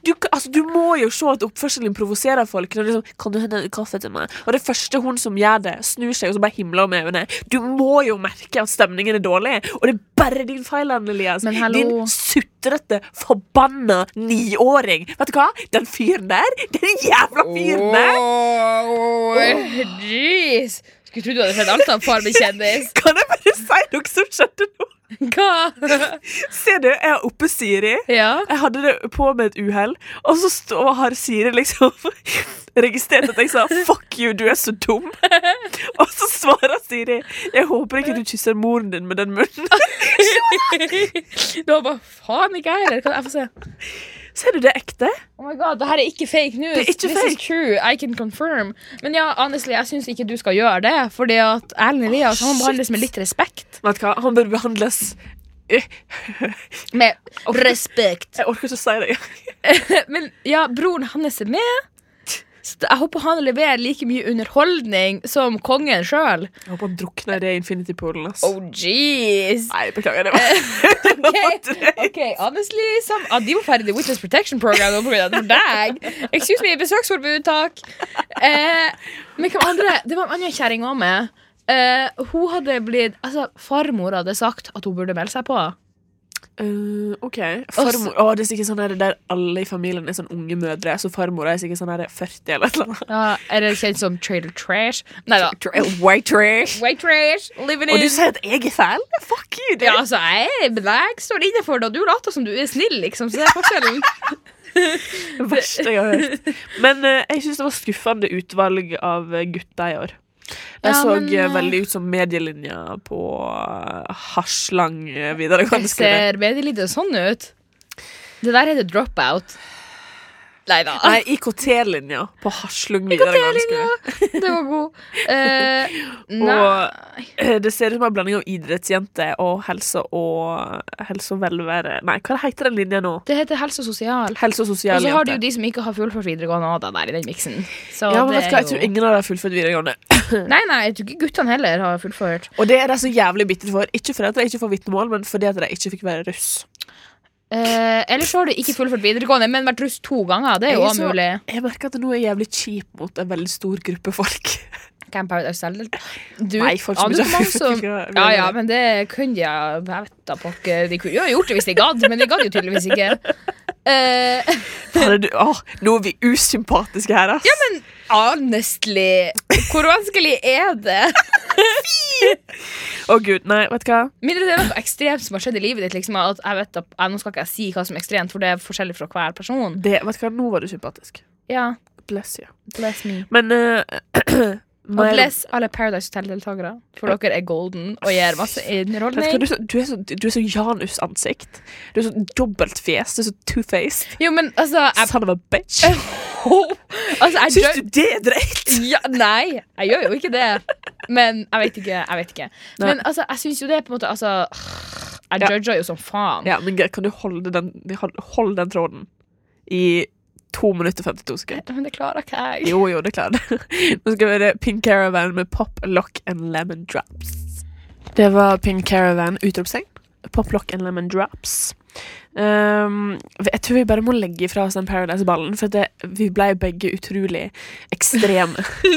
Speaker 2: du, k- altså, du må jo se at oppførselen provoserer folk. Når du liksom, kan du hente en kaffe til meg? Og det første hun som gjør det, snur seg og så bare himler hun med øynene. Du må jo merke at stemningen er dårlig, og det er bare din feil, Anne Elias.
Speaker 3: Men hallo.
Speaker 2: Din sutrete, forbanna niåring. Vet du hva? Den fyren der, den jævla fyren der!
Speaker 3: Jeez. Skulle tro du hadde sett alt av Far blir kjendis.
Speaker 2: Kan jeg bare si noe som skjedde nå?
Speaker 3: Hva?
Speaker 2: Ser du, jeg har oppe Siri.
Speaker 3: Ja.
Speaker 2: Jeg hadde det på med et uhell, og så stå, og har Siri liksom registrert at jeg sa 'fuck you, du er så dum'. Og så svarer Siri 'jeg håper ikke du kysser moren din med den munnen'.
Speaker 3: Det var bare faen ikke jeg heller. Kan jeg få se?
Speaker 2: Ser du det er ekte?
Speaker 3: Oh my god, det her er ikke fake news.
Speaker 2: Det er ikke
Speaker 3: This is
Speaker 2: fake.
Speaker 3: true. I can confirm. Men ja, honestly, jeg syns ikke du skal gjøre det. Fordi at Erlend Elias han
Speaker 2: shit.
Speaker 3: behandles med litt respekt.
Speaker 2: Vet du hva, han bør behandles Eh,
Speaker 3: Med respekt.
Speaker 2: Jeg orker ikke å si det.
Speaker 3: Men ja, broren hans er med. Så jeg håper han leverer like mye underholdning som kongen sjøl.
Speaker 2: Jeg håper han drukner i det Infinity Poolen. ass.
Speaker 3: Oh, jeez.
Speaker 2: Nei, beklager. Det var, det var drøyt.
Speaker 3: Eh, Ok, honestly some, ah, De var ferdig i Witness Protection Program nå på grunn av det for deg. Excuse me, besøksforbud, takk. Eh, men hvem andre Det var en annen kjerring òg med. Eh, hun hadde blitt Altså, farmor hadde sagt at hun burde melde seg på.
Speaker 2: Eh, OK.
Speaker 3: Og
Speaker 2: Farmor Å, det er sikkert sånn her der alle i familien er sånn unge mødre, så farmor er sikkert sånn her 40 eller et eller annet.
Speaker 3: Ja, Eller kjent som Trader Trash. Nei da.
Speaker 2: White trash.
Speaker 3: White Trash, living
Speaker 2: Og
Speaker 3: in
Speaker 2: du sier at jeg er fæl? Fuck you, dude.
Speaker 3: Ja, altså, jeg, men jeg står innenfor det, og du later som du er snill, liksom. Så det er forskjellen.
Speaker 2: Det verste jeg har hørt. Men eh, jeg syns det var skuffende utvalg av eh, gutter i år. De
Speaker 3: Ja,
Speaker 2: så
Speaker 3: men,
Speaker 2: eh,
Speaker 3: eh,
Speaker 2: veldig ut som medielinja på eh, Haslang eh, videregående skole.
Speaker 3: Ser medielivet sånn ut? Det der heter dropout. Nei da.
Speaker 2: Nei, IKT-linja på Haslung videregående skole.
Speaker 3: Det var god. Eh, nei.
Speaker 2: Og eh, det ser ut som en blanding av idrettsjente og helse og eh, helse og velvære Nei, hva heter den linja nå?
Speaker 3: Det heter helse og sosial.
Speaker 2: Helse og
Speaker 3: Og så har du
Speaker 2: sosialjente.
Speaker 3: jo de som ikke har fullført videregående av deg der i den miksen. Så
Speaker 2: Ja, men
Speaker 3: det
Speaker 2: vet du
Speaker 3: er
Speaker 2: hva, jeg tror
Speaker 3: jo-
Speaker 2: ingen av dem har fullført videregående.
Speaker 3: Nei, nei, jeg tror ikke guttene heller har fullført.
Speaker 2: Og det er de så jævlig bitre for. Ikke fordi at de ikke får vitnemål, men fordi at de ikke fikk være russ.
Speaker 3: Eh, Eller så har du ikke fullført videregående, men vært russ to ganger. Det er jo
Speaker 2: Jeg er
Speaker 3: også
Speaker 2: så-
Speaker 3: mulig.
Speaker 2: Jeg merker at det nå er jævlig kjip mot en veldig stor gruppe folk.
Speaker 3: Camp Paradise selv. Du,
Speaker 2: Nei, folk som ikke
Speaker 3: aner
Speaker 2: har
Speaker 3: hvor mange som-
Speaker 2: fullført
Speaker 3: Ja, ja, men det kunne de Jeg vet da pokker. De kunne jo gjort det hvis de gadd, men de gadd jo tydeligvis ikke. Eh,
Speaker 2: Bare du- Åh, nå er vi usympatiske her, ass.
Speaker 3: men honestly, hvor vanskelig er det?
Speaker 2: Å gud, nei, vet du hva?
Speaker 3: Mindre det er noe ekstremt som har skjedd i livet ditt. Liksom, at jeg vet at, eh, nå skal ikke jeg si hva som er ekstremt, for det er forskjellig fra hver person.
Speaker 2: Det, vet du hva? Nå var du sympatisk.
Speaker 3: Ja,
Speaker 2: Bless you.
Speaker 3: bless me
Speaker 2: Men eh,
Speaker 3: Og
Speaker 2: Maja,
Speaker 3: bless alle Paradise Hotel-deltakere, for dere er golden og gir masse
Speaker 2: vet du, hva?
Speaker 3: underholdning.
Speaker 2: Du, er så- du er så, du er så Janus-ansikt. Du er så dobbeltfjes. Du er så two-faced.
Speaker 3: Jo, men altså jeg,
Speaker 2: Son of a bitch.
Speaker 3: altså, jeg
Speaker 2: Syns
Speaker 3: drøm-
Speaker 2: du det er drøyt?
Speaker 3: ja, Nei, jeg gjør jo ikke det. Men jeg vet ikke. Jeg vet ikke Men
Speaker 2: Nei.
Speaker 3: altså, jeg syns jo det er på en måte altså, Jeg
Speaker 2: Ja.
Speaker 3: judger jo som faen.
Speaker 2: Ja, men kan du holde den, hold, hold den tråden i 2 minutter og 52 sekunder?
Speaker 3: Men det klarer ikke jeg.
Speaker 2: Jo, jo, det klarer det. Nå skal vi høre Pink Caravan med Pop, Lock and Lemon Drops. Det var Pink Caravan, utropstegn. Pop, Lock and Lemon Drops. Um, jeg tror vi bare må legge ifra oss den Paradise-ballen, for det, vi ble begge utrolig ekstreme. To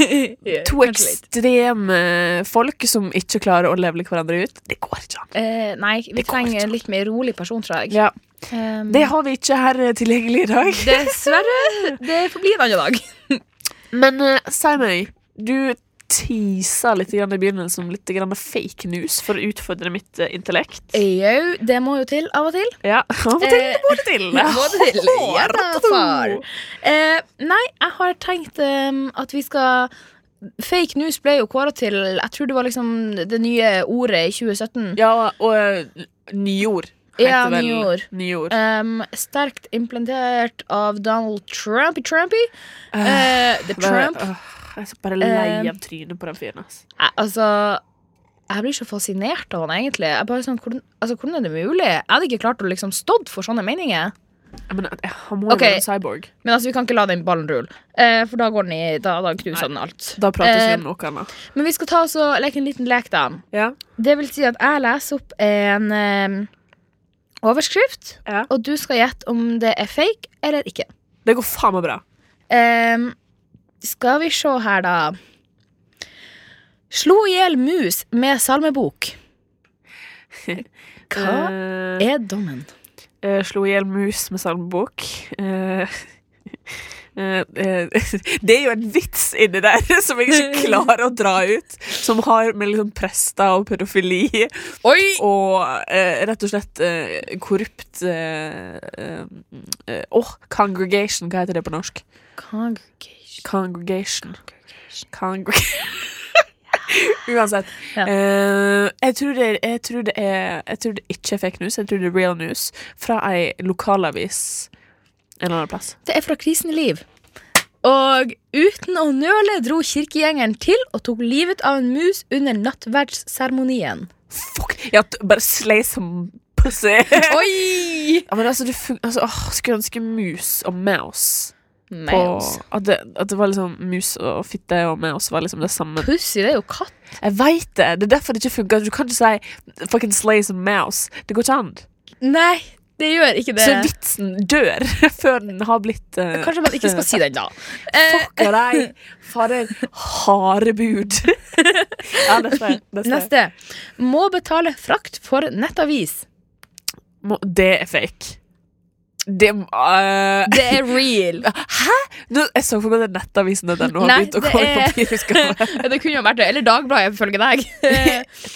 Speaker 3: Kanskje Eh, litt.
Speaker 2: ekstreme folk som ikke klarer å levele hverandre ut. Det går ikke an.
Speaker 3: Eh, nei, vi
Speaker 2: Det går
Speaker 3: trenger
Speaker 2: ikke.
Speaker 3: en litt mer rolig person, tror jeg.
Speaker 2: Ja,
Speaker 3: Um,
Speaker 2: det har vi ikke her eh, tilgjengelig i dag.
Speaker 3: Dessverre. Det får bli en annen dag.
Speaker 2: Men eh, si meg, du teaser litt grann i begynnelsen om litt grann fake news for å utfordre mitt eh, intellekt.
Speaker 3: Jau, det må jo til av og til.
Speaker 2: Ja, av og til
Speaker 3: Eh,
Speaker 2: må det til.
Speaker 3: det må det til. Ja da,
Speaker 2: Hård, tro.
Speaker 3: far. Eh, nei, jeg har tenkt em, at vi skal Fake news ble jo kåra til Jeg tror det var liksom det nye ordet i 2017.
Speaker 2: Ja, og eh, nyord
Speaker 3: Ja,
Speaker 2: vel
Speaker 3: nyord. Eh,
Speaker 2: nyord.
Speaker 3: Em, sterkt implementert av Donald Trumpy Trumpy. Eh, the
Speaker 2: Bare-
Speaker 3: Trump.
Speaker 2: åh, jeg er så bare lei
Speaker 3: Eh,
Speaker 2: av trynet på den fyren. ass.
Speaker 3: Jeg, altså Jeg blir så fascinert av han egentlig. Jeg bare sånn, hvordan, altså, hvordan er det mulig? Jeg hadde ikke klart å liksom stått for sånne meninger.
Speaker 2: Jeg mener, eh, han må jo
Speaker 3: Ok.
Speaker 2: være en cyborg.
Speaker 3: Men altså, vi kan ikke la den ballen rulle, eh, for da går den i Da, da knuser den alt.
Speaker 2: Da prater vi
Speaker 3: Eh,
Speaker 2: om noe annet.
Speaker 3: Men vi skal ta oss og leke en liten lek, da.
Speaker 2: Ja.
Speaker 3: Det vil si at jeg leser opp en eh, overskrift,
Speaker 2: Ja.
Speaker 3: og du skal gjette om det er fake eller ikke.
Speaker 2: Det går faen meg bra.
Speaker 3: Ehm, skal vi se her, da. Slo i hjel mus med salmebok. Hva
Speaker 2: Eh,
Speaker 3: er dommen?
Speaker 2: eh, slo i hjel mus med salmebok. Eh, eh, eh, det er jo en vits inni der som jeg ikke klarer å dra ut. Som har med liksom prester og pedofili
Speaker 3: Oi!
Speaker 2: og eh, rett og slett eh, korrupt eh, eh, eh, Åh, congregation. Hva heter det på norsk?
Speaker 3: Congregation.
Speaker 2: Congregation.
Speaker 3: Congregation.
Speaker 2: Congregation. Uansett.
Speaker 3: Ja.
Speaker 2: Eh, jeg, tror det, jeg, tror det er, jeg tror det ikke er fake news, jeg tror det er real news fra ei lokalavis en eller annen plass.
Speaker 3: Det er fra Krisenliv. Og uten å nøle dro kirkegjengeren til og tok livet av en mus under nattverdsseremonien.
Speaker 2: Fuck! Ja, t- bare slay som pussy!
Speaker 3: Oi!
Speaker 2: ja, men altså, det fun altså åh, Skulle ønske mus og mouse på
Speaker 3: Mouse.
Speaker 2: at det, at det var liksom mus og fitte og mouse var liksom det samme.
Speaker 3: Pussy, det er jo katt.
Speaker 2: Jeg veit det! Det er derfor det ikke funker. Du kan ikke si fucking slay som mouse. Det går ikke an.
Speaker 3: Nei, det gjør ikke det.
Speaker 2: Så vitsen dør før den har blitt eh,
Speaker 3: Kanskje man ikke skal si den, da. Eh,
Speaker 2: Fuck deg! Fader, harde bud. ja, neste. neste.
Speaker 3: neste. Må betale frakt for nettavis.
Speaker 2: Må, det er fake. Det må- eh,
Speaker 3: Det er real.
Speaker 2: Hæ?! Nå, jeg så for meg at nettavisene den nå har
Speaker 3: Nei,
Speaker 2: begynt å
Speaker 3: det
Speaker 2: komme i
Speaker 3: er-
Speaker 2: papirutgave.
Speaker 3: Det kunne jo vært det. Eller Dagbladet, ifølge deg.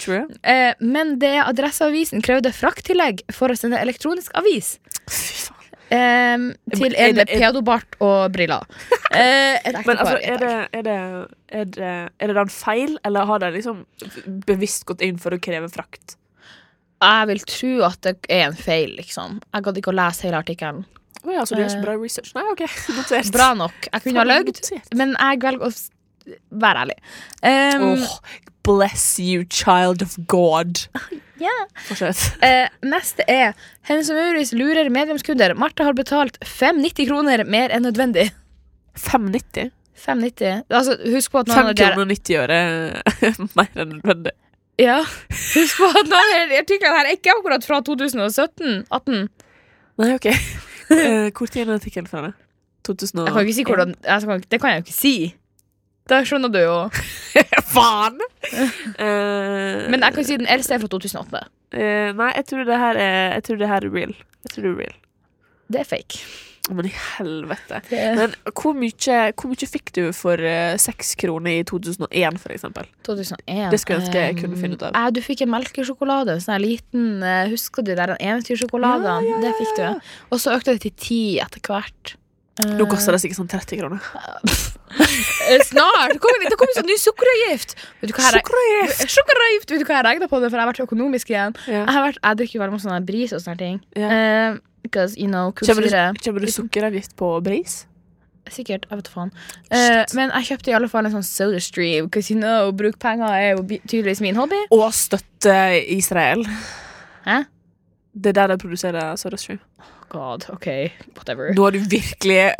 Speaker 2: Tror jeg.
Speaker 3: Eh, Men det Adresseavisen krevde frakttillegg for å sende elektronisk avis
Speaker 2: Fy faen.
Speaker 3: eh, til
Speaker 2: Er
Speaker 3: en med
Speaker 2: det- er-
Speaker 3: peadobart og briller. Eh, Et
Speaker 2: Men altså,
Speaker 3: ektepar.
Speaker 2: er det, er,
Speaker 3: heter det.
Speaker 2: det, er, det, er det da en feil, eller har de liksom bevisst gått inn for å kreve frakt?
Speaker 3: Jeg vil tro at det er en feil, liksom. Jeg gadd ikke å lese hele artikkelen.
Speaker 2: Å ja, så du gjør så bra research. Nei, OK, notert.
Speaker 3: Bra nok. Jeg kunne ha løyet,
Speaker 2: Notert.
Speaker 3: men jeg velger å s- være ærlig. Eh,
Speaker 2: Åh, bless you, child of God.
Speaker 3: ja.
Speaker 2: Fortsett.
Speaker 3: Eh, neste er Hennes og Mauritz lurer medlemskunder. Martha har betalt 590 kroner mer enn nødvendig.
Speaker 2: 5,90?
Speaker 3: 590. Altså, husk på at
Speaker 2: 5
Speaker 3: noen av de
Speaker 2: kroner og 90 øre mer enn nødvendig.
Speaker 3: Ja. Husk på at noen av de artiklene her er ikke akkurat fra 2017-18.
Speaker 2: Nei, OK. Eh, Hvor tid er den artikkelen fra? da? 2000 og-
Speaker 3: Jeg kan ikke si hvordan jeg skal, Det kan jeg jo ikke si. Da skjønner du jo.
Speaker 2: Faen! Eh,
Speaker 3: Men jeg kan si den eldste er fra 2008.
Speaker 2: eh, Nei, jeg tror det her er, jeg tror det her er real. Jeg tror det er real.
Speaker 3: Det er fake.
Speaker 2: Å, Men i helvete.
Speaker 3: Det er
Speaker 2: Men hvor mye, hvor mye fikk du for eh, seks kroner i 2001, for eksempel?
Speaker 3: 2001.
Speaker 2: Det skulle jeg ønske jeg kunne finne ut av.
Speaker 3: Eh, du fikk en melkesjokolade. En sånn her liten eh, Husker du de der
Speaker 2: Ja,
Speaker 3: eventyrsjokoladene?
Speaker 2: ja, ja,
Speaker 3: Det
Speaker 2: ja,
Speaker 3: fikk
Speaker 2: ja.
Speaker 3: du. Og så økte det til ti etter hvert.
Speaker 2: Nå koster det sikkert sånn 30 kroner.
Speaker 3: Eh, Snart! Det kommer, det kommer sånn ny sukkeravgift! Vet du hva jeg
Speaker 2: Sukkerøy!
Speaker 3: Sukkeravgift! Vet du hva jeg regna på det, for jeg har vært økonomisk igjen. Jeg,
Speaker 2: Ja.
Speaker 3: har vært, jeg drikker jo veldig mye sånn her bris og sånne ting.
Speaker 2: Ja.
Speaker 3: Eh, because, you know,
Speaker 2: Kjøper du,
Speaker 3: kullsyre
Speaker 2: kjøper du sukkeravgift på bris?
Speaker 3: Sikkert. Jeg vet faen. Eh,
Speaker 2: Shit.
Speaker 3: men jeg kjøpte i alle fall en sånn Soda Stream, because you know, bruk penger er jo bi- tydeligvis min hobby.
Speaker 2: Og støtte Israel.
Speaker 3: Hæ?
Speaker 2: Det er der de produserer Soda Stream.
Speaker 3: God, OK, whatever.
Speaker 2: Nå har du virkelig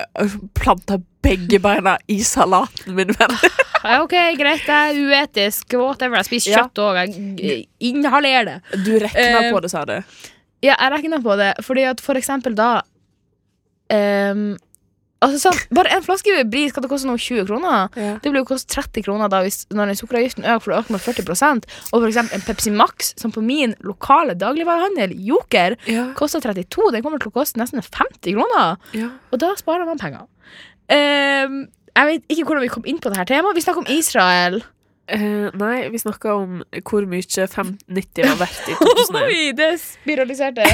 Speaker 2: planta begge beina i salaten, min venn.
Speaker 3: Ja, OK, greit, det er uetisk. Whatever. Jeg spiser
Speaker 2: Ja.
Speaker 3: kjøtt òg. Jeg eh, inhalerer det.
Speaker 2: Du regna
Speaker 3: Eh,
Speaker 2: på det, sa du.
Speaker 3: Ja, jeg regna på det, fordi at for eksempel da ehm, Altså sånn, Bare en flaske bris skal det koste noe 20 kroner.
Speaker 2: Ja.
Speaker 3: Det blir jo koste 30 kroner da hvis, når den sukkeravgiften øker, for det øker med 40 Og for eksempel en Pepsi Max, som på min lokale dagligvarehandel, Joker,
Speaker 2: Ja,
Speaker 3: koster 32. Den kommer til å koste nesten 50 kroner.
Speaker 2: ja.
Speaker 3: Og da sparer man penger. Ehm, jeg vet ikke hvordan vi kom inn på det her temaet. Vi snakker om Israel.
Speaker 2: Eh, nei, vi snakka om hvor mye 590 var verdt i 2001.
Speaker 3: Oi, det spiraliserte.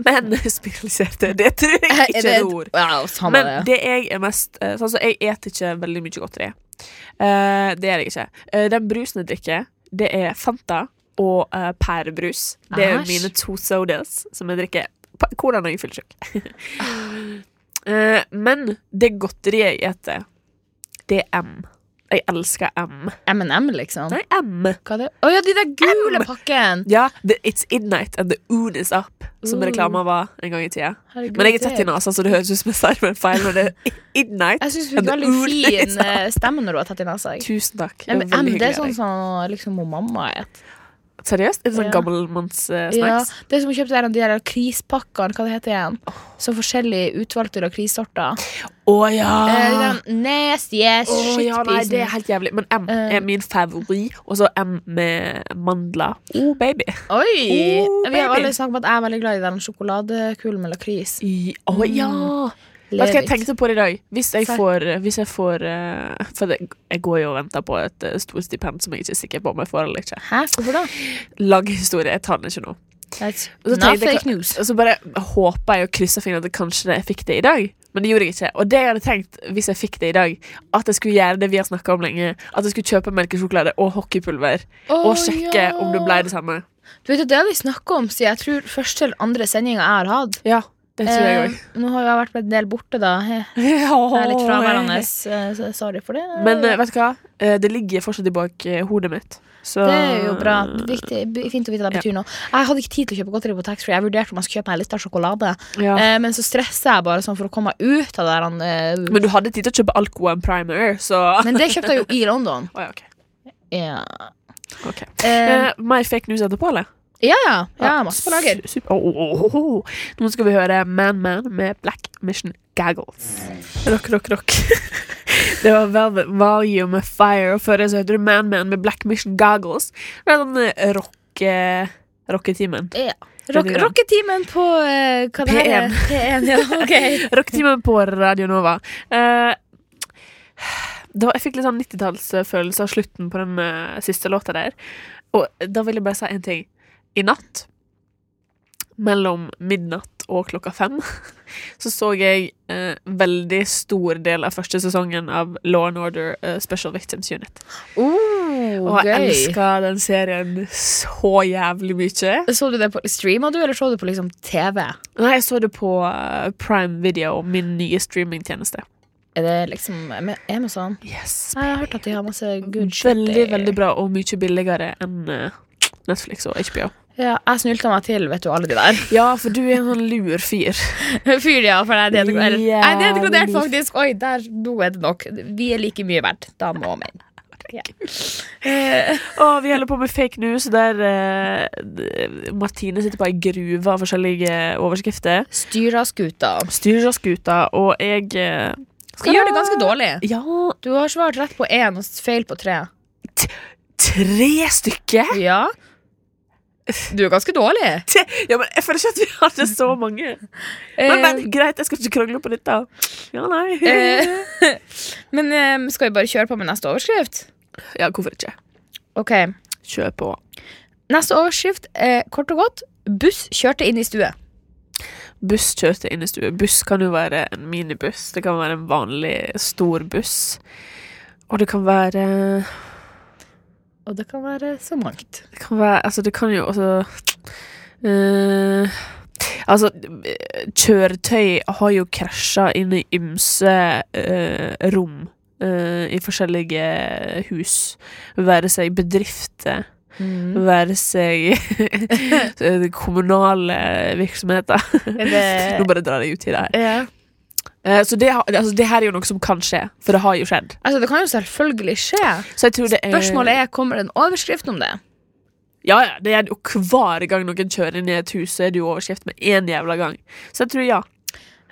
Speaker 2: Men spiraliserte, det tror jeg
Speaker 3: Er
Speaker 2: ikke
Speaker 3: det
Speaker 2: er
Speaker 3: et-
Speaker 2: et ord.
Speaker 3: Ja, samme
Speaker 2: Men
Speaker 3: det.
Speaker 2: det jeg er mest eh, Sånn som jeg et ikke veldig mye godteri. Eh, det gjør jeg ikke. Eh, den brusen jeg drikker, det er Fanta og eh, pærebrus. Det er
Speaker 3: Æsj.
Speaker 2: mine to sodas som jeg drikker på, hvordan jeg er fyllesyk. Eh, men det godteriet jeg eter, det er M. Jeg elsker M.
Speaker 3: M&M, liksom.
Speaker 2: Nei, M.
Speaker 3: Hva er det? Å ja, de der gule pakken!
Speaker 2: Ja, the, It's Idnight and the Oon Is Up, som
Speaker 3: Ooh.
Speaker 2: reklama var en gang i tida.
Speaker 3: Herregud,
Speaker 2: Men jeg er
Speaker 3: det-
Speaker 2: tett i nesa, så det høres ut som jeg sier meg feil. Men det er Idnight.
Speaker 3: Jeg syns du
Speaker 2: Ja,
Speaker 3: fikk
Speaker 2: det
Speaker 3: veldig
Speaker 2: ordet,
Speaker 3: fin
Speaker 2: liksom.
Speaker 3: eh, stemme når du har tatt i nesa. jeg.
Speaker 2: Tusen takk. Det var
Speaker 3: M,
Speaker 2: veldig
Speaker 3: det er
Speaker 2: hyggelig av
Speaker 3: sånn
Speaker 2: deg.
Speaker 3: som liksom, hun mamma et.
Speaker 2: Seriøst? Er det sånn
Speaker 3: Ja. Ja,
Speaker 2: gammelmannssnacks?
Speaker 3: det er som å kjøpe der, de der lakrispakkene, hva det heter igjen. Så forskjellige utvalgte lakrissorter.
Speaker 2: Å ja!
Speaker 3: Eh, den nasty ass
Speaker 2: Å Ah. ja, nei,
Speaker 3: shitprisen.
Speaker 2: det er helt jævlig. Men M
Speaker 3: Eh.
Speaker 2: er min favoritt. Og så M med mandler. Oh, baby.
Speaker 3: Oi!
Speaker 2: Oh,
Speaker 3: vi har jo
Speaker 2: baby.
Speaker 3: alle snakket om at jeg er veldig glad i den sjokoladekulen med lakris.
Speaker 2: I- Å ja! Mm. Vet du hva jeg tenkte på det i dag? Hvis jeg
Speaker 3: Sær.
Speaker 2: får, hvis jeg får eh, For det- jeg går jo og venter på et eh, stort stipend som jeg ikke er sikker på om jeg får eller ikke.
Speaker 3: Hæ, hvorfor da?
Speaker 2: Lang historie. Jeg tar den ikke nå.
Speaker 3: That's
Speaker 2: Og så
Speaker 3: not
Speaker 2: tenkte jeg-
Speaker 3: fake news.
Speaker 2: Og så bare håper jeg og krysser fingrene at kanskje jeg fikk det i dag. Men det gjorde jeg ikke. Og det jeg hadde tenkt hvis jeg fikk det i dag, at jeg skulle gjøre det vi har snakka om lenge. At jeg skulle kjøpe melkesjokolade og hockeypulver. og
Speaker 3: Å,
Speaker 2: sjekke
Speaker 3: ja.
Speaker 2: om det ble det samme.
Speaker 3: Du vet, at Det har vi snakket om siden jeg tror første eller andre sendinga jeg har hatt.
Speaker 2: Ja, det tror jeg òg.
Speaker 3: Eh, nå har jeg vært en del borte, da. Jeg Eh, er litt fraværende. eh, så Sorry for det.
Speaker 2: Men eh, vet du hva? Eh, Det ligger fortsatt i bak eh, hodet mitt. Så
Speaker 3: det er jo bra. Viktig, b- fint å vite det betyr noe. Jeg hadde ikke tid til å kjøpe godteri på taxfree. Jeg vurderte om jeg skulle kjøpe meg litt av sjokolade,
Speaker 2: Ja.
Speaker 3: eh, men så stresser jeg bare sånn for å komme meg ut av der. han, eh,
Speaker 2: Men du hadde tid til å kjøpe Alcoa and Primer, så
Speaker 3: Men det kjøpte jeg jo i London.
Speaker 2: Å, ja, ok.
Speaker 3: Ja.
Speaker 2: Ok.
Speaker 3: Eh,
Speaker 2: Eh, mer fake news etterpå, eller?
Speaker 3: ja, ja. ja masse på lager.
Speaker 2: Su- oh, super- Åh, åh, åh, åh. Nå skal vi høre Man Man med Black Mission Gaggles. Rock, rock, rock. Det var Velvet Volume med Fire, og før det så heter det Man Man med Black Mission Gaggles. Det er den eh, rock... eh, Rocketimen.
Speaker 3: Ja.
Speaker 2: Det
Speaker 3: Rock,
Speaker 2: blir det.
Speaker 3: rocketimen på eh, hva det her er? P1. Ja, ok.
Speaker 2: Rocketimen på Radio Nova. Eh, det var, jeg fikk litt sånn 90-tallsfølelse av slutten på den eh, siste låta der. Og da vil jeg bare si en ting. I natt, mellom midnatt og klokka fem, så så jeg eh, veldig stor del av første sesongen av Law and Order eh, Special Victims Unit. Og
Speaker 3: Oh,
Speaker 2: jeg
Speaker 3: gøy.
Speaker 2: elska den serien så jævlig mye.
Speaker 3: Så du det på streama du, eller så du på liksom TV?
Speaker 2: Nei, jeg så det på eh, Prime Video, min nye streamingtjeneste.
Speaker 3: Er det liksom Am- Amazon?
Speaker 2: Yes,
Speaker 3: Nei, Jeg har hørt at de har masse good shit.
Speaker 2: Veldig,
Speaker 3: i-
Speaker 2: veldig bra og mye billigere enn eh, Netflix og HBO.
Speaker 3: Ja, jeg snylta meg til, vet du, alle de der.
Speaker 2: Ja, for du er en sånn lur fyr.
Speaker 3: Fyr, ja, for jeg er detekrodert.
Speaker 2: Jævlig.
Speaker 3: Jeg er detekrodert, faktisk. Oi, der, nå er det nok. Vi er like mye verdt. Da må vi inn. Ja. Eh,
Speaker 2: Og vi holder på med fake news, der eh, d- Martine sitter på ei gruve av forskjellige eh, overskrifter.
Speaker 3: Styra skuta.
Speaker 2: Styrer skuta, og jeg eh,
Speaker 3: Du gjør det ganske dårlig.
Speaker 2: Ja,
Speaker 3: Du har svart rett på én og feil på tre.
Speaker 2: tre stykker?
Speaker 3: Ja. Du er ganske dårlig.
Speaker 2: Ja, men Jeg føler ikke at vi hadde så mange. Men, men greit, jeg skal ikke krangle på dette. Ja, nei.
Speaker 3: Eh, Men eh, skal vi bare kjøre på med neste overskrift?
Speaker 2: Ja, hvorfor ikke?
Speaker 3: Ok,
Speaker 2: Kjør på.
Speaker 3: Neste overskrift er kort og godt Buss kjørte inn i stue.
Speaker 2: Buss kjørte inn i stue. Buss kan jo være en minibuss, det kan være en vanlig stor buss. Og det kan være
Speaker 3: Og det kan være så mangt.
Speaker 2: Det kan, være, altså det kan jo også eh, Altså, eh, kjøretøy har jo krasja inn i ymse eh, rom eh, i forskjellige hus. Være seg bedrifter,
Speaker 3: Mm.
Speaker 2: være seg eh, kommunale virksomheter.
Speaker 3: Er det
Speaker 2: Nå bare drar jeg ut i det her.
Speaker 3: Ja.
Speaker 2: Eh, Så det, har- altså, det her er jo noe som kan skje, for det har jo skjedd.
Speaker 3: Altså, det kan jo selvfølgelig skje.
Speaker 2: Så jeg tror det er
Speaker 3: Spørsmålet er kommer det en overskrift om det.
Speaker 2: Ja, ja, det er jo hver gang noen kjører inn i et hus, så er det jo overskrift med én jævla gang. Så jeg tror ja.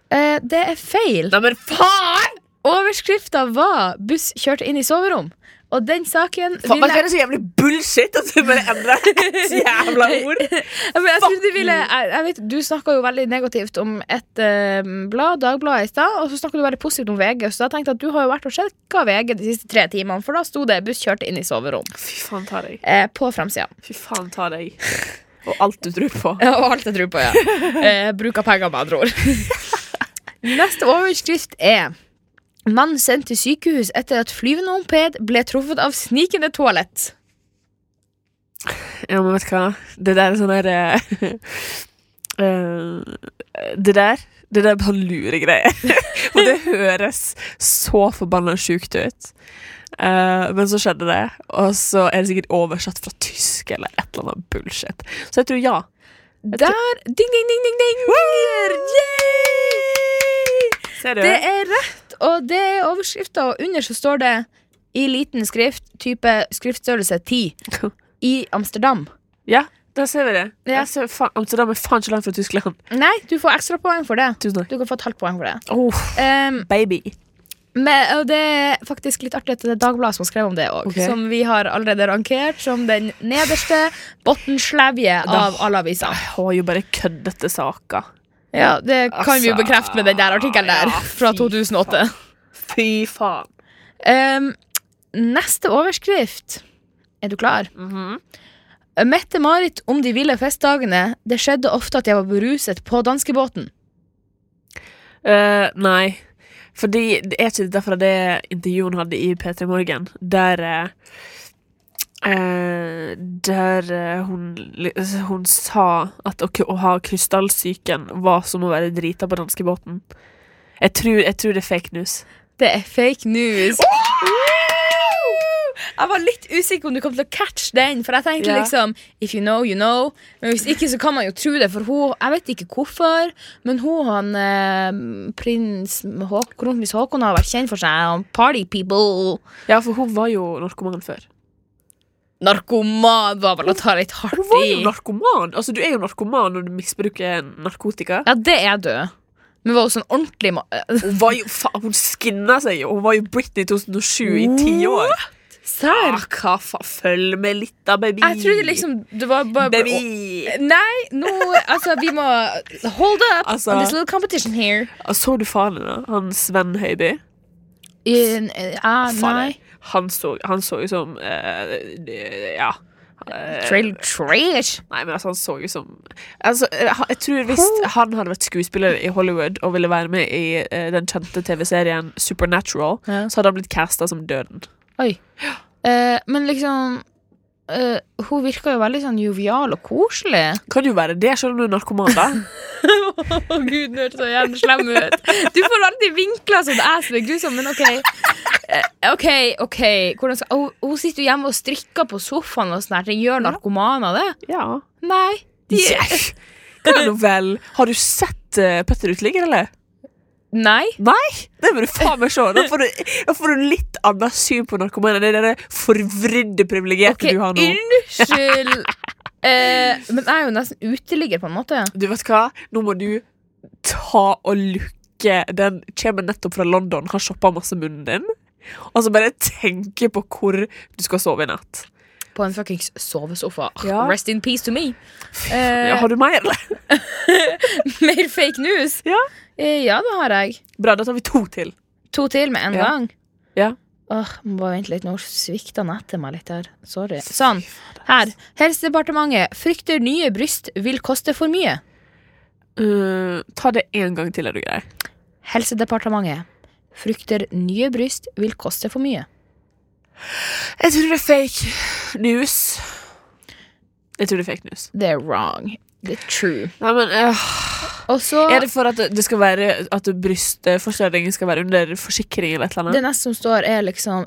Speaker 3: Eh, det er feil.
Speaker 2: Nei, men faen!
Speaker 3: Overskrifta var 'Buss kjørte inn i soverom'. Og den saken
Speaker 2: faen men
Speaker 3: ville
Speaker 2: det er så jævlig bullshit at du bare endrer et jævla ord.
Speaker 3: Ja, men jeg, trodde de ville, jeg, jeg vet, Du snakka jo veldig negativt om et eh, blad, Dagbladet, i stad. Og så snakka du veldig positivt om VG, så da tenkte jeg at du har jo vært og sjekka VG de siste tre timene. For da sto det 'buss kjørte inn i soverom'
Speaker 2: Fy faen ta deg.
Speaker 3: eh, på framsida.
Speaker 2: Fy faen ta deg. Og alt du tror på.
Speaker 3: Og alt jeg tror på, ja. Eh, bruk av penger, med andre ord. Neste overskrift er Mann sendt til sykehus etter at flyvende moped ble truffet av snikende toalett.
Speaker 2: Ja, men vet du hva? Det der er sånn der eh, eh, Det der Det der er bare luregreier. Og det høres så forbanna sjukt ut. Eh, men så skjedde det, og så er det sikkert oversatt fra tysk eller et eller annet bullshit. Så jeg tror ja.
Speaker 3: Der Ding, ding, ding, ding, ding! Yay!
Speaker 2: Ser du?
Speaker 3: Det er rett, og det er overskrifta, og under så står det i liten skrift, type skriftstørrelse 10, i Amsterdam.
Speaker 2: Ja, da ser vi det.
Speaker 3: Ja.
Speaker 2: Da ser vi faen, Amsterdam er faen ikke langt fra Tyskland.
Speaker 3: Nei, du får ekstrapoeng for det.
Speaker 2: Tusen takk.
Speaker 3: Du kan få et halvt poeng for det.
Speaker 2: Oh,
Speaker 3: Ehm,
Speaker 2: baby.
Speaker 3: men, og det er faktisk litt artig at det er Dagbladet som har skrevet om det òg.
Speaker 2: Ok.
Speaker 3: Som vi har allerede rankert som den nederste bunnslevje av
Speaker 2: Ah.
Speaker 3: alle aviser.
Speaker 2: Jeg har jo bare køddete saker.
Speaker 3: Ja, det kan vi jo
Speaker 2: Altså,
Speaker 3: bekrefte med den der artikkelen der
Speaker 2: ja,
Speaker 3: fra
Speaker 2: fy
Speaker 3: 2008.
Speaker 2: Fy faen.
Speaker 3: Ehm, neste overskrift. Er du klar?
Speaker 2: Mhm.
Speaker 3: Mette-Marit om de ville festdagene. Det skjedde ofte at jeg var beruset på danskebåten.
Speaker 2: Eh, nei. Fordi det er ikke derfor det intervjuet hun hadde i P3 Morgen, der eh, eh, Der eh, hun, li- hun sa at å, k- å ha krystallsyken var som å være drita på danskebåten. Jeg tror, jeg tror det er fake news.
Speaker 3: Det er fake news. Jeg var litt usikker om du kom til å catch den, for jeg tenkte
Speaker 2: Ja.
Speaker 3: liksom If you know, you know. Men hvis ikke, så kan man jo tro det, for hun Jeg vet ikke hvorfor, men hun han eh, prins Haak- kronprins Haakon har vært kjent for seg. Han party people.
Speaker 2: Ja, for hun var jo narkoman før.
Speaker 3: Narkoman var vel å ta litt hardt
Speaker 2: Hun var jo
Speaker 3: i.
Speaker 2: narkoman. Altså, du er jo narkoman når du misbruker narkotika.
Speaker 3: Ja, det er du. Men var hun sånn ordentlig ma
Speaker 2: Hun var jo, faen, hun skinna seg jo! Hun var jo Britney 2007 i ti år. Ah,
Speaker 3: Serr?
Speaker 2: hva faen? Følg med litt, da, baby.
Speaker 3: Jeg trodde liksom det var bare
Speaker 2: Baby!
Speaker 3: Nei, nå Altså, vi må Hold up
Speaker 2: Altså-
Speaker 3: on this little competition here.
Speaker 2: Ah, Så du faren din, da? Han Sven Høiby?
Speaker 3: In, ah,
Speaker 2: Fader.
Speaker 3: nei.
Speaker 2: Han så han så jo som eh, Ja. Eh,
Speaker 3: Trail trash.
Speaker 2: nei, men altså, han så jo som altså, eh, ha- Jeg tror hvis han hadde vært skuespiller i Hollywood og ville være med i eh, den kjente TV-serien Supernatural,
Speaker 3: Ja.
Speaker 2: så hadde han blitt casta som Døden.
Speaker 3: Oi. Eh, men liksom eh, Hun virka jo veldig sånn jovial og koselig.
Speaker 2: Kan jo være det, selv om du er narkoman, da.
Speaker 3: Å gud, nå hørtes jeg jævlig slem ut. Du får alltid vinkler sånn æsvik. Du er sånn, men OK. Eh, OK, OK. Hvordan skal, hun, hun sitter jo hjemme og strikker på sofaen og sånn her. Det Gjør narkomaner det?
Speaker 2: ja.
Speaker 3: Nei. De,
Speaker 2: Yes. Hva nå vel? Har du sett eh, Petter Uteligger, eller?
Speaker 3: Nei.
Speaker 2: Nei! Det må du faen meg se. Da får du, da får du litt annet syn på narkomane. Det er det forvridde privilegiet
Speaker 3: OK,
Speaker 2: du har nå.
Speaker 3: unnskyld. Eh, men jeg er jo nesten uteligger, på en måte.
Speaker 2: Du vet hva? Nå må du ta og lukke den Kommer nettopp fra London, har shoppa masse munnen din. Og så bare tenke på hvor du skal sove i natt.
Speaker 3: På en fuckings sovesofa.
Speaker 2: Ja.
Speaker 3: Rest in peace to me.
Speaker 2: Ja,
Speaker 3: Eh,
Speaker 2: har du mer, eller?
Speaker 3: mer fake news?
Speaker 2: Ja.
Speaker 3: Eh, ja, det har jeg.
Speaker 2: Bra, da tar vi to til.
Speaker 3: To til med en
Speaker 2: Ja.
Speaker 3: gang.
Speaker 2: Ja.
Speaker 3: Åh, må bare vente litt, nå svikta nettet meg litt her. Sorry. Sånn. Her. Helsedepartementet frykter nye bryst vil koste for mye.
Speaker 2: Eh, ta det en gang til, er du grei.
Speaker 3: Helsedepartementet frykter nye bryst vil koste for mye.
Speaker 2: Jeg tror det er fake news. Jeg tror det er fake news.
Speaker 3: Det er wrong. Det er true.
Speaker 2: Nei, men
Speaker 3: eh,
Speaker 2: øh,
Speaker 3: Og så
Speaker 2: Er det for at det skal være At brystforstørringen skal være under forsikring eller et eller
Speaker 3: Det
Speaker 2: annet?
Speaker 3: neste som står, er liksom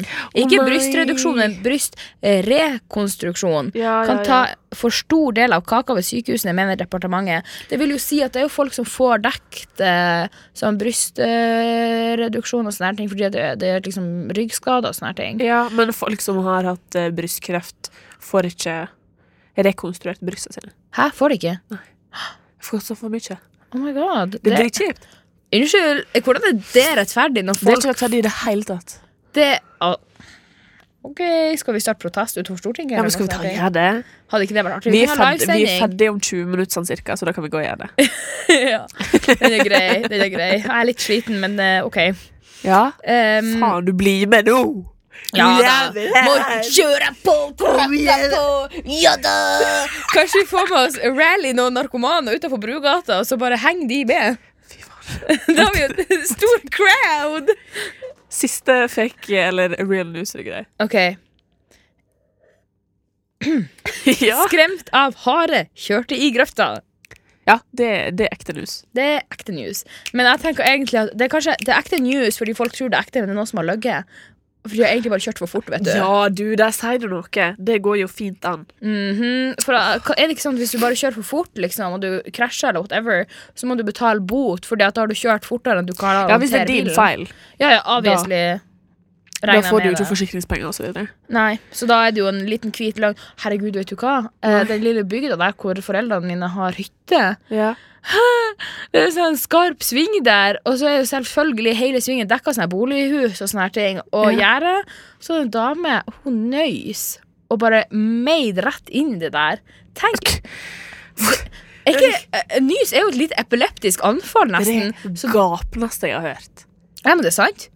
Speaker 2: Oh
Speaker 3: Ikke
Speaker 2: nei.
Speaker 3: brystreduksjon, men brystrekonstruksjon. Kan ta for stor del av kaka ved sykehusene, mener departementet. Det vil jo si at det er jo folk som får dekt eh, sånn brystreduksjon og sånne her ting, fordi det, det er liksom ryggskader og sånne her ting.
Speaker 2: Ja, men folk som har hatt eh, brystkreft, får ikke rekonstruert brystene sine.
Speaker 3: Hæ, får de ikke?
Speaker 2: Får så for mye.
Speaker 3: Oh my god.
Speaker 2: Det er
Speaker 3: Det,
Speaker 2: dritkjipt.
Speaker 3: unnskyld, hvordan er det rettferdig når
Speaker 2: Det er
Speaker 3: folk
Speaker 2: ikke rettferdig i det hele tatt.
Speaker 3: det, ah. Ok, skal vi starte protest utover Stortinget?
Speaker 2: Ja,
Speaker 3: eller
Speaker 2: men skal
Speaker 3: noe
Speaker 2: vi ta
Speaker 3: sånt her
Speaker 2: og
Speaker 3: ting?
Speaker 2: gjøre det?
Speaker 3: Hadde ikke det vært artig?
Speaker 2: Vi er,
Speaker 3: kan ha
Speaker 2: ferdig, vi er
Speaker 3: livesending.
Speaker 2: ferdig om 20 minutter sånn cirka, så da kan vi gå og gjøre det.
Speaker 3: ja. Den er grei. den er grei Jeg er litt sliten, men eh, OK.
Speaker 2: Ja?
Speaker 3: Um,
Speaker 2: Faen, du blir med nå!
Speaker 3: ja da.
Speaker 2: Jævel.
Speaker 3: Må kjøre på, kråka på, ja da! Kanskje vi får med oss rally noen narkomane utenfor Brugata, og så bare henger de med.
Speaker 2: Fy faen.
Speaker 3: Da har vi jo en stor crowd.
Speaker 2: Siste fake eller real news-greie.
Speaker 3: OK.
Speaker 2: ja.
Speaker 3: Skremt av hare kjørte i grøfta.
Speaker 2: ja, det, det er ekte news.
Speaker 3: Det er ekte news. Men jeg tenker egentlig at det er kanskje det er ekte news fordi folk tror det er ekte, men det er noen som har løyet. For de har egentlig bare kjørt for fort, vet du.
Speaker 2: Ja, du, der sier du noe. Det går jo fint an.
Speaker 3: Mhm, For da- hva- er det ikke sånn at Hvis du bare kjører for fort liksom, og du krasjer, eller whatever så må du betale bot, Fordi at da har du kjørt fortere enn du klarer å
Speaker 2: Ja, hvis det er
Speaker 3: håndtere
Speaker 2: din
Speaker 3: bilen.
Speaker 2: feil.
Speaker 3: Ja, ja, obviously
Speaker 2: Da
Speaker 3: regner jeg
Speaker 2: får du
Speaker 3: med
Speaker 2: jo ikke
Speaker 3: det.
Speaker 2: forsikringspenger og så videre.
Speaker 3: Nei, så da er det jo en liten hvit lang Herregud, vet du hva? Eh, den lille bygda der hvor foreldrene mine har hytte,
Speaker 2: Ja.
Speaker 3: det er sånn skarp sving der, og så er jo selvfølgelig hele svingen dekka av sånne bolighus og sånne her ting, og
Speaker 2: Ja.
Speaker 3: gjerde. Så en dame, hun nøys og bare meid rett inn i det der. Tenk! Er ikke, eh, nys er jo et litt epileptisk anfall,
Speaker 2: Det
Speaker 3: nesten.
Speaker 2: er det gapneste jeg har hørt.
Speaker 3: Ja, men det er sant.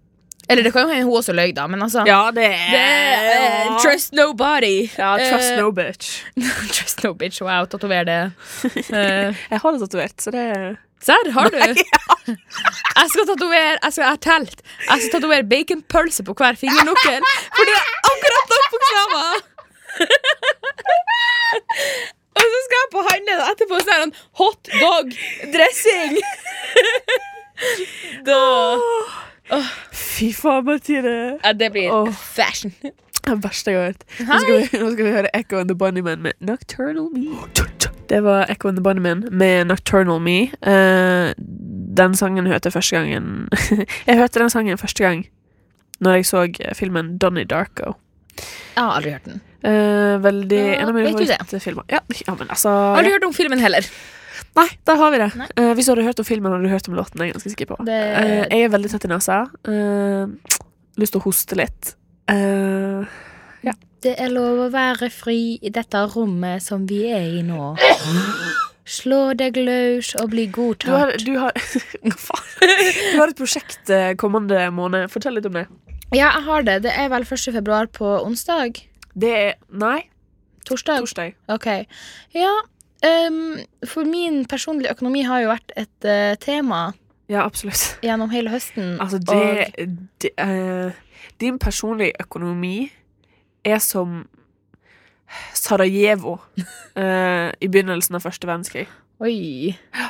Speaker 3: Eller det kan jo hende hun også løy, da, men altså
Speaker 2: Ja, det
Speaker 3: det, er, eh, Trust nobody.
Speaker 2: Ja, trust
Speaker 3: Eh,
Speaker 2: no bitch.
Speaker 3: Trust no bitch, wow, tatover det. Eh,
Speaker 2: Jeg har det tatovert, så det er
Speaker 3: Serr, har du? Jeg skal tatovere Jeg skal jeg har telt. Jeg skal tatovere baconpølse på hver fingernukkel, for det er akkurat nok bokstaver! Og så skal jeg på handelen etterpå sånn her, hot dog dressing. da
Speaker 2: Fy faen, Martine.
Speaker 3: ja, Det blir
Speaker 2: Åh.
Speaker 3: fashion.
Speaker 2: Det er verste jeg har hørt. Nå skal, vi, nå skal vi høre Echo and the Bunnymen med Nocturnal Me. Det var Echo and the Bunnymen med Nocturnal Me. Eh, den sangen hørte jeg første gangen Jeg hørte den sangen første gang når jeg så eh, filmen Donnie Darko.
Speaker 3: Jeg har aldri hørt den.
Speaker 2: Eh, veldig
Speaker 3: Ja,
Speaker 2: En av mine
Speaker 3: vet du det?
Speaker 2: favorittfilmer. Ja, ja, men altså
Speaker 3: Aldri hørt om filmen heller.
Speaker 2: Nei, der har vi det.
Speaker 3: Nei.
Speaker 2: Eh, hvis du hadde hørt om filmen, hadde du hørt om låten. Jeg er ganske sikker på
Speaker 3: Det-
Speaker 2: Eh, Jeg er veldig tett i nesa. Eh, lyst til å hoste litt. Eh,
Speaker 3: Det er lov å være fri i dette rommet som vi er i nå. Slå deg løs og bli
Speaker 2: du har,
Speaker 3: godtatt.
Speaker 2: du har Hva faen? Du har et prosjekt eh, kommende måned. Fortell litt om det.
Speaker 3: Ja, jeg har det. Det er vel 1. februar på onsdag?
Speaker 2: Det er Nei,
Speaker 3: Torsdag?
Speaker 2: torsdag.
Speaker 3: Ok. Ja, ehm, for min personlige økonomi har jo vært et eh, tema
Speaker 2: Ja, absolutt.
Speaker 3: gjennom hele høsten.
Speaker 2: Altså, det, det eh, Din personlige økonomi er som Sarajevo eh, i begynnelsen av første verdenskrig.
Speaker 3: Og, oi.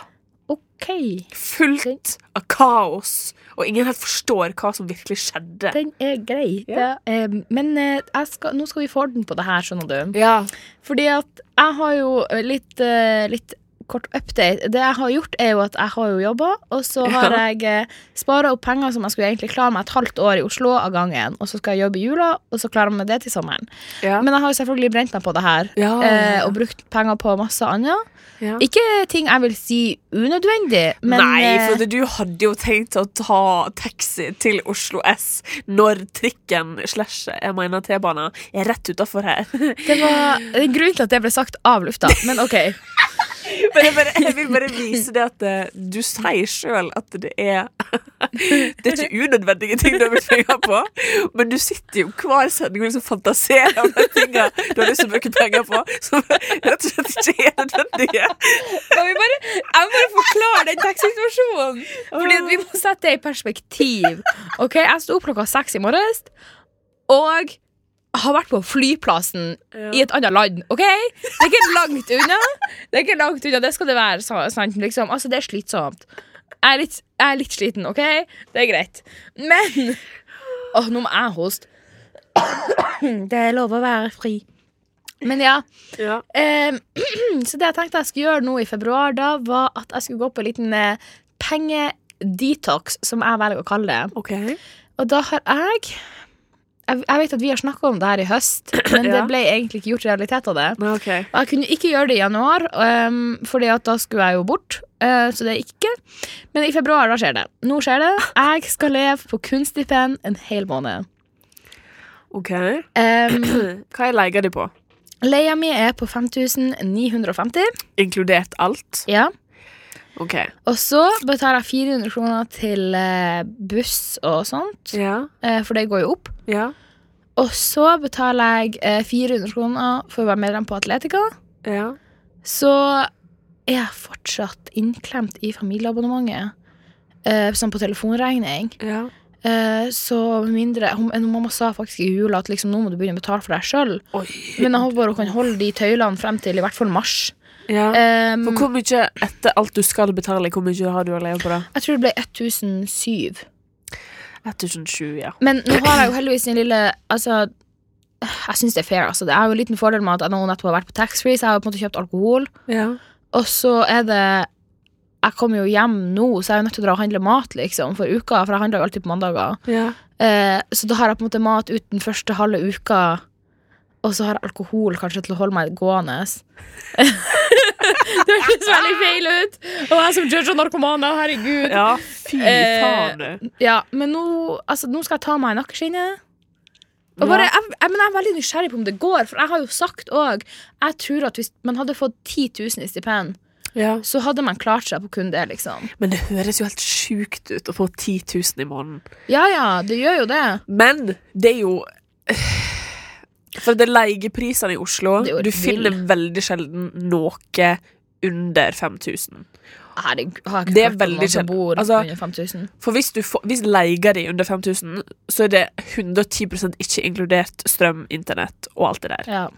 Speaker 3: Ok.
Speaker 2: Fullt av kaos, og ingen helt forstår hva som virkelig skjedde.
Speaker 3: Den er grei.
Speaker 2: Ja.
Speaker 3: Det er- ehm, men eh, jeg skal, nå skal vi få orden på det her, skjønner du.
Speaker 2: Ja.
Speaker 3: Fordi at jeg har jo eh, litt, eh, litt kort update. Det jeg har gjort, er jo at jeg har jo jobba, og så har
Speaker 2: Ja.
Speaker 3: jeg spara opp penger som jeg skulle egentlig klare meg et halvt år i Oslo av gangen. Og så skal jeg jobbe i jula, og så klarer jeg meg det til sommeren.
Speaker 2: Ja.
Speaker 3: Men jeg har jo selvfølgelig brent meg på det her.
Speaker 2: Ja,
Speaker 3: eh,
Speaker 2: ja,
Speaker 3: og brukt penger på masse annet.
Speaker 2: ja.
Speaker 3: Ikke ting jeg vil si unødvendig, men
Speaker 2: Nei,
Speaker 3: eh,
Speaker 2: for du hadde jo tenkt å ta taxi til Oslo S når trikken slash jeg mener T-banen er rett utafor her.
Speaker 3: det var det er en grunn til at det ble sagt av lufta. Men OK.
Speaker 2: Men jeg, bare, jeg vil bare vise det at eh, du sier sjøl at det er Det er ikke unødvendige ting du har brukt penger på, men du sitter jo hver sending og liksom fantaserer om de tinga du har lyst til å bruke penger på, som rett og slett ikke er nødvendige.
Speaker 3: Kan vi bare, jeg må bare forklare den taxisituasjonen. Fordi at vi må sette det i perspektiv. Ok, Jeg sto opp klokka seks i morges og har vært på flyplassen i et annet land. ok? Det er ikke langt unna. Det er ikke langt unna, det skal det være. sa- Sant, liksom. Altså, Det er slitsomt. Jeg er litt, jeg er litt sliten, OK? Det er greit. Men Åh, nå må jeg hoste. Det er lov å være fri. Men ja.
Speaker 2: Ja.
Speaker 3: Ehm, så det jeg tenkte jeg skulle gjøre nå i februar, da, var at jeg skulle gå på en liten eh, pengedetox, som jeg velger å kalle det.
Speaker 2: OK.
Speaker 3: Og da har jeg Jeg, jeg vet at vi har snakka om det her i høst, men det
Speaker 2: Ja.
Speaker 3: ble egentlig ikke gjort realitet av det.
Speaker 2: Nei, ok.
Speaker 3: Og jeg kunne ikke gjøre det i januar, um, Fordi at da skulle jeg jo bort. eh, så det er ikke. Men i februar, da skjer det. Nå skjer det. Jeg skal leve på kunststipend en hel måned.
Speaker 2: ok.
Speaker 3: Um,
Speaker 2: Hva jeg leier de på?
Speaker 3: leia mi er på 5950.
Speaker 2: Inkludert alt?
Speaker 3: Ja.
Speaker 2: OK.
Speaker 3: Og så betaler jeg 400 kroner til eh, buss og sånt,
Speaker 2: Ja.
Speaker 3: eh, for det går jo opp.
Speaker 2: Ja.
Speaker 3: Og så betaler jeg eh, 400 kroner for å være medlem på Atletica.
Speaker 2: Ja.
Speaker 3: Så er jeg fortsatt innklemt i familieabonnementet, eh, sånn på telefonregning.
Speaker 2: ja.
Speaker 3: Eh, så med mindre hun, eh, Mamma sa faktisk i jula at liksom, nå må du begynne å betale for deg sjøl.
Speaker 2: Oi.
Speaker 3: Men jeg håper hun kan holde de tøylene frem til i hvert fall mars.
Speaker 2: Ja.
Speaker 3: Ehm,
Speaker 2: For hvor mye etter alt du skal betale, hvor mye har du å leve på da?
Speaker 3: jeg tror det ble 1007.
Speaker 2: 1007, ja.
Speaker 3: Men nå har jeg jo heldigvis en lille Altså, jeg syns det er fair. Altså. Det er jo en liten fordel med at jeg nå nettopp har vært på taxfree, så jeg har jo på en måte kjøpt alkohol.
Speaker 2: ja.
Speaker 3: Og så er det jeg kommer jo hjem nå, så jeg er jo nødt til å dra og handle mat liksom, for uka. For jeg handler jo alltid på mandager.
Speaker 2: Ja.
Speaker 3: Eh, så da har jeg på en måte mat ut den første halve uka, og så har jeg alkohol kanskje til å holde meg gående. det hørtes veldig feil ut! Og jeg som judger narkomane, herregud.
Speaker 2: ja, fy
Speaker 3: Eh,
Speaker 2: faen, du.
Speaker 3: Ja, men nå, altså, nå skal jeg ta meg i nakkeskinnet. Og bare,
Speaker 2: Ja.
Speaker 3: jeg, jeg, men jeg er veldig nysgjerrig på om det går, for jeg har jo sagt òg Jeg tror at hvis man hadde fått 10 000 i stipend,
Speaker 2: Ja.
Speaker 3: så hadde man klart seg på kun det, liksom.
Speaker 2: Men det høres jo helt sjukt ut å få 10 000 i måneden.
Speaker 3: Ja ja, det gjør jo det.
Speaker 2: Men det er jo eh, For det er leieprisene i Oslo.
Speaker 3: Det er jo
Speaker 2: Du
Speaker 3: vill.
Speaker 2: finner veldig sjelden noe under 5000.
Speaker 3: Herregud, har jeg ikke
Speaker 2: Det er
Speaker 3: hørt om
Speaker 2: veldig
Speaker 3: noen som
Speaker 2: sjelden.
Speaker 3: bor
Speaker 2: Altså-
Speaker 3: under 5000.
Speaker 2: For hvis, du får, hvis leier de under 5000, så er det 110 ikke inkludert strøm, internett og alt det der.
Speaker 3: Ja.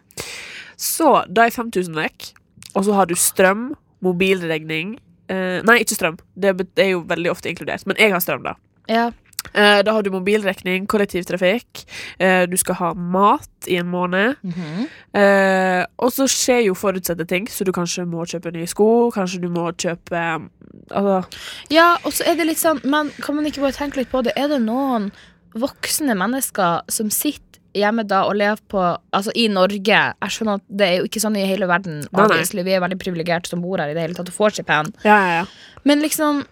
Speaker 2: Så da er 5000 vekk, og så har du strøm, mobilregning eh, Nei, ikke strøm. Det bet- det er jo veldig ofte inkludert. Men jeg har strøm, da.
Speaker 3: ja.
Speaker 2: Eh, da har du mobilrekning, kollektivtrafikk, eh, du skal ha mat i en måned.
Speaker 3: Mhm.
Speaker 2: Eh, og så skjer jo forutsette ting, så du kanskje må kjøpe nye sko, kanskje du må kjøpe Altså
Speaker 3: ja, og så er det litt sånn Men kan man ikke bare tenke litt på det? Er det noen voksne mennesker som sitter hjemme da og lever på Altså i Norge Jeg skjønner at det er jo ikke sånn i hele verden.
Speaker 2: Nei, nei.
Speaker 3: obviously. Vi er veldig privilegerte som bor her i det hele tatt og får stipend.
Speaker 2: Ja, ja, ja.
Speaker 3: Men liksom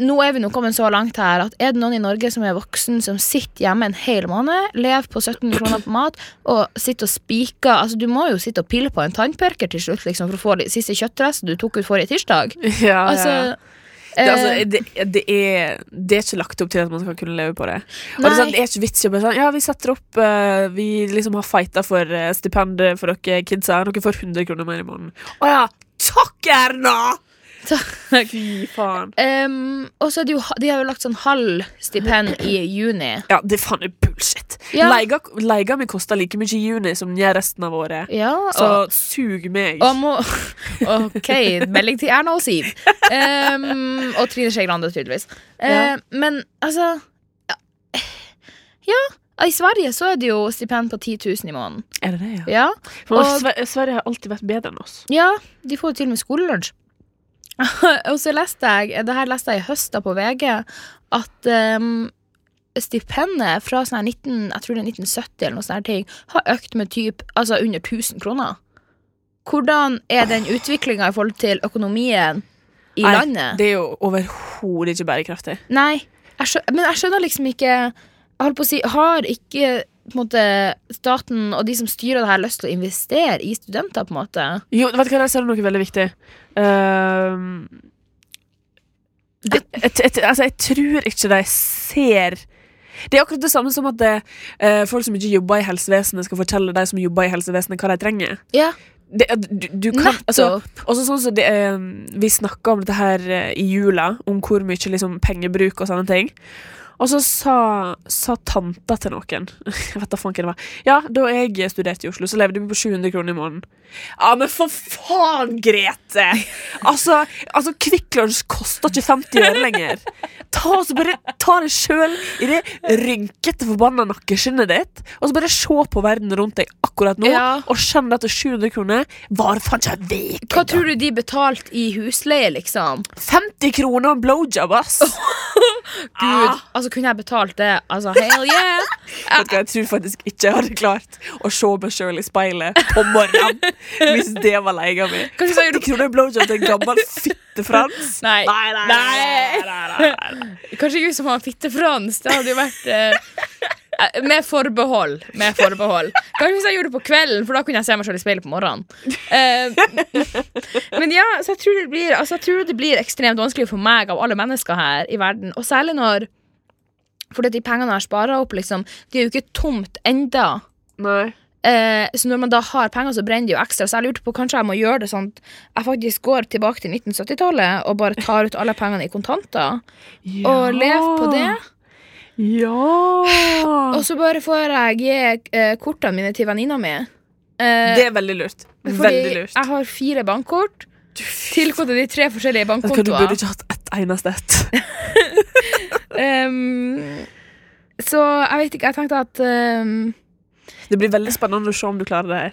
Speaker 3: nå er vi nå kommet så langt her at er det noen i Norge som er voksen, som sitter hjemme en hel måned, lever på 17 kroner på mat og sitter og spiker Altså, du må jo sitte og pille på en tannpørker til slutt liksom, for å få de siste kjøttresten du tok ut forrige tirsdag.
Speaker 2: ja, ja.
Speaker 3: Altså,
Speaker 2: Det, altså,
Speaker 3: eh,
Speaker 2: det, det, er, det er ikke lagt opp til at man skal kunne leve på det. Og det, er
Speaker 3: Nei.
Speaker 2: sånn, det er ikke vits i å bare sånn Ja, vi setter opp eh, Vi liksom har fighta for eh, stipendet for dere kidsa. Dere får 100 kroner mer i måneden. Å ja! Takk, Erna!
Speaker 3: Takk.
Speaker 2: Fy faen.
Speaker 3: em, og så er det jo De har jo lagt sånn halv stipend i juni.
Speaker 2: Ja, det faen er bullshit.
Speaker 3: Ja.
Speaker 2: Leiga, leiga mi koster like mye i juni som den gjør resten av året.
Speaker 3: Ja,
Speaker 2: Så
Speaker 3: og,
Speaker 2: sug meg.
Speaker 3: og må, OK, melding til Erna og Siv. Em, og Trine Skei Grande, tydeligvis. Eh, Men altså Ja. I Sverige så er det jo stipend på 10 000 i måneden.
Speaker 2: Er det det, ja?
Speaker 3: Ja,
Speaker 2: For
Speaker 3: og-
Speaker 2: Sve- Sverige har alltid vært bedre enn oss.
Speaker 3: ja de får jo til og med skolelunsj. og så leste jeg Det her leste jeg i høst da på VG, at em, stipendet fra sånn her 19, jeg tror det er 1970 eller noe sånn her ting, har økt med typ, altså under 1000 kroner. Hvordan er den utviklinga i forhold til økonomien i
Speaker 2: Nei,
Speaker 3: landet?
Speaker 2: Det er jo overhodet ikke bærekraftig.
Speaker 3: Nei, jeg skjø- men jeg skjønner liksom ikke Jeg holdt på å si, har ikke på en måte, staten og de som styrer det her, lyst til å investere i studenter, på en måte?
Speaker 2: Jo, vet du hva, der ser du noe veldig viktig. Ehm, jeg, jeg, jeg, altså, jeg tror ikke de ser Det er akkurat det samme som at det, eh, folk som ikke jobber i helsevesenet, skal fortelle de som jobber i helsevesenet, hva de trenger.
Speaker 3: Ja,
Speaker 2: Det, du, du kan,
Speaker 3: nettopp.
Speaker 2: altså, også sånn som det, eh, Vi snakka om dette her eh, i jula, om hvor mye liksom, pengebruk og sånne ting. Og så sa, sa tanta til noen Jeg vet da faen hva det var. Ja, da jeg studerte i Oslo, så levde vi på 700 kroner i måneden. Ja, men for faen, Grete! Altså, altså Kvikk Lunsj koster ikke 50 øre lenger. Ta, og så bare ta det sjøl i det rynkete, forbanna nakkeskinnet ditt, og så bare se på verden rundt deg akkurat nå,
Speaker 3: Ja.
Speaker 2: og skjønne at 700 kroner var faen ikke en veke.
Speaker 3: Hva tror du de betalte i husleie, liksom?
Speaker 2: 50 kroner og en blowjob, ass!
Speaker 3: Gud,
Speaker 2: Ah.
Speaker 3: altså Kunne jeg betalt det? Altså, hell
Speaker 2: Vet
Speaker 3: yeah!
Speaker 2: du hva, Jeg tror faktisk ikke jeg hadde klart å se meg sjøl i speilet på morgenen hvis det var leia mi.
Speaker 3: Kanskje så gjør
Speaker 2: 50 kroner blowjob til en gammel fittefrans?
Speaker 3: Nei.
Speaker 2: Nei, nei, nei, nei, nei, nei.
Speaker 3: Kanskje ikke som han fittefrans. Det hadde jo vært eh, eh, Med forbehold. Med forbehold. Kanskje hvis jeg gjorde det på kvelden, for da kunne jeg se meg selv i speilet på morgenen. Eh, men ja, så jeg tror, det blir, altså, jeg tror det blir ekstremt vanskelig for meg av alle mennesker her i verden, og særlig når Fordi at de pengene jeg har spara opp, liksom, de er jo ikke tomt enda
Speaker 2: nei.
Speaker 3: Eh, så når man da har penger, så brenner det jo ekstra. Så jeg lurte på kanskje jeg må gjøre det sånn at jeg faktisk går tilbake til 1970-tallet og bare tar ut alle pengene i kontanter og lever på det.
Speaker 2: Ja!
Speaker 3: Og så bare får jeg gi eh, kortene mine til venninna mi. Eh,
Speaker 2: Det er veldig lurt. Veldig lurt.
Speaker 3: jeg har fire bankkort tilknyttet de tre forskjellige
Speaker 2: Vet du hva, du burde
Speaker 3: bankkontoene.
Speaker 2: ikke hatt ett eneste ett.
Speaker 3: Ehm, så jeg vet ikke, jeg tenkte at ehm,
Speaker 2: Det blir veldig spennende å se om du klarer det her.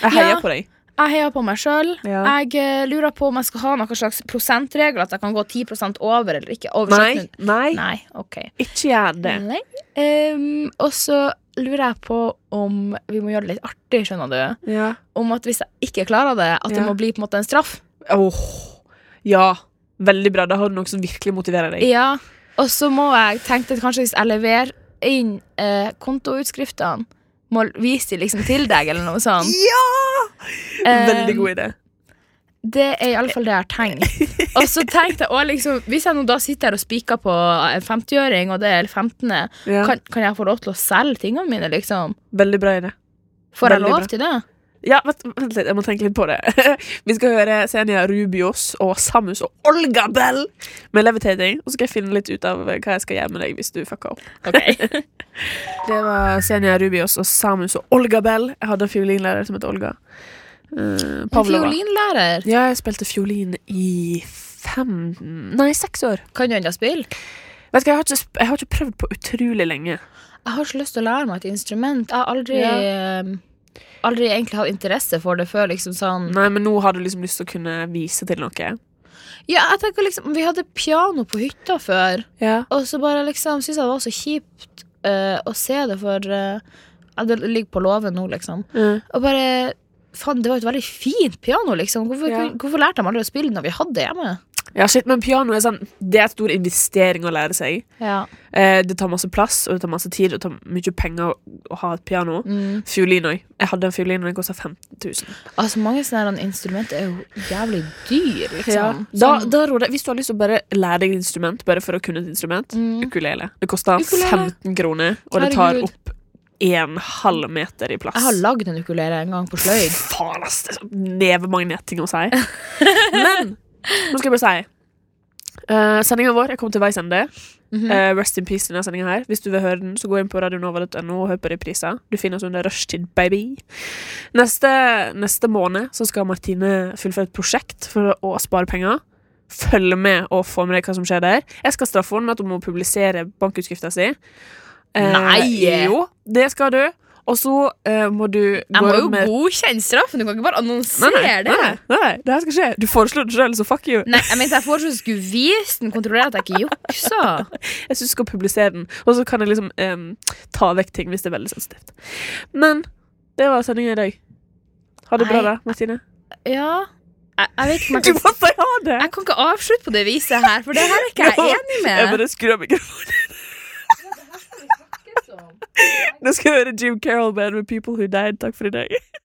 Speaker 2: Jeg heier
Speaker 3: Ja.
Speaker 2: på deg.
Speaker 3: Jeg heier på meg sjøl.
Speaker 2: Ja.
Speaker 3: Jeg eh, lurer på om jeg skal ha noen slags prosentregel, at jeg kan gå 10 over eller ikke. Over
Speaker 2: Nei,
Speaker 3: 1700.
Speaker 2: nei,
Speaker 3: Nei, Mm. ok.
Speaker 2: ikke gjør det.
Speaker 3: Nei. Ehm, og så lurer jeg på om vi må gjøre det litt artig, skjønner du.
Speaker 2: Ja.
Speaker 3: Om at hvis jeg ikke klarer det, at det
Speaker 2: Ja.
Speaker 3: må bli på en måte en straff.
Speaker 2: Åh, ja. Veldig bra. Da har du noe som virkelig motiverer deg.
Speaker 3: Ja, og så må jeg tenke at kanskje hvis jeg leverer inn eh, kontoutskriftene, må vise de liksom til deg, eller noe sånt.
Speaker 2: Ja!
Speaker 3: Eh,
Speaker 2: Veldig god idé.
Speaker 3: Det er iallfall det jeg har tenkt. Og så tenkte jeg også, liksom, Hvis jeg nå da sitter her og spiker på en 50-øring, og det er 15.,
Speaker 2: Ja.
Speaker 3: kan, kan jeg få lov til å selge tingene mine, liksom?
Speaker 2: Veldig bra idé.
Speaker 3: Får jeg
Speaker 2: Veldig
Speaker 3: lov
Speaker 2: bra.
Speaker 3: til det?
Speaker 2: Ja, vent, vent litt, jeg må tenke litt på det. Vi skal høre Senja Rubios og Samus og Olga Bell med Levitating. Og så skal jeg finne litt ut av eh, hva jeg skal gjøre med deg hvis du fucker opp.
Speaker 3: Ok.
Speaker 2: Det var Senja Rubios og Samus og Olga Bell. Jeg hadde en fiolinlærer som het Olga. Eh, Pavlova.
Speaker 3: Fiolinlærer,
Speaker 2: Ja, jeg spilte fiolin i fem Nei, seks år.
Speaker 3: kan du ennå spille?
Speaker 2: Vet du hva, jeg har ikke, sp- jeg har ikke prøvd på utrolig lenge.
Speaker 3: Jeg har så lyst til å lære meg et instrument. Jeg har aldri,
Speaker 2: Ja.
Speaker 3: eh, aldri egentlig hatt interesse for det før. liksom sånn
Speaker 2: Nei, men nå har du liksom lyst til å kunne vise til noe.
Speaker 3: Ja, jeg tenker liksom Vi hadde piano på hytta før,
Speaker 2: Ja.
Speaker 3: og så bare liksom syntes jeg det var så kjipt eh, å se det, for eh, ja, det ligger på låven nå, liksom.
Speaker 2: Mm.
Speaker 3: Og bare Faen, det var et veldig fint piano, liksom. Hvorfor,
Speaker 2: Ja.
Speaker 3: kun- hvorfor lærte de aldri å spille når vi hadde det hjemme?
Speaker 2: ja, shit, men piano er sånn Det er en stor investering å lære seg.
Speaker 3: Ja.
Speaker 2: Eh, det tar masse plass, og det tar masse tid, og det tar mye penger å, å ha et piano. Fiolin òg. Jeg hadde en fiolin, og den kosta 15 000.
Speaker 3: Mm. Altså, mange sånne her instrumenter er jo jævlig dyr, liksom.
Speaker 2: Da,
Speaker 3: Sånn-
Speaker 2: da råder jeg, Hvis du har lyst til å bare lære deg et instrument, bare for å kunne et instrument
Speaker 3: Mm.
Speaker 2: Mm. Ukulele. Det koster
Speaker 3: Ukulele.
Speaker 2: 15 kroner, og det tar
Speaker 3: Herregud.
Speaker 2: opp en halv meter i plass.
Speaker 3: jeg har lagd en ukulele en gang på sløyd.
Speaker 2: Faen, ass! Det er sånn nevemagnetting å si. Men nå skal jeg bare si uh, Sendinga vår er kommet til veis ende.
Speaker 3: Mhm.
Speaker 2: Eh, rest in peace, denne sendinga her. Hvis du vil høre den, så gå inn på radionova.no og hør på repriser. Du finner oss under Rushtid, baby. Neste, neste måned så skal Martine fullføre et prosjekt for å spare penger. Følg med og få med deg hva som skjer der. Jeg skal straffe henne med at hun må publisere bankutskrifta si. Eh,
Speaker 3: Nei!
Speaker 2: Jo, det skal du. Og så eh, må du
Speaker 3: Jeg
Speaker 2: gå
Speaker 3: må jo
Speaker 2: rundt med
Speaker 3: godkjenne straffen, du kan ikke bare annonsere det.
Speaker 2: nei, nei, nei, det her skal skje. Du foreslo det sjøl, så fuck you.
Speaker 3: Nei, jeg mente jeg foreslo at du skulle vise den, kontrollere at jeg ikke juksa.
Speaker 2: Jeg syns du skal publisere den, og så kan jeg liksom em, ta vekk ting hvis det er veldig sensitivt. Men det var sendinga i dag. Ha det bra,
Speaker 3: Nei.
Speaker 2: da, Martine.
Speaker 3: Ja, jeg, jeg vet ikke om
Speaker 2: Du
Speaker 3: jeg
Speaker 2: må
Speaker 3: kan
Speaker 2: si ha det!
Speaker 3: Jeg kan ikke avslutte på det viset her, for det her er ikke jeg enig
Speaker 2: Jeg
Speaker 3: med.
Speaker 2: bare skrur av mikrofonen. Nå skal jeg høre Jim Carroll Band med People Who Died. Takk for i dag.